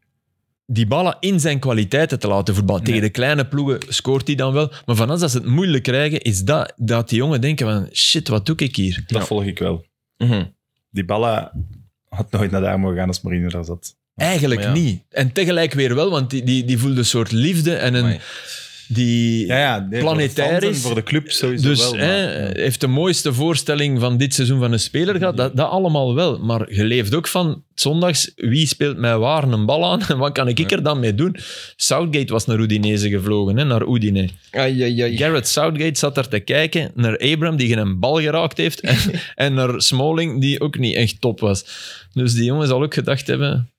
Dybala in zijn kwaliteiten te laten voetballen. Tegen de kleine ploegen scoort hij dan wel. Maar van als dat ze het moeilijk krijgen, is dat dat die jongen denken van... Shit, wat doe ik hier?
Dat volg ik wel.
Mhm.
Die Balla had nooit naar daar mogen gaan als Mourinho daar zat.
Eigenlijk
Maar ja.
niet. En tegelijk weer wel, want die, die, die voelde een soort liefde en een...
Amai.
Die,
Ja, ja. nee,
Planetair
voor de fans en
is-
Voor de club sowieso
dus
wel. maar-
hè, heeft de mooiste voorstelling van dit seizoen van een speler gehad. Dat, dat allemaal wel. Maar je leeft ook van zondags, wie speelt mij waar een bal aan [laughs] en wat kan ik er dan mee doen? Southgate was naar Udinese gevlogen, hè, naar Udine.
Ai, ai, ai.
Garrett Southgate zat daar te kijken naar Abram, die geen een bal geraakt heeft, en,
[laughs]
en naar Smalling, die ook niet echt top was. Dus die jongen zal ook gedacht hebben...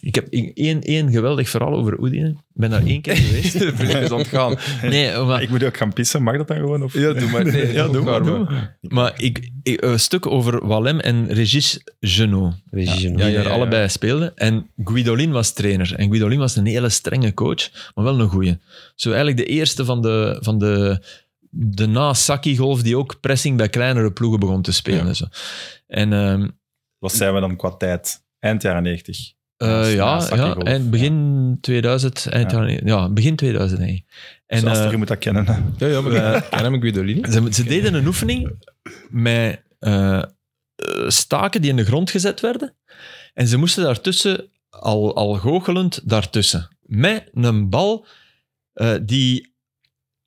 Ik heb i- één, één geweldig verhaal over Udine. Ik ben daar één
[laughs]
keer geweest.
De vriend is aan het gaan.
Nee, maar
Ik moet ook gaan pissen, mag dat dan gewoon? Of...
Ja, doe
[laughs]
maar. Nee,
Ja, doe
ook
maar,
waar,
doe Maar ik, ik- een stuk over Wallem en Regis Genot,
Regis
die
Genot.
ja, ja,
daar
ja.
allebei speelden. En Guidolin was trainer. En Guidolin was een hele strenge coach, maar wel een goeie. Zo eigenlijk de eerste van de, van de, de na-Saki-golf die ook pressing bij kleinere ploegen begon te spelen.
Ja.
En, zo. en ehm,
Wat zijn we dan qua tijd? Eind jaren 90.
eh,
Dat is
ja,
na-Saki
ja,
golf,
en begin 2000, eind
Ja.
jaren- ja, begin 2000 eigenlijk. En,
En,
eh,
je moet dat kennen. hè.
Ja, ja, maar ik ken hem, Guidolini.
Ze, ze deden een oefening met eh, eh, staken die in de grond gezet werden. En ze moesten daartussen, al, al goochelend, daartussen. Met een bal eh, die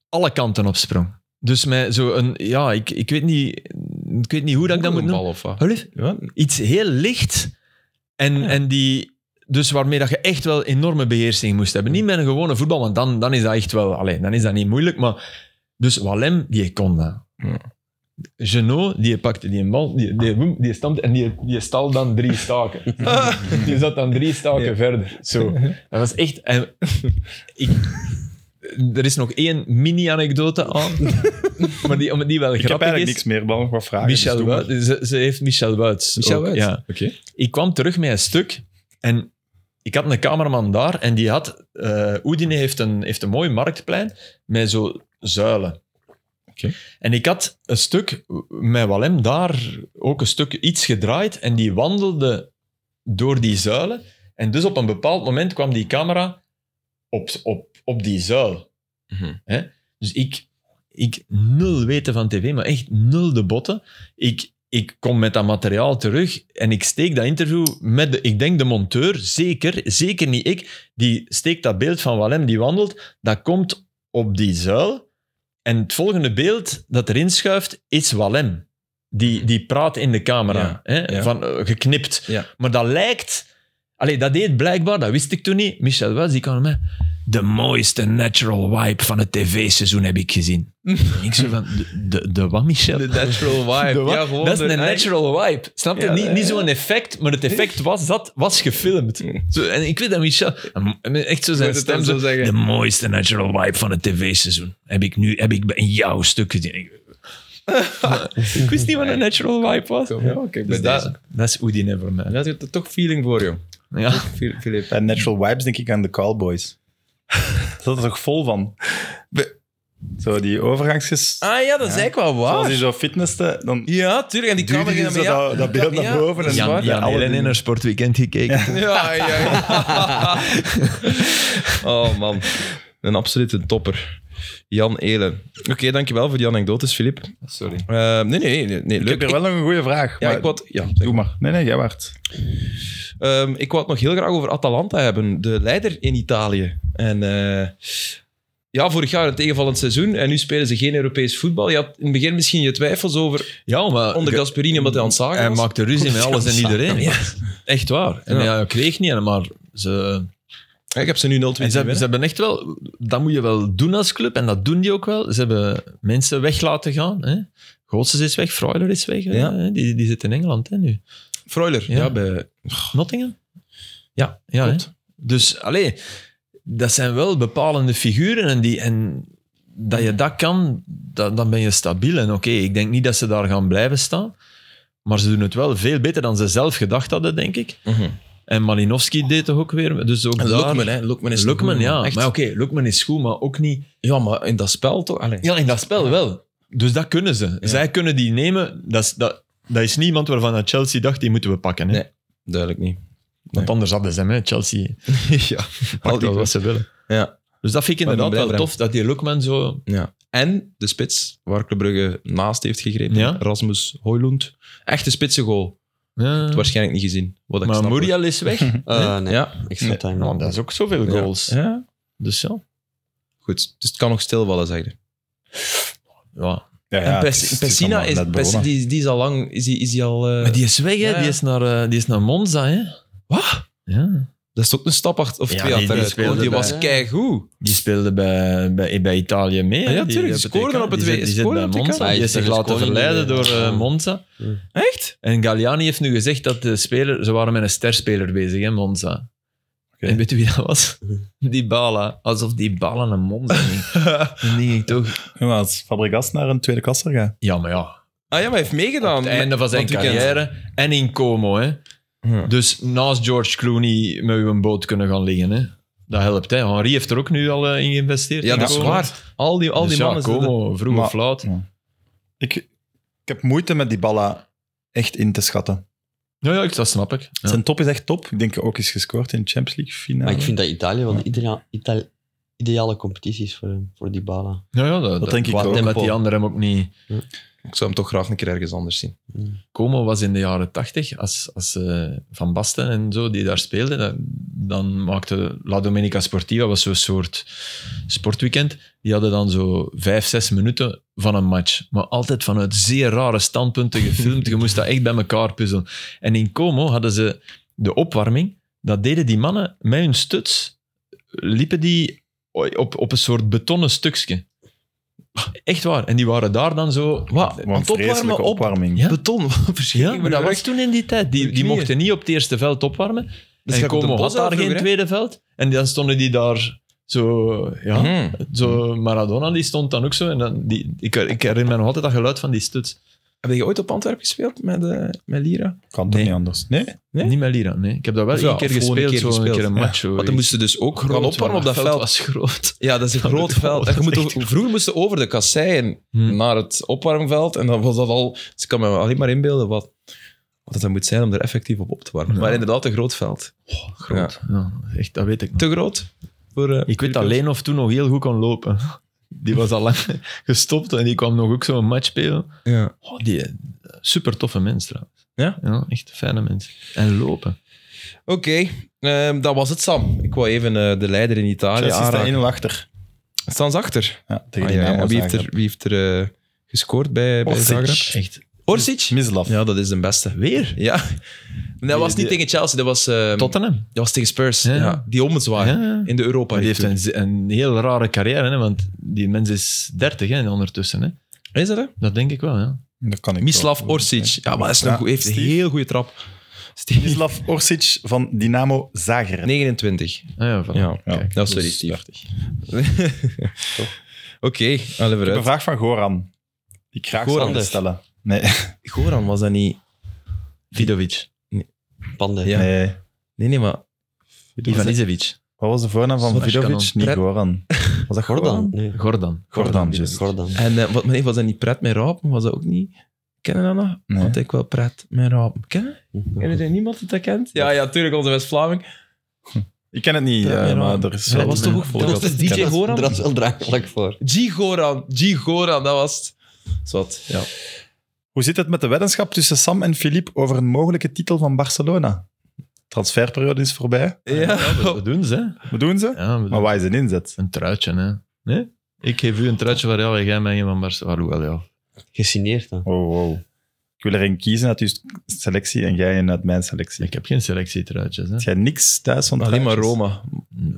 alle kanten opsprong. Dus met zo'n... Ja, ik, ik, weet niet, ik weet niet hoe dat ik dat moet noemen.
Bal of wat?
Hulif?
Ja,
Iets heel licht.
Ah,
En, en die... Dus waarmee dat je echt wel enorme beheersing moest hebben. Niet met een gewone voetbal, want dan, dan is dat echt wel... Alleen, dan is dat niet moeilijk, maar... Dus Wallem, die kon dat.
Ja.
Genot, die pakte die bal, die, die, woem, die stampte en die, die stal dan drie
[laughs]
staken. die zat dan drie staken verder. Zo. Dat was echt... En, ik, er is nog één
[laughs]
mini-anekdote aan, maar die, maar die wel
Ik heb
grappig
eigenlijk
is.
niks meer, behalve nog wat vragen. dus
Michel
doe maar.
Wout- ze, ze heeft Michel Wuits.
Michel
ook,
Wuits?
Ja.
Oké.
Ik kwam terug met een stuk en ik had een cameraman daar en die had... eh Oedine heeft een, heeft een mooi marktplein met zo zuilen.
Oké.
En ik had een stuk met Wallem daar ook een stuk iets gedraaid en die wandelde door die zuilen. En dus op een bepaald moment kwam die camera op, op, op die zuil.
Mhm.
Hè? Dus ik, ik nul weten van tv, maar echt nul de botten. Ik, ik kom met dat materiaal terug en ik steek dat interview met, de, ik denk de monteur, zeker, zeker niet ik, die steekt dat beeld van Wallem die wandelt, dat komt op die zuil. En het volgende beeld dat erin schuift, is Wallem. Die, die praat in de camera,
Ja,
hè,
ja.
Van, eh, geknipt.
Ja.
Maar dat lijkt... Allee, dat deed blijkbaar, dat wist ik toen niet. Michel Wels, die kwam mij. De mooiste natural wipe van het tv-seizoen heb ik
[laughs]
gezien. En ik zei van, de, de, de wat, Michel?
De [laughs] natural vibe.
De wat?
Ja, gewoon
dat is
de-
een natural wipe. Snap je?
Ja,
niet
ja,
niet
ja.
zo'n effect, maar het effect was dat was gefilmd. Zo, en ik weet dat Michel... Echt zo zijn
Moet het dan
stem.
zo
Zo,
zeggen.
de mooiste natural wipe van het tv-seizoen heb ik nu heb ik bij jouw stuk
[laughs]
gezien. Ik- ik wist niet wat een natural wipe was.
Kom, ja, oké, bij
Dus
deze.
dat, dat is Oedine voor mij.
Ja, je hebt er toch feeling voor, joh.
Ja.
Fil- Filip.
Bij Natural Vibes denk ik aan de
[laughs]
Cowboys. Dat is er toch vol van? Zo die overgangsjes.
Ah ja, dat is eigenlijk wel
Als
waar.
je zo fitnesste, dan
Ja, tuurlijk. En die
duwde
kamer
die
ging
zo
naar ja,
dat, dat beeld
ja,
naar boven. en
ja,
zo.
Jan, Jan
Alle
Helen
dingen.
in haar sportweekend gekeken.
Ja, ja, ja. [laughs] Oh man, een absolute topper. Jan Elen. Oké, dankjewel voor die anekdotes, Filip.
Sorry.
Eh, nee, nee, nee, nee,
Ik
leuk.
heb hier wel nog een goede vraag.
ja,
maar
ik wou, ja, zeg
Doe maar. Nee, nee, jij wacht.
Ehm, ik wou het nog heel graag over Atalanta hebben, de leider in Italië. En eh, ja, vorig jaar een tegenvallend seizoen en nu spelen ze geen Europees voetbal. Je had in het begin misschien je twijfels over
Ja, maar...
onder Gasperini omdat hij aan het zagen
Hij
was.
maakte ruzie met alles en iedereen. Echt waar. En
Ja.
ja, ik kreeg niet, maar ze,
Ja, ik heb ze nu 0-2
en ze,
zien
hebben- ze
winnen.
hebben echt wel... Dat moet je wel doen als club, en dat doen die ook wel. Ze hebben mensen weg laten gaan. Hè. Gootsens is weg, Freuler is weg.
Ja.
Hè. Die, die zit in Engeland hè, nu.
Freuler, ja.
Ja.
bij,
Nottingham? Ja, ja
klopt.
hè. Dus, allee, dat zijn wel bepalende figuren. En, die, en dat je dat kan, da- dan ben je stabiel. En oké, ik denk niet dat ze daar gaan blijven staan. Maar ze doen het wel veel beter dan ze zelf gedacht hadden, denk ik.
Mhm.
En Malinowski deed toch ook weer. Dus ook
En
daar...
Lokman, hè. Lokman is
Lokman,
goed,
ja.
man. Echt.
Maar oké, Lokman is goed, maar ook niet...
Ja, maar in dat spel toch? Allee.
Ja, in dat spel wel. Dus dat kunnen ze. Zij kunnen die nemen. Dat is, dat, dat is niemand waarvan dat Chelsea dacht, die moeten we pakken. Hè?
Nee. Duidelijk niet.
Want anders hadden ze hem, hè. [laughs] Chelsea
ja,
pakt wel wat ze willen.
Ja.
Dus dat vind ik
Maar dan
inderdaad
blijven.
wel tof, dat die Lukman zo...
ja. En de spits, waar Club Brugge naast heeft gegrepen,
Ja.
Rasmus Hoylund. Echte spitsengoal.
Ja.
Waarschijnlijk niet gezien. Wat ik
maar
snap,
Muriel is [laughs] weg.
Eh,
hoor.
nee,
Ja.
ik zat daar
Want dat is ook zoveel goals.
ja.
Dus ja.
Goed, dus het kan nog stilvallen, zeg je.
ja.
Ja,
en
ja,
Pes-
het is- het is
Pessina,
allemaal
is,
net
Pessina
begonnen.
die, die is al lang... Is die, is die al, eh,
Maar die is weg, hè.
Ja.
Die, is naar, eh, die is naar Monza, hè.
Wat?
Ja.
Dat is toch een stap achter, of
Ja,
twee
die- die
achteruit.
speelde
hoor. Die
bij-
was keigoed.
Die speelde bij, bij, bij Italië mee.
Ah, ja,
hè.
tuurlijk,
Die- die
die
hebben
scoorden
TK.
op het
Die
W-
zit- Die zit
scoorden
bij
op TK.
Monza.
Hij
Die
is
is zich
er
laten
gescoord in
verleiden
de-
door eh,
Ja.
Monza.
Echt?
En Galliani heeft nu gezegd dat de speler... Ze waren met een sterspeler bezig, hè, Monza.
Oké.
En weet u wie dat was? [laughs] Die Bala. Alsof die Bala naar Monza ging.
[laughs]
Dan denk ik toch...
Ja, maar als Fabregas naar een tweede klasser gaat.
Ja, maar ja.
Ah ja, maar hij heeft meegedaan.
Aan het einde van zijn
het weekend.
carrière. En in Como. Hè.
Ja.
Dus naast George Clooney met uw boot kunnen gaan liggen. Hè. Dat helpt. Hè. Henri heeft er ook nu al eh, in geïnvesteerd.
Ja,
in
dat is
Como.
waar. Al die, al die
Dus
mannen...
ja,
zitten-
Como, vroeg
Maar-
of laat.
Ik, ik heb moeite met die Balla echt in te schatten.
Ja, ja, ik- dat snap ik. Ja.
Zijn top is echt top. Ik denk ook is gescoord in de Champions League finale.
Maar ik vind dat Italië wel de idea- Itali- ideale competitie is voor, hem, voor die bala.
Ja, ja, dat,
denk ik
wat-
ook,
en met die
Paul.
anderen hem ook niet.
Ik zou hem toch graag een keer ergens anders zien.
Como was in de jaren tachtig, als, als eh, Van Basten en zo, die daar speelden, dan, dan maakte La Domenica Sportiva, was zo'n soort sportweekend, die hadden dan zo vijf, zes minuten van een match. Maar altijd vanuit zeer rare standpunten gefilmd, je moest dat echt bij elkaar puzzelen. En in Como hadden ze de opwarming, dat deden die mannen met hun stuts, liepen die op, op een soort betonnen stukje. Echt waar. En die waren daar dan zo... Wat?
Wat een
Want opwarmen
vreselijke
op-
opwarming.
Ja.
Beton, verschil.
Ja, maar dat was toen in die tijd. Die, die
knieën.
mochten niet op het eerste veld opwarmen. en
gaat op Dus de
Como
bos
had daar
uit
geen
vroeger, hè?
tweede veld. En dan stonden die daar Zo, ja.
Mhm.
Zo, Maradona die stond dan ook zo. En dan, die, ik, ik herinner me nog altijd dat geluid van die stuts.
Heb je ooit op Antwerpen gespeeld met, eh, met Lira?
Kan toch
Nee.
niet anders? Nee?
Nee?
Niet met Lira, nee. Ik heb dat wel
Of ja,
één keer
of gewoon een
gespeeld,
keer
zo een
gespeeld,
keer een
ja.
match. Zo,
Want dan moesten dus ook gaan opwarmen op dat veld.
was groot.
Ja, dat is een
Ja,
groot
dat-
veld. En je moet toch- vroeger moesten over de kasseien
Hmm.
naar het opwarmveld. En dan was dat al... Dus ik kan me alleen maar inbeelden wat, wat het dan moet zijn om er effectief op op te warmen.
Ja.
Maar inderdaad, een groot veld.
Groot. Ja, echt, dat weet ik nog.
Te groot? Voor, eh,
Ik weet dat Leenhoff toen nog heel goed kon lopen. Die was al lang [laughs] gestopt en die kwam nog ook zo'n match spelen.
Ja.
Oh, die eh, super toffe mens trouwens.
Ja?
ja? Echt een fijne mens. En lopen.
Oké, ehm, dat was het, Sam. Ik wou even eh, de leider in Italië
Chelsea staat
aanraken.
1-0 achter.
Staan ze achter?
Ja, tegen
Ah,
die
ja, ja.
Dynamo
Wie heeft er,
Zagreb.
wie heeft er eh, gescoord bij, bij
Orsic.
Zagreb?
Echt.
Orsic?
Mislav.
Ja, dat is de beste.
Weer?
Ja. Maar dat was
die-
niet tegen Chelsea, dat was, ehm,
Tottenham.
dat was tegen Spurs.
Ja.
Ja. Die ommezwaai
Ja.
in de Europa
Maar die heeft
League
een, z- een heel rare carrière, hè, want die mens is 30 hè, ondertussen. Hè.
toen. Is dat hè?
Dat denk ik wel, ja.
Dat kan ik
Mislav
wel.
Orsic. Ja, maar dat is een
Ja,
goe- heeft een
Steve.
heel goede trap. Steve.
Mislav Orsic van Dynamo Zagreb.
29.
Ah, ja, voilà.
Ja,
Ja,
dat is sorry,
dus
Steve. [laughs]
30.
Oké, alle
Ik heb een
vooruit.
vraag van Goran. Die ik graag
Goran
zou willen
dus.
stellen. Nee.
Goran was dat niet...
Vidovic.
Pande.
Ja.
nee.
Nee, nee, maar...
Ivan Isevic.
Wat was de voornaam van
Zonder
Vidovic?
kanon.
Niet
Pret-
Goran. Was dat
Gordan.
Goran?
Nee.
Gordan.
Gordan,
Gordan.
juist.
Gordan.
En eh, wat, maar nee, was dat niet Pret met Rapen? Was dat ook niet... Kennen dat nog?
Nee.
Want ik wel Pret met Rapen. Kennen?
Mhm.
Kennen er niemand die dat kent? Ja, ja, tuurlijk, onze West-Vlaming.
Ik ken het niet,
Pret
eh,
met
maar
Rapen.
er is...
Ja, dat was toch ook
Ja,
voor- Dat was
ik
de
ken
DJ
het.
Goran?
Dat is wel draaglijk voor.
G. Goran. G. Goran, dat was het. Zot, ja.
Hoe zit het met de weddenschap tussen Sam en Philippe over een mogelijke titel van Barcelona? Transferperiode is voorbij.
Ja. [laughs]
Dat dat doen ze. hè.
Wat doen ze?
Ja, we
Maar waar is een inzet?
Een truitje, hè. Nee? Ik geef u een truitje van Real en jij mij een van Barcelona. Alhoewel, ja.
Gesigneerd dan.
Oh, wow. Ik wil er een kiezen uit uw selectie en jij een uit mijn selectie.
Ik
Ik
heb geen selectietruitjes, hè.
jij niks thuis van
Alleen maar
truitjes?
Roma.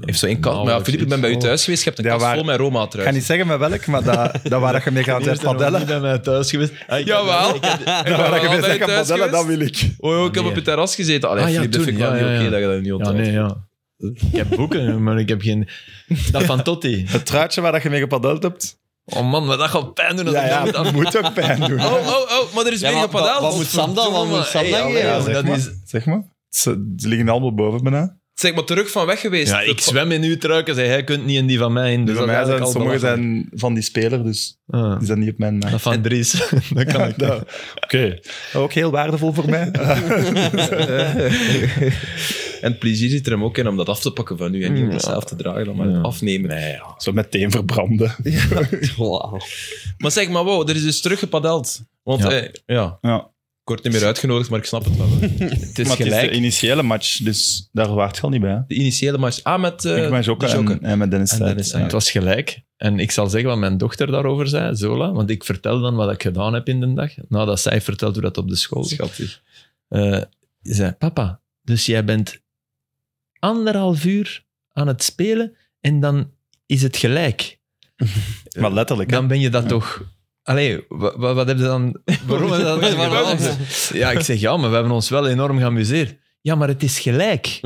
Heeft zo één
Nou,
kast. Maar ja, Filip, ik ben bij u
oh.
thuis geweest. Je hebt een
Ja,
kast
waar-
vol met Roma
Ik ga
truis.
niet zeggen met welk, maar dat, dat waar dat je
[laughs]
mee gaat zijn
Hij is nog
[laughs]
niet
padellen.
bij mij thuis geweest. Ah, ik-
Jawel.
ik
[laughs]
heb-
Ik ben
Dat waar
wel
dat je mee
bij
zegt
u
gaat
thuis
padellen, dat
geweest.
wil ik.
Oh, joh, ik heb
Nee.
op het terras gezeten. Allee,
Ah, ja,
Filip, dat
toen,
vind ik wel
ja,
niet
ja,
oké
ja.
dat je dat niet
Ja,
onthoudt.
nee, ja. Ik heb boeken, [laughs] maar ik heb geen... Dat van Totti.
Het truitje waar dat je mee gepadeld hebt,
Oh man, maar dat gaat pijn doen. als
ja,
ik
ja,
dat [laughs]
dat moet ook pijn doen.
Oh, oh, oh, maar er is
Ja,
weer
maar
een padel.
wat- wat moet Sam dan? Wat moet Sam
Hey,
dan?
allee,
Ja,
Ja,
jongen.
zeg,
dat
maar.
is- Dus
zeg maar. Ze, ze liggen allemaal boven bijna.
Zeg maar terug van weg geweest.
Ja,
Dat-
ik zwem in uw truiken, zei hij, kunt niet in die van mij in.
Dus
Dus
bij
dat
mij
is
zijn
eigenlijk al
sommige
belachelijk.
zijn van die speler, dus
Ah,
die zijn niet op mijn... eh,
dat van Dries, [laughs] dat kan ik
[laughs] dat-
wel.
Oké. Ook heel waardevol voor
[laughs]
mij.
[laughs] En het plezier zit er hem ook in om dat af te pakken van u en niet om dat
Ja.
zelf te dragen, dan maar het
Ja.
afnemen.
Zo meteen verbranden.
Wauw.
Maar zeg maar, wow, er is dus teruggepadeld. Want
Ja.
ja. ja,
Ja.
ik word niet meer uitgenodigd, maar ik snap het wel.
[laughs]
Het is
maar het is
gelijk.
de initiële match, dus daar waart je al niet bij. hè?
Eh,
De initiële match. Ah, met eh,
ik ben Jokke
die Jokke.
en, en met Dennis
En
Tijd.
Dennis
Ja.
Tijd.
Het was gelijk. En ik zal zeggen wat mijn dochter daarover zei, Zola. Want ik vertel dan wat ik gedaan heb in de dag. Nadat zij vertelt hoe dat op de school ging.
Schattig.
Eh, Ze zei, papa, dus jij bent anderhalf uur aan het spelen en dan is het gelijk.
Maar letterlijk. hè?
Dan ben je dat toch... Allee, wat, wat heb je dan... Waarom heb je dat dan
Waarom?
gedaan? Ja, ik zeg ja, maar we hebben ons wel enorm geamuseerd. Ja, maar het is gelijk.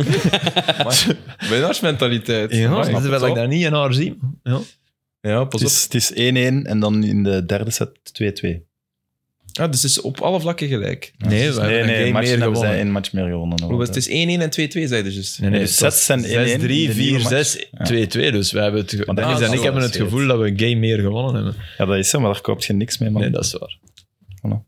[laughs] Winnaarsmentaliteit.
Ja,
Amai.
dat is wel ik daar niet in haar zie. Ja.
ja, pas
Het is, het is 1-1 en dan in de derde set 2-2.
op. Ah, dus het is op alle vlakken gelijk.
Nee, we hebben
dus Nee,
een
nee,
game
match
meer
hebben zij
gewonnen.
één match meer gewonnen.
Hoe was Het Het is 1-1 en 2-2, zei je dus.
Nee, nee,
de
het
sets
was
zijn 1-1,
6-3,
de nieuwe
4,
match.
6, 2, 2. Dus wij hebben het ge-
Maar dat
Dennis
is
en ik
zo,
hebben
dat
het
is
gevoel dat we een game meer gewonnen hebben.
Ja, dat is zo, maar daar koop je niks mee, man.
Nee, dat is waar.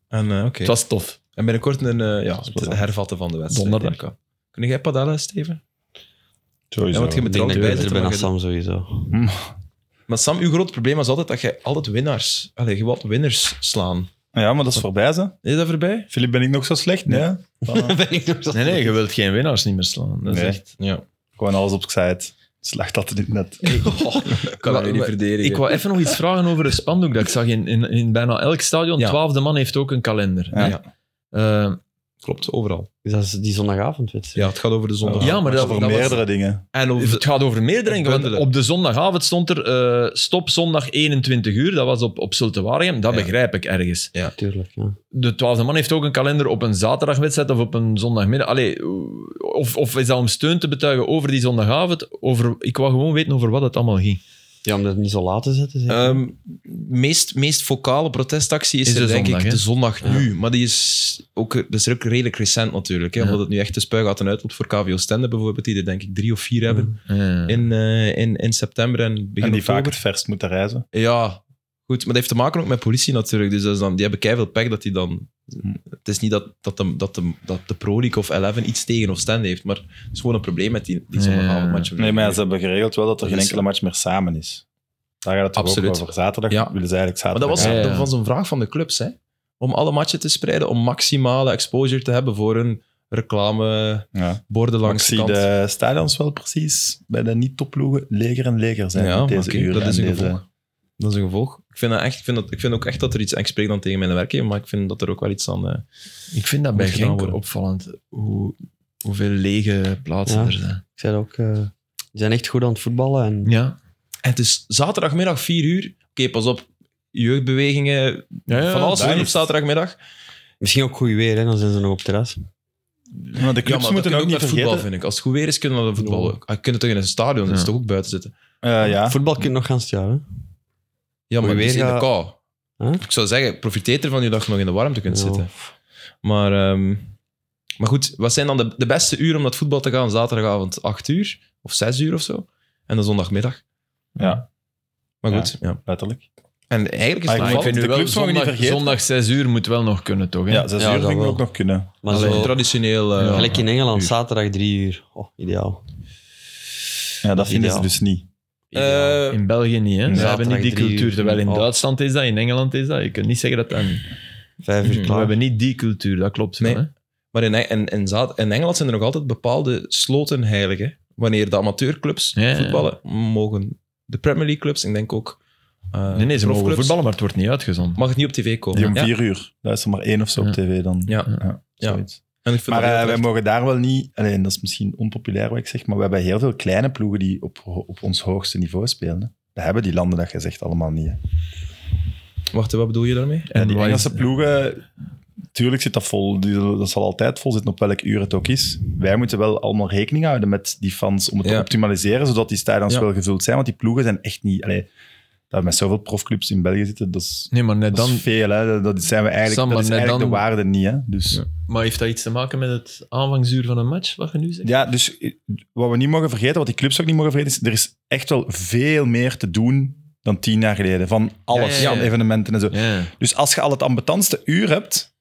En, eh, oké.
Het was tof.
en binnenkort een, eh, ja,
is
het
plezant.
hervatten van de wedstrijd.
Donderdag.
denk ik wel. Kun jij padellen, Steven?
Sowieso.
Ja, want je
Ik
moet er
denk dat
altijd
ik
bij
beter
zitten.
ben
Maar,
dan
je-
Sam sowieso.
maar Sam, uw groot probleem was altijd dat jij altijd winnaars... Allee, je wilt winners slaan.
Ja, maar dat is voorbij, ze.
Is dat voorbij?
Filip, ben ik nog zo slecht? Nee. hè? Voilà.
ben ik nog zo...
Nee, nee, je wilt geen winnaars niet meer slaan. Dat is
Nee.
echt...
Ja.
Gewoon alles op site. Slacht altijd in het net.
ik kan
Wa-
dat niet
wa-
verdedigen.
Ik wou even nog iets vragen over een spandoek dat ik zag in, in, in bijna elk stadion.
Ja.
Twaalfde man heeft ook een kalender.
Ja.
Eh,
Klopt, overal.
Dus dat is die zondagavondwedstrijd.
Ja, het gaat over de zondag.
Ja, maar dat,
Over
dat was-
Dus meerdere dingen.
En over
het gaat over meerdere dingen. want
Bundelen.
Op de zondagavond stond er eh, stop zondag 21 uur. Dat was op, op Zultewaardigem. Dat
Ja.
begrijp ik ergens.
Tuurlijk, ja.
De twaalfde man heeft ook een kalender op een zaterdagwedstrijd of op een zondagmiddag. Allee, eh, of, of is dat om steun te betuigen over die zondagavond? Over, ik wou gewoon weten over wat het allemaal ging.
Ja, om dat niet zo laat te zetten. zeker?
Ehm, meest, meest vocale protestactie is,
Is
er,
de
denk
zondag,
ik
hè?
de zondag nu. Maar die is ook, dat is ook redelijk recent natuurlijk. Hè,
Ja.
Omdat het nu echt de spuigaten uit uitloopt voor KVO Stende bijvoorbeeld. Die er denk ik drie of vier hebben
Ja.
in, eh, in, in september en begin
En die vaak
oktober.
het verst moeten reizen.
Ja, goed. Maar dat heeft te maken ook met politie natuurlijk. Dus dat is dan, die hebben keihard pech dat die dan...
Hm.
Het is niet dat, dat, de, dat, de, dat de Pro League of 11 iets tegen of stand heeft, maar het is gewoon een probleem met die, die
Ja.
zondagavondmatch.
Nee, maar ja, ze hebben geregeld wel dat er
Dat
geen
is-
enkele match meer samen is. Daar gaat het toch
Absoluut.
ook over. Zaterdag
Ja.
willen ze eigenlijk
Maar
zaterdag.
dat was,
Ja, ja.
dat was een vraag van de clubs, hè? Om alle matchen te spreiden, om maximale exposure te hebben voor hun reclameborden
Ja. Maar ik
langs de
zie
kant.
de stadions wel precies bij de niet-topploegen leger en leger zijn
Ja,
deze
oké,
uren.
dat is
en
een
deze-
gevolg. Dat is een gevolg. Ik vind, dat echt, ik, vind dat, ik vind ook echt dat er iets... en Ik spreek dan tegen mijn werkgever, maar ik vind dat er ook wel iets aan... eh,
Ik vind dat bij
Moet gedaan
Genk
worden.
opvallend hoe, hoeveel lege plaatsen
Ja.
er zijn.
Ik zei dat ook, eh, die zijn echt goed aan het voetballen. En,
Ja.
En het is zaterdagmiddag 4 uur. Oké, pas op. Jeugdbewegingen, van alles
daar
doen op
is-
zaterdagmiddag.
Misschien ook goed weer, hè, dan zijn ze nog op het terras.
Maar de clubs
maar dat
moeten
kunnen
ook niet
naar voetbal,
vergeten.
vind ik. Als het goed weer is, kunnen we naar de voetbal.
Ja.
ook. Ah, Kunnen toch in een stadion, dat is
Ja.
toch ook buiten zitten.
Eh, ja.
Voetbal kunt nog gaan het jaar, hè?
Ja, maar
Moet je
het is
weer
in de kou.
Huh?
Ik zou zeggen, profiteer ervan je dag nog in de warmte kunt
Ja.
zitten. Maar, ehm, maar goed, wat zijn dan de, de beste uren om naar het voetbal te gaan? Zaterdagavond 8 uur of 6 uur of zo. En dan zondagmiddag.
Ja.
Maar
Ja.
goed, ja.
Letterlijk.
En eigenlijk is het
Maar ik
nog
Maar Ah, ik
valt-
vind nu
de
wel,
clubs mogen niet
zondag,
vergeten.
zondag 6 uur moet wel nog kunnen, toch? Hè?
Ja, zes
Ja,
uur
dat
vind ik
wel.
ook nog kunnen.
Maar
Allee,
zo,
traditioneel. eh,
gelijk in Engeland,
uur.
zaterdag drie uur. Oh, ideaal.
Ja, dat vinden ze
Ideaal.
dus niet.
Ideaal.
eh,
In België niet, hè?
Nee.
Ze hebben niet die
Zaterdag drie
cultuur.
uur.
Terwijl in
Oh.
Duitsland is dat, in Engeland is dat. Je kunt niet zeggen dat dat...
Vijf uur
Mm.
We
klaar.
hebben niet die cultuur, dat klopt. wel,
Nee.
hè?
Maar in, in, in, Zaad- in Engeland zijn er nog altijd bepaalde slotenheiligen. Wanneer de amateurclubs
Ja, ja.
voetballen, mogen de Premier League clubs, ik denk ook eh
Nee, nee, ze mogen
profclubs,
voetballen, maar het wordt niet uitgezonden.
mag het niet op tv komen.
Die om
Ja,
vier uur. Luister maar één of zo op
Ja.
tv dan.
Ja. Ja.
zoiets.
en ik vind
Maar
dat heel
eh, wij
terecht.
mogen daar wel niet... Alleen, dat is misschien onpopulair wat ik zeg, maar we hebben heel veel kleine ploegen die op, op ons hoogste niveau spelen. hè. Dat hebben die landen dat je zegt allemaal niet. hè.
Wacht, wat bedoel je daarmee?
En die
wat is-
Engelse ploegen, tuurlijk zit dat vol. Die- Dat zal altijd vol zitten op welk uur het ook is. Wij moeten wel allemaal rekening houden met die fans om het te
Ja.
optimaliseren, zodat die stadions
Ja.
wel gevuld zijn. Want die ploegen zijn echt niet... Allee, dat we met zoveel profclubs in België zitten, dat is,
Nee, maar net
dat is
dan...
veel. Hè. Dat- Dat zijn we eigenlijk,
Sam,
dat is
maar net
eigenlijk de
dan-
waarde niet. Hè. Dus,
Ja.
ja.
Maar heeft dat iets te maken met het aanvangsuur van een match, wat je nu zegt?
dus wat we niet mogen vergeten, wat die clubs ook niet mogen vergeten, is er is echt wel veel meer te doen dan tien jaar geleden. Van alles,
Ja, ja, ja.
van evenementen en zo.
Ja.
Dus als je al het ambetantste uur hebt,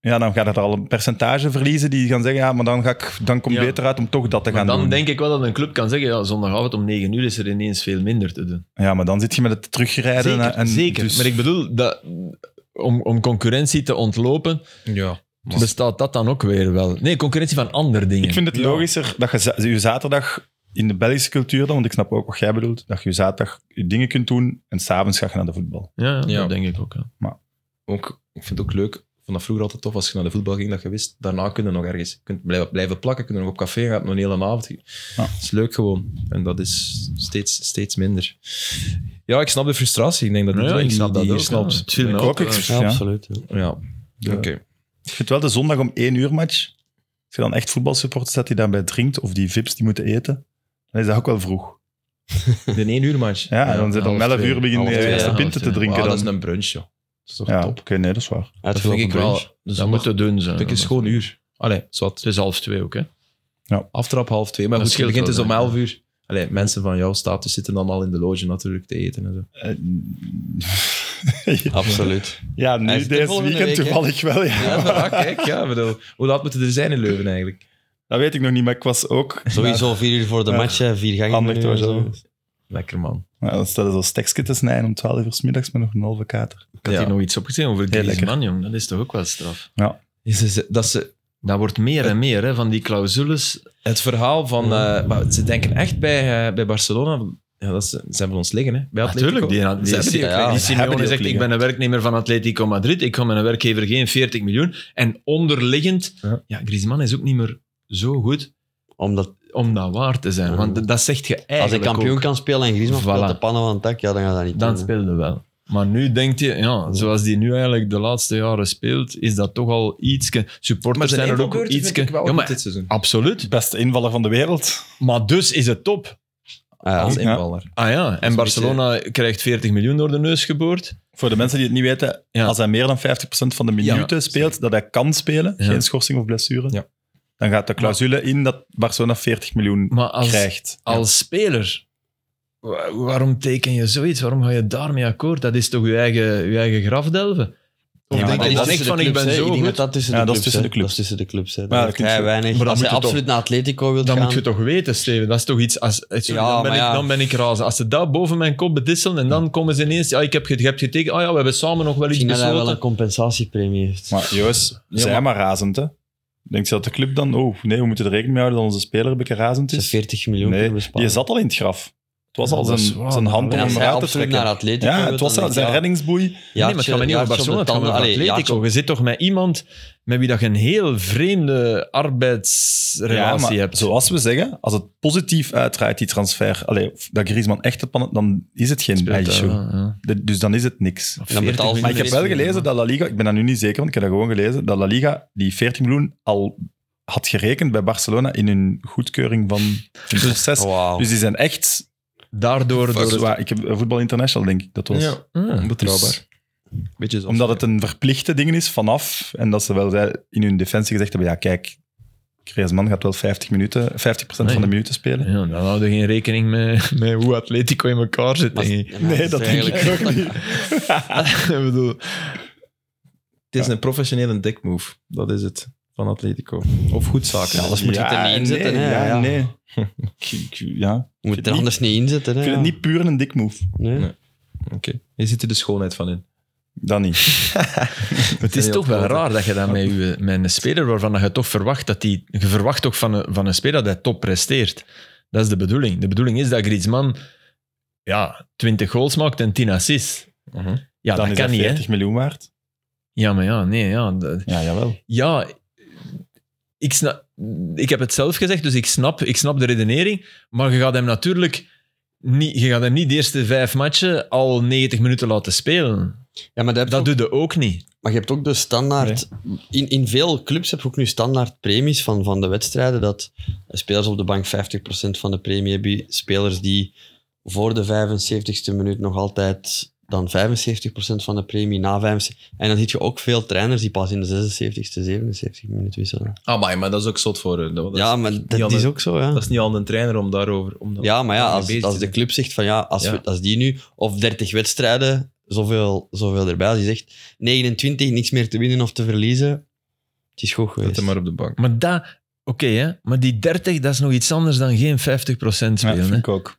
ja, dan gaat er al een percentage verliezen die gaan zeggen, ja, maar dan, ga ik, dan komt
Ja.
beter uit om toch dat te
Maar
gaan
dan
doen.
denk ik wel dat een club kan zeggen, ja, zondagavond om 9 uur is er ineens veel minder te doen.
Ja, maar dan zit je met het terugrijden.
Zeker,
en- en
zeker.
dus-
maar ik bedoel, dat, om, om concurrentie te ontlopen,
Ja.
bestaat dat dan ook weer wel. Nee, concurrentie van andere dingen.
ik vind het logischer dat je za- je zaterdag in de Belgische cultuur dan, want ik snap ook wat jij bedoelt, dat je je zaterdag je dingen kunt doen en s'avonds ga je naar de voetbal.
Ja,
Ja.
dat denk ik ook. Ja.
Ook, ik vind het ook leuk, ik vond dat vroeger altijd tof als je naar de voetbal ging, dat je wist, daarna kunnen nog ergens. Je kunt blijven, blijven plakken, kunnen nog op café gaan, nog een hele avond.
Ja.
Dat is leuk gewoon. En dat is steeds, steeds minder. Ja, ik snap de frustratie. Ik denk dat
Ja,
iedereen
ik
die,
snap dat
die
ook,
hier snapt.
ja. Het viel mij
Ik
ook
ook, ik-
wel.
Ja,
ja.
absoluut. ja.
Ja,
Ja.
oké.
Ik vind wel de zondag om één uur match. Als je dan echt voetbalsupporters hebt die daarbij drinkt of die vips die moeten eten, dan is dat ook wel vroeg.
De 1 uur match.
Ja, dan zit om
half
11
twee.
uur beginnen
Half
de
twee,
eerste
ja,
pinten
half
te
twee.
drinken.
Ah, dat is
dan.
een brunch, joh. Dat is toch
Ja,
top.
oké, nee, dat is
[laughs]
waar.
Dat vind
Uitgelopen
ik wel.
brunch.
Dus dat
Dat moet te doen zijn.
vind ik is gewoon een uur. Allee, zwart.
Het is half twee ook, hè?
Aftrap half twee. Maar
Dat
goed, je
scheelt
begint
wel,
dus om
hè.
elf uur. Allee, mensen van jouw status zitten dan al in de loge natuurlijk te eten en zo.
Eh,
Absoluut.
ja, nu
Hij is de
deze
volgende
weekend
week, hè?
toevallig wel. Ja.
Ja, maar, ah, kijk, ja, bedoel, hoe laat moeten er zijn in Leuven eigenlijk?
Dat weet ik nog niet, maar ik was ook...
Sowieso vier uur voor de
Ja.
match, hè, vier gangen.
Handig
menu en
toch,
zo.
Lekker man.
Ja, dan stel je zo'n stekje te snijden om 12 uur 's middags met nog een halve kater.
Ik had
Ja.
hier nog iets opgezien over
lekker.
Griezmann, jong. Dat is toch ook wel straf.
Is- is- Dat ze,
Dat wordt meer en meer, hè, van die clausules.
het verhaal van... eh, maar ze denken echt bij, eh, bij Barcelona Ja, dat is- zijn van ons liggen, hè? Bij Atletico.
Natuurlijk, die, die,
Ze
die,
hebben die ook
Ja,
liggen.
die Simeone
hebben die ook
zegt, ik ben een werknemer van Atletico Madrid, ik kan mijn werkgever geen 40 miljoen. En onderliggend,
Ja.
ja. Griezmann is ook niet meer zo goed
Omdat
om dat waar te zijn. Want d- dat zegt je eigenlijk
als ik kampioen
ook.
kan spelen en Griezmann speelt
Voilà.
de pannen van het dak, ja, dan gaat dat niet
dan
doen, hè.
speelde wel. Maar nu denkt je, ja, zoals die nu eigenlijk de laatste jaren speelt, is dat toch al ietske...
Maar
Supporters
zijn
zijn er ook
invalbeurten vind
ietske...
ik wel
Ja,
goed
maar,
dit seizoen.
absoluut.
Beste invaller van de wereld.
Maar dus is het top.
Ah,
Als
ja.
invaller.
Ah ja, en
een
Barcelona krijgt 40 miljoen door de neus geboord.
Voor de mensen die het niet weten,
Ja.
als hij meer dan 50% van de minuten
Ja.
speelt, dat hij kan spelen,
Ja.
geen schorsing of blessure,
Ja.
dan gaat de clausule in dat Barcelona 40 miljoen
Maar als,
krijgt.
als speler, wa- waarom teken je zoiets? Waarom ga je daarmee akkoord? Dat is toch je eigen, je eigen grafdelven? Of
Ja, maar
denk
dat
je
is
dan
tussen
echt
de
van, ik
clubs,
ben
hè.
zo
denk
goed?
dat dat tussen
Ja,
de
dat
clubs
is tussen
hè.
de clubs.
Dat is tussen de clubs. hè.
Maar
Daar
dat
heb
kun
jij
je-
weinig.
maar dan
als je
moet je toch-
absoluut naar Atletico wilt
Dan
gaan...
moet je toch weten, Steven. Dat is toch iets... Als, eh, sorry,
Ja,
dan, ben
maar
ik,
ja.
dan ben ik razend. Als ze dat boven mijn kop bedisselen en dan komen ze ineens... Ja, ik heb, ge- je hebt getekend. Ah ja, we hebben samen nog wel iets
Misschien dat hij wel
besloten.
een compensatiepremie heeft.
Maar Joost, zij maar razend, hè? Denkt ze dat de club dan... Oh, nee, we moeten er rekening mee houden dat onze speler een beetje razend
Ze
is?
40 miljoen
Nee,
kunnen
die
besparen.
zat al in het graf. Het was
Ja,
al
dat
zijn,
is waar,
zijn hand
maar
om
En als
hem
hij
eruit te
absoluut naar
trekken.
Atletico
Ja,
wilt,
het
dan
was al
denk
zijn
ik, ja,
reddingsboei.
nee, maar het gaat me niet over
jaartje op de
Barcelona, het gaat me over
tanden. Allee, jaartje
Atletico.
op-
Je zit toch met iemand met wie dat je een heel vreemde
Ja,
arbeidsrelatie
maar
hebt.
zoals we zeggen, als het positief uitdraait, die transfer, allee, of dat Griezmann echt het pannen, dan is het geen
Speelt,
ijsje.
eh, ja.
De- Dus dan is het niks.
En dan betaalt
40
Maar ik heb wel gelezen dat La Liga, ik ben dat nu niet zeker, want ik heb dat gewoon gelezen, dat La Liga die 40 miljoen al had gerekend bij Barcelona in hun goedkeuring van hun proces.
Wauw.
Dus die zijn echt...
Daardoor... Dus- Oh, Door
Door
het-
waar, ik heb eh, Voetbal International, denk ik, dat was.
Ja.
Ah.
Onbetrouwbaar. Beetje zoals-
Omdat het een verplichte ding is vanaf, en dat ze wel zei- in hun defensie gezegd hebben, ja kijk, Griezmann gaat wel 50, minuten, 50 van de
Nee.
minuten spelen.
Ja, dan houden we geen rekening met, met hoe Atletico in elkaar zit.
Maar-
denk ik.
ja, maar het is eigenlijk-
[laughs]
[laughs]
ik bedoel,
Het is een professionele dekmove. Dat is het. Van Atletico. Of goed zaken.
Ja, anders moet je het er niet in zetten.
nee,
hè.
ja,
Ja.
nee. [laughs] Ik- ik- ja.
Je moet het er anders niet in zetten. hè,
Ik vind het
ja.
niet puur een dik move.
Nee.
Nee. Oké. Je ziet er de schoonheid van in.
Dan [laughs] niet.
het is
heel
toch wel
grote.
raar dat je dat met, je, met een speler waarvan je toch verwacht dat die, je verwacht toch van een, van een speler dat hij top presteert. Dat is de bedoeling. De bedoeling is dat Griezmann ja, 20 goals maakt en 10 assists. Ja,
Mhm. Dan
dat
is
kan
dat
niet,
40
hè?
miljoen waard.
Ja, maar ja, nee, ja. dat-
Ja, jawel.
ja, ik, snap, ik heb het zelf gezegd, dus ik snap, ik snap de redenering. Maar je gaat hem natuurlijk niet, je gaat hem niet de eerste vijf matchen al 90 minuten laten spelen.
Ja, maar, dat heb je
Dat
ook-
doet je ook niet.
maar je hebt ook de standaard... In, in veel clubs heb je ook nu standaard premies van, van de wedstrijden. Dat spelers op de bank 50% van de premie hebben. Spelers die voor de 75ste minuut nog altijd dan 75% van de premie, na 75... En dan zie je ook veel trainers die pas in de 76ste, 77 minuut wisselen.
Amai, maar dat is ook zot voor hun. Dat,
ja, maar dat is
anders.
ook zo, ja.
dat is niet aan een trainer om daarover... Om dat-
Ja, maar ja,
daarmee
als,
bezig
als
te
de
zijn.
club zegt van ja, als,
Ja.
We, als die nu of 30 wedstrijden, zoveel, zoveel erbij, als die zegt 29, niks meer te winnen of te verliezen, het is goed
Zet
geweest.
hem maar op de bank. [laughs]
Maar dat, oké, hè, maar die 30, dat is nog iets anders dan geen 50% spelen.
Ja,
hè.
vind ik ook.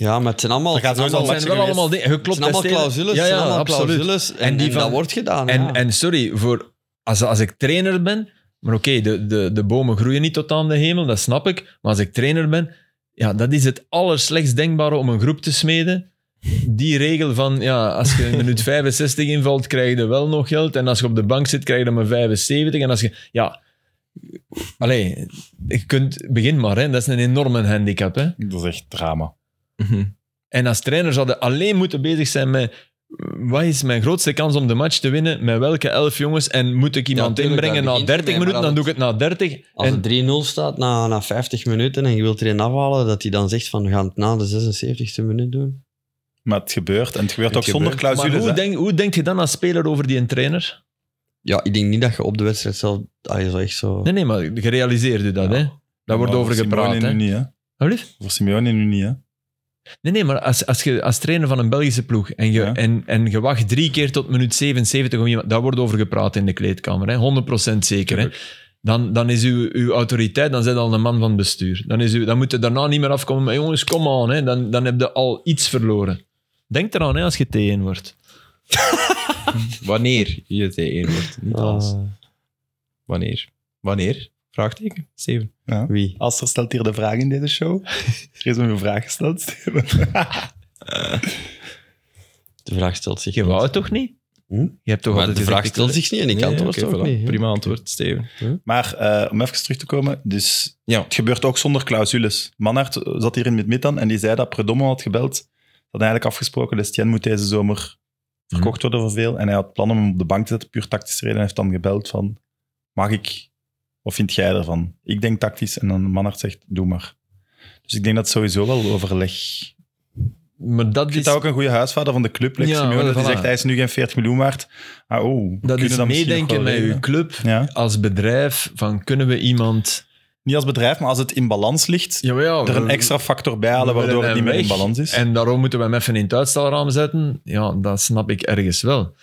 Ja, maar het zijn allemaal,
Dat gaat sowieso
allemaal,
al
Dat
matchen
zijn wel
geweest.
allemaal dingen. Je
het
klopt
zijn allemaal
dat stelen-
clausules,
Ja,
het
ja,
zijn allemaal
absoluut.
clausules en,
En die
en
van-
dat wordt gedaan.
En,
ja.
en sorry, voor als, als ik trainer ben, maar oké, de, de, de bomen groeien niet tot aan de hemel, dat snap ik. Maar als ik trainer ben, ja, dat is het allerslechtst denkbare om een groep te smeden. Die regel van, ja, als je in minuut [laughs] 65 invalt, krijg je wel nog geld. En als je op de bank zit, krijg je dan maar 75. En als je, ja, allee, je kunt, begin maar, hè. dat is een enorme handicap. Hè.
Dat is echt drama.
En als trainer zouden alleen moeten bezig zijn met wat is mijn grootste kans om de match te winnen, met welke elf jongens, en moet ik iemand
tuurlijk,
inbrengen
daar
na
begint het
30
mee,
minuten,
maar
dan
als
doe ik het na 30.
als
En,
het 3-0 staat na, na 50 minuten en je wilt er een afhalen, dat hij dan zegt van we gaan het na de 76e minuut doen.
Maar het gebeurt. En het gebeurt
Het
ook zonder
gebeurt.
maar
clausules.
hoe,
hè.
denk, hoe denk je dan als speler over die trainer?
Ja, ik denk niet dat je op de wedstrijd zelf... Allee, zo echt zo...
Nee, nee, maar je realiseert je dat,
Ja.
hè? Daar wordt
Maar
over
voor
gepraat,
Simeone
hè?
nu niet, hè.
Wat lief?
Voor Simeone nu niet, hè.
Nee, nee, maar als, als je als trainer van een Belgische ploeg en je,
Ja.
en, en je wacht drie keer tot minuut 77 om iemand... Daar wordt over gepraat in de kleedkamer, hè? 100% zeker. Hè? Dan, dan is uw, uw autoriteit, dan zit al een man van bestuur. Dan, is uw, dan moet je daarna niet meer afkomen met jongens, kom aan, hè? Dan, dan heb je al iets verloren. Denk eraan hè, als je T1 wordt.
Wanneer je T1 wordt. Niet als.
Ah.
Wanneer. Wanneer? Vraagteken? Steven.
Wie?
Als er stelt hier de vraag in deze [laughs] show. Er is hem een vraag gesteld, Steven.
De vraag stelt zich
Je
niet.
wou het toch niet?
Hm?
Je hebt toch
Maar
altijd
de vraag
gezegd,
stelt
ik-
zich niet en ik
Nee,
antwoord
oké,
ook
voilà.
niet.
Prima antwoord, Steven.
[laughs]
Hm?
Maar eh, om even terug te komen, dus
Ja.
het gebeurt ook zonder clausules. Manhart eh, zat hier in het midden en die zei dat Predomo had gebeld. Dat had eigenlijk afgesproken, Lestien moet deze zomer verkocht worden voor veel. En hij had plannen om hem op de bank te zetten, puur tactisch reden. En heeft dan gebeld van, mag ik? Wat vind jij ervan? Ik denk tactisch. En dan Manhart zegt, doe maar. Dus ik denk dat sowieso wel overleg.
Maar dat
Ik vind
is,
dat ook een goede huisvader van de club, Lex
Ja,
Simeone,
wel,
die
voilà.
zegt, hij is nu geen 40 miljoen waard. Ah, oh, we
dat
kunnen
is
dat misschien
meedenken
nog wel
met uw
regelen.
club
Ja.
als bedrijf. Van kunnen we iemand...
Niet als bedrijf, maar als het in balans ligt,
Ja, maar ja,
er een
we-
extra factor bij halen
we willen
waardoor het
hem
niet meer in
weg.
balans is. En,
En daarom moeten we hem even in het uitstelraam zetten. Ja, dat snap ik ergens wel.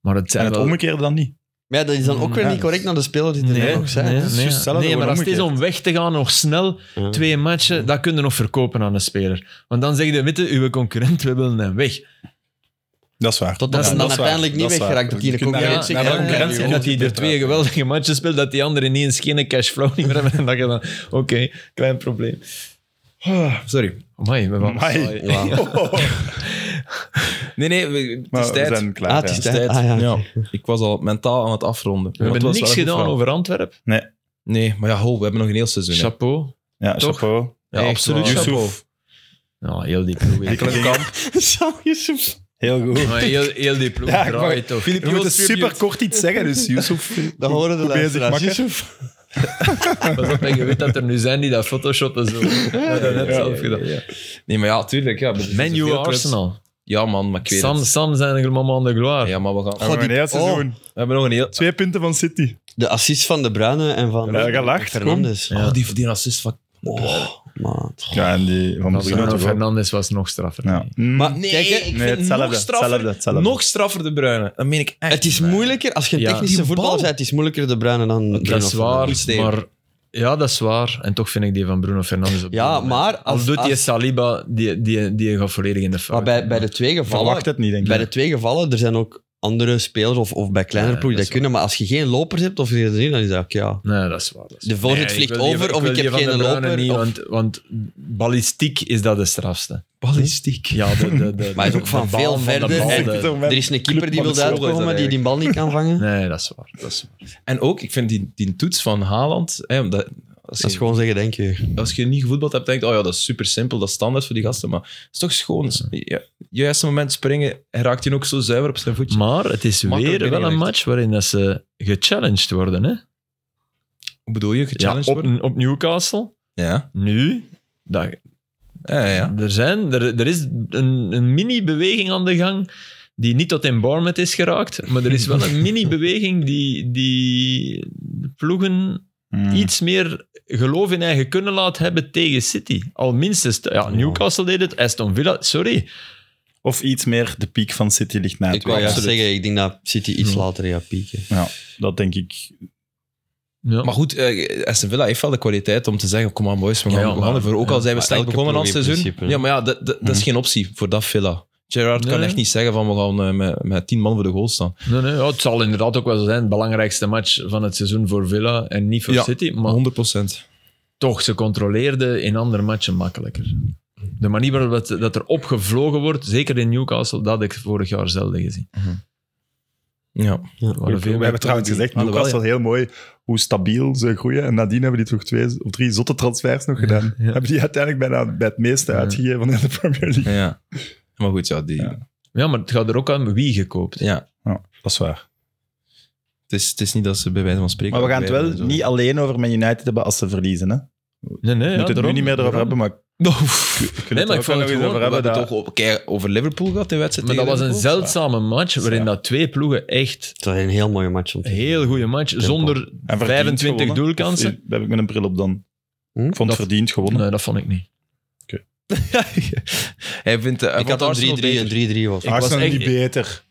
Maar het zijn
het
wel...
omgekeerde dan niet.
Maar ja, dat is dan ook weer
Ja,
niet correct naar de speler die er
Nee,
nog zijn. Hm.
nee,
hè.
juist
nee.
hetzelfde,
Nee, maar
gewoon
als het is om
omgekeerd.
weg te gaan, nog snel,
Ja.
twee matchen, dat kun je nog verkopen aan een speler. Want dan zeg je, weet je, uw concurrent, we willen hem weg.
Dat is waar.
Totdat
Ja,
ze hem dan
dat is waar.
uiteindelijk niet
Dat is waar.
weggeraakt. Dat die de
Je kunt naar-
concurrentie
naar de
krijgt.
concurrentie
en dat hij er twee geweldige matches speelt, dat die anderen ineens geen cashflow niet meer hebben. [laughs] En dat je dan, oké, klein probleem. Ah,
Sorry.
Amai, we waren
Amai. [laughs]
saai.
Ja.
Nee, nee, we- het
Maar
is
we
tijd.
zijn klaar.
Ah, het
ja.
is
Het is tijd.
Ah, ja,
ja. Ik was al mentaal aan het afronden.
We hebben niks gedaan over Antwerpen.
Nee, maar ja, ho, we hebben nog een heel seizoen. hè.
Chapeau.
Ja,
Toch? Oh,
chapeau.
Ja,
Echt
absoluut.
waar.
Chapeau.
Ja, heel die ploeg. hè.
Enkele kamp. [laughs] Heel goed.
Maar heel, heel die ploeg
Ja, ik
draait
mag-
toch.
We moeten super kort iets zeggen,
[laughs]
dus Yusuf.
Dat horen de
Probeer zich
luisteraars.
makker.
Pas op, en je weet dat er nu zijn die dat photoshotten zo. Ja, dat net
ja,
zelf gedaan.
ja, ja. eh, Nee, maar ja, tuurlijk. Ja,
Man U
Veel clubs-
Arsenal.
Ja, man, maar ik weet
Sam,
het.
Sam zijn er allemaal aan de gloire.
Ja, maar we gaan...
We hebben een
Oh.
heel seizoen.
We hebben nog een heel...
Twee punten van City.
De assist van De Bruyne en van
Ja, gelacht,
Fernandes.
kom. Ja.
Oh, die, die assist van...
Oh, maat.
Ja, en die van
Bruno
Bruno toch ook.
Fernandes was nog straffer.
Ja. Mm. Maar
Nee,
Kijk, hè.
ik vind
Nee, hetzelfde,
nog straffer,
hetzelfde, hetzelfde.
Nog straffer de Bruyne. Dat meen ik echt.
Het is
niet.
moeilijker, als je een
Ja.
technische
Die
voetballer
bal.
bent, het is moeilijker De Bruyne dan Bruno
Dat is
Fernandes.
waar,
Steven.
maar... Ja, dat is waar. En toch vind ik die van Bruno Fernandes op
Ja,
dit moment.
maar
Al
als-
doet die
als-
Saliba, die, die, die gaat volledig in de fout.
Maar bij, bij de twee gevallen,
Verwacht het niet, denk
bij
ik.
de twee gevallen, er zijn ook andere spelers of, of bij kleinere ploegen
Ja, dat
die
is
kunnen, maar als je geen lopers hebt of je er niet, dan is dat ook, ja.
Nee, dat is waar. dat is
De
waar.
voorzet
Nee,
vliegt
wil die-
over of
wil
ik
die
heb
van de
geen
Bruyne
loper,
Niet,
of-
want, want ballistiek is dat de strafste.
Ballistiek.
Ja, de, de, de,
Maar hij is ook
de
van
bal
veel
de
verder.
bal,
Hey,
de-
Er is een keeper die wil
Clubman is
uitkomen, die die bal niet kan vangen.
Nee, dat is waar. Dat is waar.
En ook, ik vind die, die toets van Haaland... Hè, dat, als,
Dat is
je,
gewoon zeggen, denk je.
als je niet gevoetbald hebt, denk je, oh ja, dat is super simpel, dat is standaard voor die gasten. Maar het is toch schoon. Ja, juiste moment springen, hij raakt hij ook zo zuiver op zijn voetje.
Maar het is
Makkelijk
weer wel een
binnengelegd.
match waarin dat ze gechallenged worden. Hè?
Hoe bedoel je?
Ja,
Gechallenged
op,
worden?
op Newcastle.
Ja.
Nu. Dat,
Ja, ja, ja.
er, zijn, er, er is een, een mini-beweging aan de gang die niet tot in Bournemouth is geraakt. Maar er is [laughs] wel
[laughs]
een mini-beweging die, die de ploegen
Hmm.
iets meer geloof in eigen kunnen laat hebben tegen City. Al minstens... Ja,
Oh.
Newcastle deed het, Aston Villa... Sorry.
Of iets meer de piek van City ligt na het
Ik wou
WK.
juist zeggen, ik denk dat City iets
Ja.
later gaat pieken.
Dat denk ik.
Ja.
Maar goed, eh Aston Villa heeft wel de kwaliteit om te zeggen: kom aan, boys, we gaan,
Ja, ja,
we gaan
maar-
ervoor. Ook
ja,
al zijn we
maar
slecht
elke
begonnen aan
ploeg
het
in
seizoen.
principe,
ja, maar ja, dat, dat, dat is geen optie voor dat Villa. Gerard kan
Nee.
echt niet zeggen: van we gaan eh, met, met tien man voor de goal staan.
Nee, nee, ja, het zal inderdaad ook wel zo zijn. Het belangrijkste match van het seizoen voor Villa en niet voor
Ja.
City. Maar
100 procent.
toch, ze controleerden in andere matchen makkelijker. De manier waarop dat, dat er opgevlogen wordt, zeker in Newcastle, dat had ik vorig jaar zelden gezien.
Ja.
Er waren
We
meer
hebben trouwens
penalty.
gezegd, Newcastle Ah, wel heel mooi hoe stabiel ze groeien. En nadien hebben die toch twee of drie zotte transfers nog gedaan. Hebben die uiteindelijk bijna bij het meeste
Ja.
uitgegeven van de Premier League.
ja. Maar goed, ja, die, ja.
Ja.
Ja, maar het gaat er ook aan wie gekoopt.
Dat is waar.
Het, is, het is niet dat ze bij wijze van spreken.
Maar we gaan het
afwijden en
wel
zo.
niet alleen over Man United hebben als ze verliezen. Hè? We
Nee, nee,
moeten
ja,
het nu
daarom.
niet meer erover hebben, maar we
Nee,
kunnen
maar
het
ik
er
vond
ook nog
het
eens
gewoon-
over
We
hebben.
hebben
Dat...
toch ook- kijk, over Liverpool gehad in wedstrijd.
Maar dat was
tegen
een
Liverpool.
zeldzame match waarin dat twee ploegen echt
Het was een heel mooie match om te
een heel goede match, zonder
En verdiend
25
gewonnen.
doelkansen.
Of, eh, Heb ik met een bril op dan?
Hm?
Ik vond
Dat-
het verdiend gewonnen.
Nee, dat vond ik niet.
Hij vindt, eh, hij
Ik
vond [laughs]
had
eh,
een
Arsenal
3-3
beter.
en 3-3 was.
was
Arsenal
echt- Ah,
niet beter.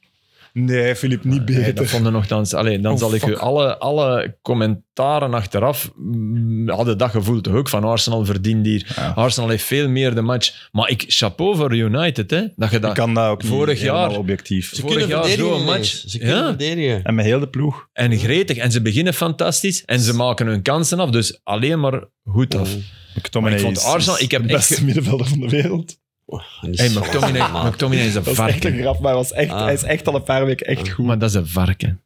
Nee, Filip, niet
Nee, dat
beter. [laughs]
vonden nogthans. Allee, dan
Oh,
zal ik
fuck.
u alle, alle commentaren achteraf mm, hadden dat gevoel toch ook van Arsenal verdient hier.
Ja.
Arsenal heeft veel meer de match. Maar ik chapeau voor United, hè? Dat je
Ik
dat.
kan dat ook niet
Vorig
helemaal
jaar-
objectief.
Vorig jaar zo'n
ineens.
match.
Ze kunnen
Ja.
verdedigen.
En met heel de ploeg.
En gretig. En ze beginnen fantastisch. En ze maken hun kansen af. Dus alleen maar goed
Oh,
af.
McTominay
ik vond
is-
Arsenal-
is
ik heb
de
echt
beste
ge-
middenvelder van de wereld.
En die
Hey,
is-
McTominay,
man.
McTominay is een
Dat is echt een
varken.
grap, maar hij, was echt,
Ah.
hij is echt al een paar weken echt goed.
Maar dat is een varken.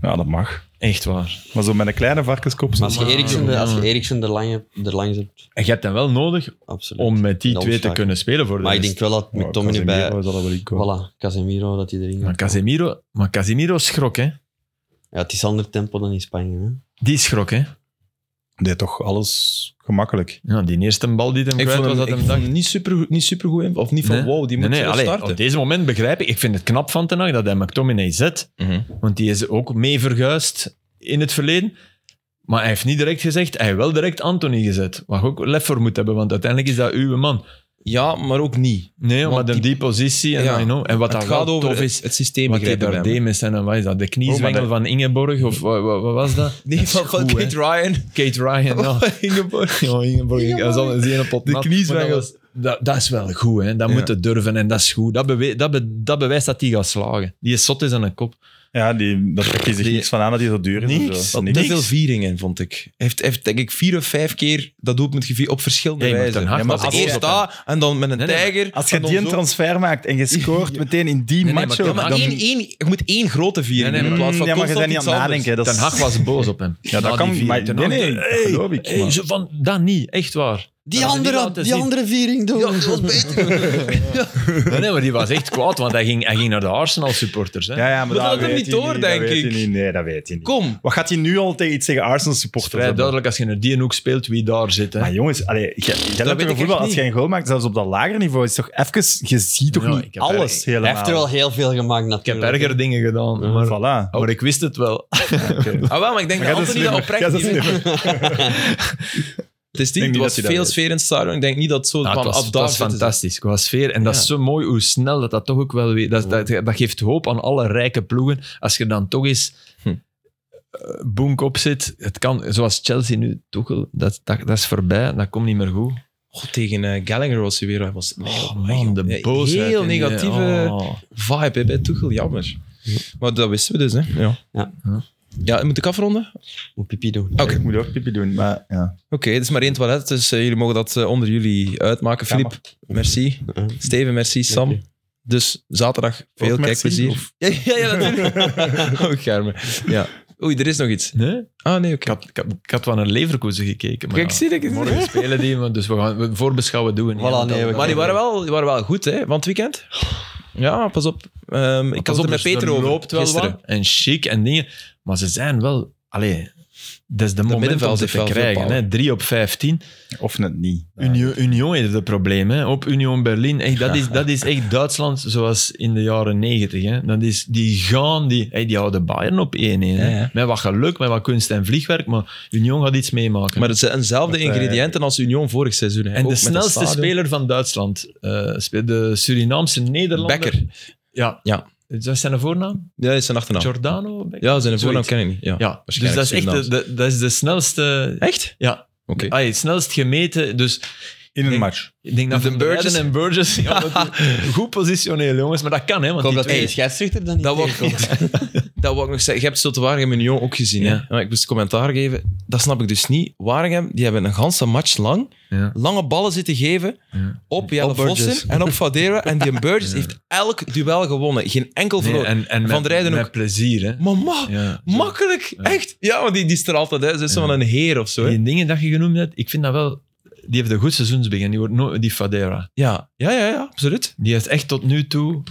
Ja, dat mag.
Echt waar.
Maar zo met een kleine varkenskop. Zo.
Maar als je Eriksen, de- als je Eriksen er, lang, er langs hebt,
En je hebt hem wel nodig
absoluut.
om met die
Dat
twee te
vaak.
kunnen spelen voor de
maar ik
rest.
denk wel dat
Ja,
McTominay bij...
Oh, Casemiro zal dat wel inkomen.
Voilà, Casemiro, dat hij erin
Maar
gaat.
Casemiro, maar Casemiro schrok, hè?
Ja, het is ander tempo dan in Spanje. Hè?
Die schrok, hè?
deed toch alles gemakkelijk.
Ja, die eerste bal die hem
Ik
kwijt
vond
was,
hem,
dat
ik
hem
vond
dacht...
hem niet super, niet super goed of niet van
Nee.
wow, die moet
nee,
nee,
nee, allee,
starten.
op deze moment begrijp ik. Ik vind het knap van Ten Hag dat hij McTominay zet. Want die is ook mee verguisd in het verleden. Maar hij heeft niet direct gezegd, hij heeft wel direct Anthony gezet. Waar je ook lef voor moet hebben, want uiteindelijk is dat uw man.
Ja, maar ook niet.
Nee,
Want
maar die,
die-
die positie en,
Ja.
I know. en wat
het
dat wel
gaat over
tof
het-
is,
het systeem
wat hij
begrepen bij
daar deed
hem. Oh,
met zijn, en wat is dat, de kniezwengel
dat-
van Ingeborg of wat, wat, wat was dat?
[laughs] Nee,
Dat is
van, van
goed, hè.
Kate Ryan.
Kate Ryan, ja.
Ingeborg.
Ja, Oh, [laughs] Ingeborg, ik- dat is al een zenuwpot
De
nat.
kniezwengel.
Maar Dat, was- dat, dat is wel goed, hè. dat
Ja.
moet het durven en dat is goed. Dat, bewe- dat, be- dat bewijst dat hij gaat slagen. Die is zot is aan een kop.
Ja, die, daar trekt hij zich
Die-
niks van aan dat hij zo duur is. en
Niks.
zo.
Had
Dat
Te
niet.
veel viering in, vond ik. Hij heeft, heeft denk ik vier of vijf keer dat doelpunt gevierd op verschillende
Nee, maar
wijzen.
Ten Hag
Ja, maar
was
als eerst
boos op
dat en dan met een
Nee, nee, maar
tijger.
Als je
en dan
die een
zo.
transfer maakt en je
[laughs]
scoort meteen in die
Nee, nee,
match
maar
ook,
Ja, maar
dan-
één, één, je moet één grote viering
Nee, nee,
in
maar-
plaats van
ja, maar je
constant
bent niet aan
iets
het
anders.
nadenken. Dat is-
Ten Hag was boos op hem.
Ja, dat
Na
kan,
die vier-
maar-
Ten
nee,
Hag-
nee, dat
hey,
geloof ik,
hey,
maar-
ze van, dat niet, echt waar.
Die,
Dat hebben we niet
andere,
laten
die
zien.
andere viering doen.
Ja, dat was beter. nee, nee, maar die was echt kwaad, want hij ging, hij ging naar de Arsenal-supporters. hè.
Ja, ja, maar,
Maar dat had hem
weet
niet
hij
door,
dat
denk
weet hij
ik.
niet. Nee, dat weet hij niet.
Kom.
Wat gaat hij nu al tegen, iets tegen Arsenal
Het is
supporters
vrij
hebben?
duidelijk als je naar die hoek speelt wie daar zit. Hè.
Maar jongens, allee, jij, jij hebt
weet
toch een
ik
voetbal,
echt
als je een goal maakt, zelfs op dat lager niveau, is toch even, je ziet toch
Ja, ik
niet
heb
alles
Hij heeft er
helemaal.
wel heel veel gemaakt
Ik heb
natuurlijk.
erger dingen gedaan, maar,
Voilà.
maar ik wist het wel.
Oké.
Ah, wel, maar ik denk
Maar jij
dat
bent
Anthony dat
slimmer. Jij
oprecht
bent
niet...
slimmer.
Het is niet,
denk
er
niet
was
dat hij dat
veel
weet.
sfeer in het stadion. Ik denk niet dat het zo...
Ja,
van
Nou, het was,
af
het
daar
was
zitten ze.
fantastisch qua sfeer. En dat
Ja.
is zo mooi hoe snel dat dat toch ook wel weer... Dat, dat, dat geeft hoop aan alle rijke ploegen. Als je dan toch eens
Hm.
eh, boenk op zit, het kan, zoals Chelsea nu, Tuchel, dat, dat, dat is voorbij. Dat komt niet meer goed.
God, tegen eh, Gallagher was hij weer... Hij was, nee,
Oh
joh,
man,
joh.
de
Nee,
boosheid.
Heel
en die-
negatieve
oh.
vibe hè, bij Tuchel, jammer. Maar dat wisten we dus, hè. Ja.
Ja.
Ja, moet ik afronden? Oké,
Moet pipi doen.
Ik moet ook pipi doen, maar ja.
het is maar één toilet, dus eh, jullie mogen dat eh, onder jullie uitmaken.
Ja,
Filip, merci.
Ja.
Steven, merci. Sam.
Dank
Dus zaterdag veel
merci,
kijkplezier.
of-
Ja, ja, ja, natuurlijk. [laughs] oh, Germe. Ja. Oei, er is nog iets.
Nee?
Ah, nee,
Ik
oké.
had, ik, had, ik had wel naar Leverkusen gekeken. Maar
Kijk,
ja,
zie ik het.
morgen spelen die, maar dus we gaan we voorbeschouwen doen.
Voilà, nee, we-
Maar die waren wel, die waren wel goed, hè, van het weekend. Ja, pas op. Ehm, ik had het er met Peter over.
dus loopt wel
gisteren.
wat. En chic en dingen. Maar ze zijn wel... Allee, dat is de moment om
middenveld
ze
heeft
te
wel veel
krijgen.
power.
Hè. 3 op 15.
Of net niet.
Union, Union heeft het probleem. Hè. Op Union Berlin. Echt,
[laughs]
dat, is, dat is echt Duitsland zoals in de jaren 90. Hè. Dat is, die gaan... Die, hey, die houden Bayern op 1-1. hè.
Ja, ja.
Met wat geluk, met wat kunst en vliegwerk. Maar Union gaat iets meemaken.
Maar het zijn dezelfde
Dat, eh,
ingrediënten als Union vorig seizoen. hè.
en
Ook
de
met dat
snelste
stadion.
speler van Duitsland, eh, speelt de Surinaamse Nederlander.
Becker.
Ja.
Ja.
Dat is zijn voornaam?
Ja, dat is zijn achternaam.
Giordano? Becker?
Ja, zijn voornaam
Zoiets.
ken ik niet. Ja.
Ja, dus
waarschijnlijk
dat is echt de, de- dat is de snelste.
Echt?
Ja,
Oké.
ah, het snelst gemeten. Dus
In een
Nee.
match.
ik denk dat
de
Van
Burgess-
Leiden en Burgess. [laughs] Ja, dat die- goed positioneel, jongens, maar dat kan, hè?
Ik
Want
hoop
die
dat
twee-
de scheidsrechter dan niet
Dat wou,
tegenkomt.
[laughs] dat wou ik nog zeggen. Je hebt zo te Waregem en Union ook gezien.
Ja.
Hè? Maar Ik moest commentaar geven. Dat snap ik dus niet. Waregem, die hebben een ganse match lang
Ja.
lange ballen zitten geven
Ja.
op Jelle
Op Burgess.
Vossen en op Fadera. En
[laughs]
die Burgess heeft elk duel gewonnen. Geen enkel
Nee,
verloren.
en, en met,
Van der Rijden
met
ook.
plezier, hè?
Mama,
Ja.
makkelijk. Echt. Ja, want die, die straalt dat uit. Ze is zo
Ja.
van een heer of zo. hè.
Die dingen dat je genoemd hebt, ik vind dat wel. Die heeft een goed seizoensbegin. Die wordt nooit die Fadera.
Ja. ja, ja, ja, absoluut.
Die heeft echt tot nu toe.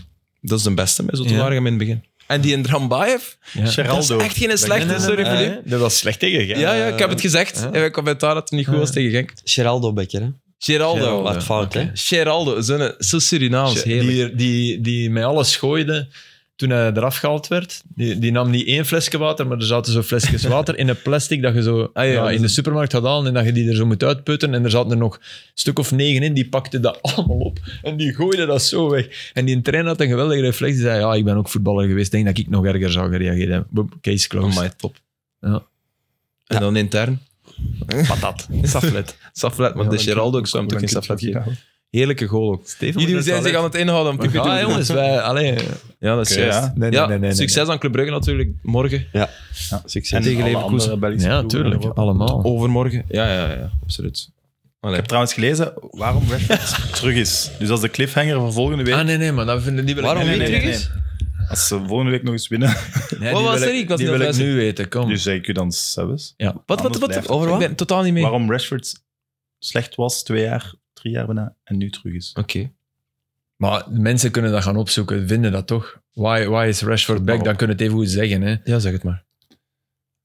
Dat is de beste, met zo te
Ja.
Waregem in het begin. En die in Drambaev,
Ja.
dat
Geraldo.
is echt geen slechte,
Nee, nee, nee,
sorry
nee,
Filip.
nee. Dat was slecht tegen Gent.
Ja, ja, ik heb het gezegd.
Ja.
In mijn commentaar dat het niet goed was
Ja.
tegen Genk.
Geraldo Becker, hè?
Geraldo.
Geraldo.
Wat fout,
oké.
hè?
Geraldo, zo'n- zo eh, Surinaams, heerlijk.
die, die, die met alles gooide. toen hij eraf gehaald werd, die, die nam niet één flesje water, maar er zaten zo flesjes
[laughs]
water in een plastic dat je zo ah ja,
Ja, dat
in
is-
de supermarkt gaat halen en dat je die er zo moet uitputten. En er zaten er nog een stuk of negen in, die pakte dat [laughs] allemaal op en die gooide dat zo weg. En die trainer had een geweldige reflex. Die zei, ja, ik ben ook voetballer geweest, denk dat ik nog erger zou gereageerd hebben. Boom, case closed.
Amai, top.
oh Ja.
En dan intern,
Patat. Saflet.
[laughs] Saflet, want
Ja,
de Geraldo ook zou hem toch geen Saflet geven. Heerlijke goal ook.
Steven,
Iedereen zijn zich aan het inhouden. om te
Ja,
kunnen doen.
Ah, jongens, wij... Allee,
Ja, dat is
Oké,
juist.
ja.
Nee, nee,
Ja,
nee, nee, nee,
succes aan Club Brugge natuurlijk morgen.
En
Tegen
tegen alle
Leverkusen.
andere Belgische
ja,
ploegen in
tuurlijk.
Europa.
Allemaal.
Oh, Overmorgen. Ja, ja, ja, absoluut.
Ik
Allee.
heb trouwens gelezen waarom Rashford terug is. Dus als de cliffhanger van volgende week...
Ah, nee, nee, maar dat vinden die wil ik
Waarom
niet
niet
weten.
terug is?
Als ze volgende week nog eens winnen,
Nee,
Wat
die
was
wil
er? Ik was
die
niet
wil
aan
ik
het
nu weten, kom.
dus zeg ik u dan zelfs.
ja.
Wat, wat,
Anders
wat, wat?
blijft het.
Over wat?
Ik ben totaal niet mee. Oké.
Waarom Rashford slecht was twee jaar, drie jaar bijna, en nu terug is.
Maar mensen kunnen dat gaan opzoeken, vinden dat toch? Why, why is Rashford
Oh.
back? Dan kunnen we het even goed zeggen. Hè.
Ja, zeg het maar.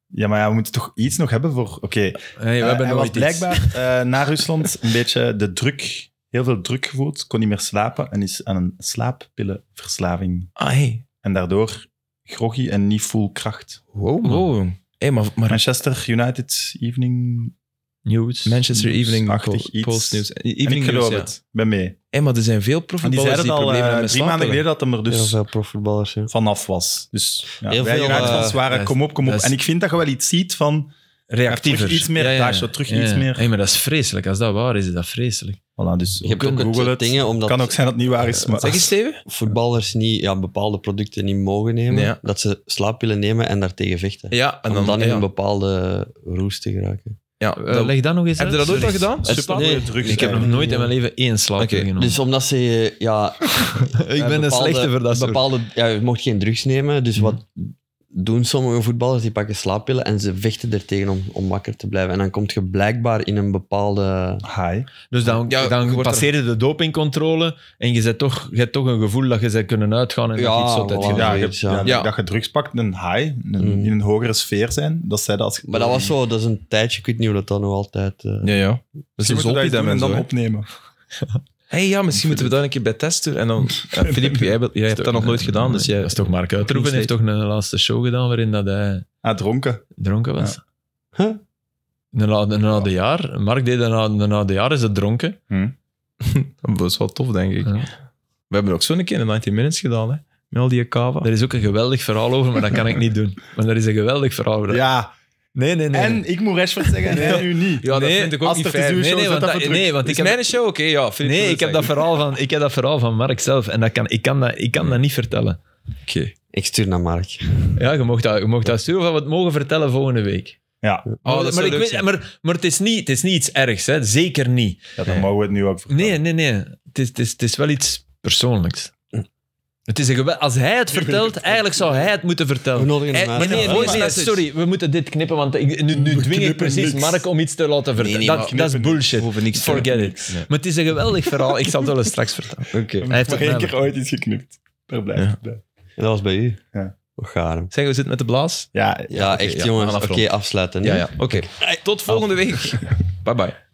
Ja, maar ja, we moeten toch iets nog hebben voor... Oké,
Hey,
Eh,
we hebben
hij was
nooit iets.
blijkbaar eh, na Rusland een beetje de druk, heel veel druk gevoeld, kon niet meer slapen en is aan een slaappillenverslaving.
Ah, hey.
En daardoor groggy en niet full kracht.
Wow, man.
Wow. Hey, maar, maar
Manchester United Evening.
Nieuws.
Manchester Evening
Achtig
Post,
iets.
Post News.
En ik
Evening
geloof
News, ja.
het, ik ben mee.
Hey, maar er zijn veel
En die
profvoetballers
zeiden
die,
het al
problemen
eh,
hebben met
drie maanden geleden
slaappillen.
dat hem er
Heel
dus
veel profvoetballers. ja.
vanaf was. Dus ja,
Heel
wij
veel,
United
eh,
fans waren,
dat is-
kom op, kom op.
dat is-
En ik vind dat je wel iets ziet van...
Reactiever.
terug iets meer daar, zo terug iets meer.
Hey, maar dat is vreselijk. Als dat waar is, is dat vreselijk.
Voilà, dus
Je hebt
Google
ook het soort
het.
dingen, omdat
kan ook zijn dat het niet waar is, maar...
Zeg eens, Steven?
voetballers niet, ja, bepaalde producten niet mogen nemen,
Ja.
dat ze slaappillen nemen en daartegen vechten.
Ja, en
om
dan...
dan in
ja.
een bepaalde roes te geraken.
ja,
Eh,
dat-
leg dat nog eens
Heb je
uit.
dat ooit al
Sorry.
gedaan?
Het-
Slaap-
nee.
Druk
Ik heb nog
zijn.
nooit in mijn leven één slaap
Oké.
genomen.
Dus omdat ze, eh, ja...
ik ben een slechte voor dat soort.
bepaalde, ja, Je mocht geen drugs nemen, dus wat doen sommige voetballers? Die pakken slaappillen en ze vechten ertegen om, om wakker te blijven. En dan kom je blijkbaar in een bepaalde...
Hi.
Dus dan,
Ja, je
dan
wordt er-
passeerde de dopingcontrole en je, zet toch, je hebt toch een gevoel dat je ze kunnen uitgaan en dat
Ja,
je iets zot hebt
voilà.
gedaan.
Ja, je
zoiets, ja.
ja,
Ja.
dat je drugs pakt, een high, een-
Mm.
in een hogere sfeer zijn, dat zij dat als...
Maar dat was zo, dat is een tijdje, ik weet niet hoe dat dan nog altijd... eh,
Ja, ja. Dat is
Misschien
een
moeten
zolpidem
we dat doen
en
en
zo.
dan
hè.
opnemen.
hey, ja, misschien moeten we daar een keer bij testen. En dan... Ja, Filip, jij, hebt- jij hebt dat nog nooit gedaan, dus jij...
Dat is toch Mark Uitroeven heeft toch een laatste show gedaan waarin dat hij
Ah, dronken.
dronken was?
Huh?
Een oude, een oude jaar. Mark deed een oude, een oude jaar, is het dronken.
Dat is wel tof, denk ik.
Ja.
We hebben ook zo'n keer in 19 Minutes gedaan, hè. Met al die kava.
Er is ook een geweldig verhaal over, maar dat kan ik niet doen. Maar er is een geweldig verhaal over.
Ja,
Nee, nee, nee.
en ik moet Rashford zeggen, nee, nu niet.
Ja,
Nee,
dat vind ik ook
als
niet
het is
fair.
uw
Nee,
show,
nee,
zet
want,
dat
dat-
voor terug.
nee, want ik
Het is
heb...
mijn
mijn show, oké, ja.
nee, ik heb, dat verhaal van, ik heb dat verhaal van Mark zelf en dat kan, ik kan dat, ik kan dat niet vertellen.
Oké.
Ik stuur naar Mark.
Ja, je mocht dat, je mocht dat sturen of we het mogen vertellen volgende week.
Ja,
Oh,
maar,
dat
maar,
zou
ik
leuk
weet-
zijn.
maar, maar het, is niet, het is niet iets ergs, hè? zeker niet.
ja, dan mogen we het nu ook vertellen.
Nee, nee, nee. Het is, het is, het is wel iets persoonlijks. Het is een gewel- Als hij het vertelt, eigenlijk zou hij het
[laughs]
moeten
We
vertellen.
nodigen
Eh,
hem uit.
maar nee,
Ja,
nee,
voice
nee,
message.
sorry, we moeten dit knippen, want ik, nu, nu dwing ik
knippen
precies
niks.
Mark om iets te laten vertellen.
nee,
dat,
maar
dat is
knippen
bullshit.
hoeven niks te
Forget
doen.
it.
Nee.
Maar het is een geweldig verhaal. Ik zal het wel eens straks vertellen.
Oké.
Hij
Hij
heeft
heeft
maar
het
één
wel.
keer ooit iets geknipt. Daar blijft
Ja.
het bij.
En dat was bij u?
Ja.
Och, gaar hem.
Zeg, we zitten met de blaas.
Ja,
Ja,
oké,
echt
ja, we
jongens.
gaan
Oké,
afronden.
afsluiten. nu.
Ja, ja. Oké. Tot volgende week. Bye bye.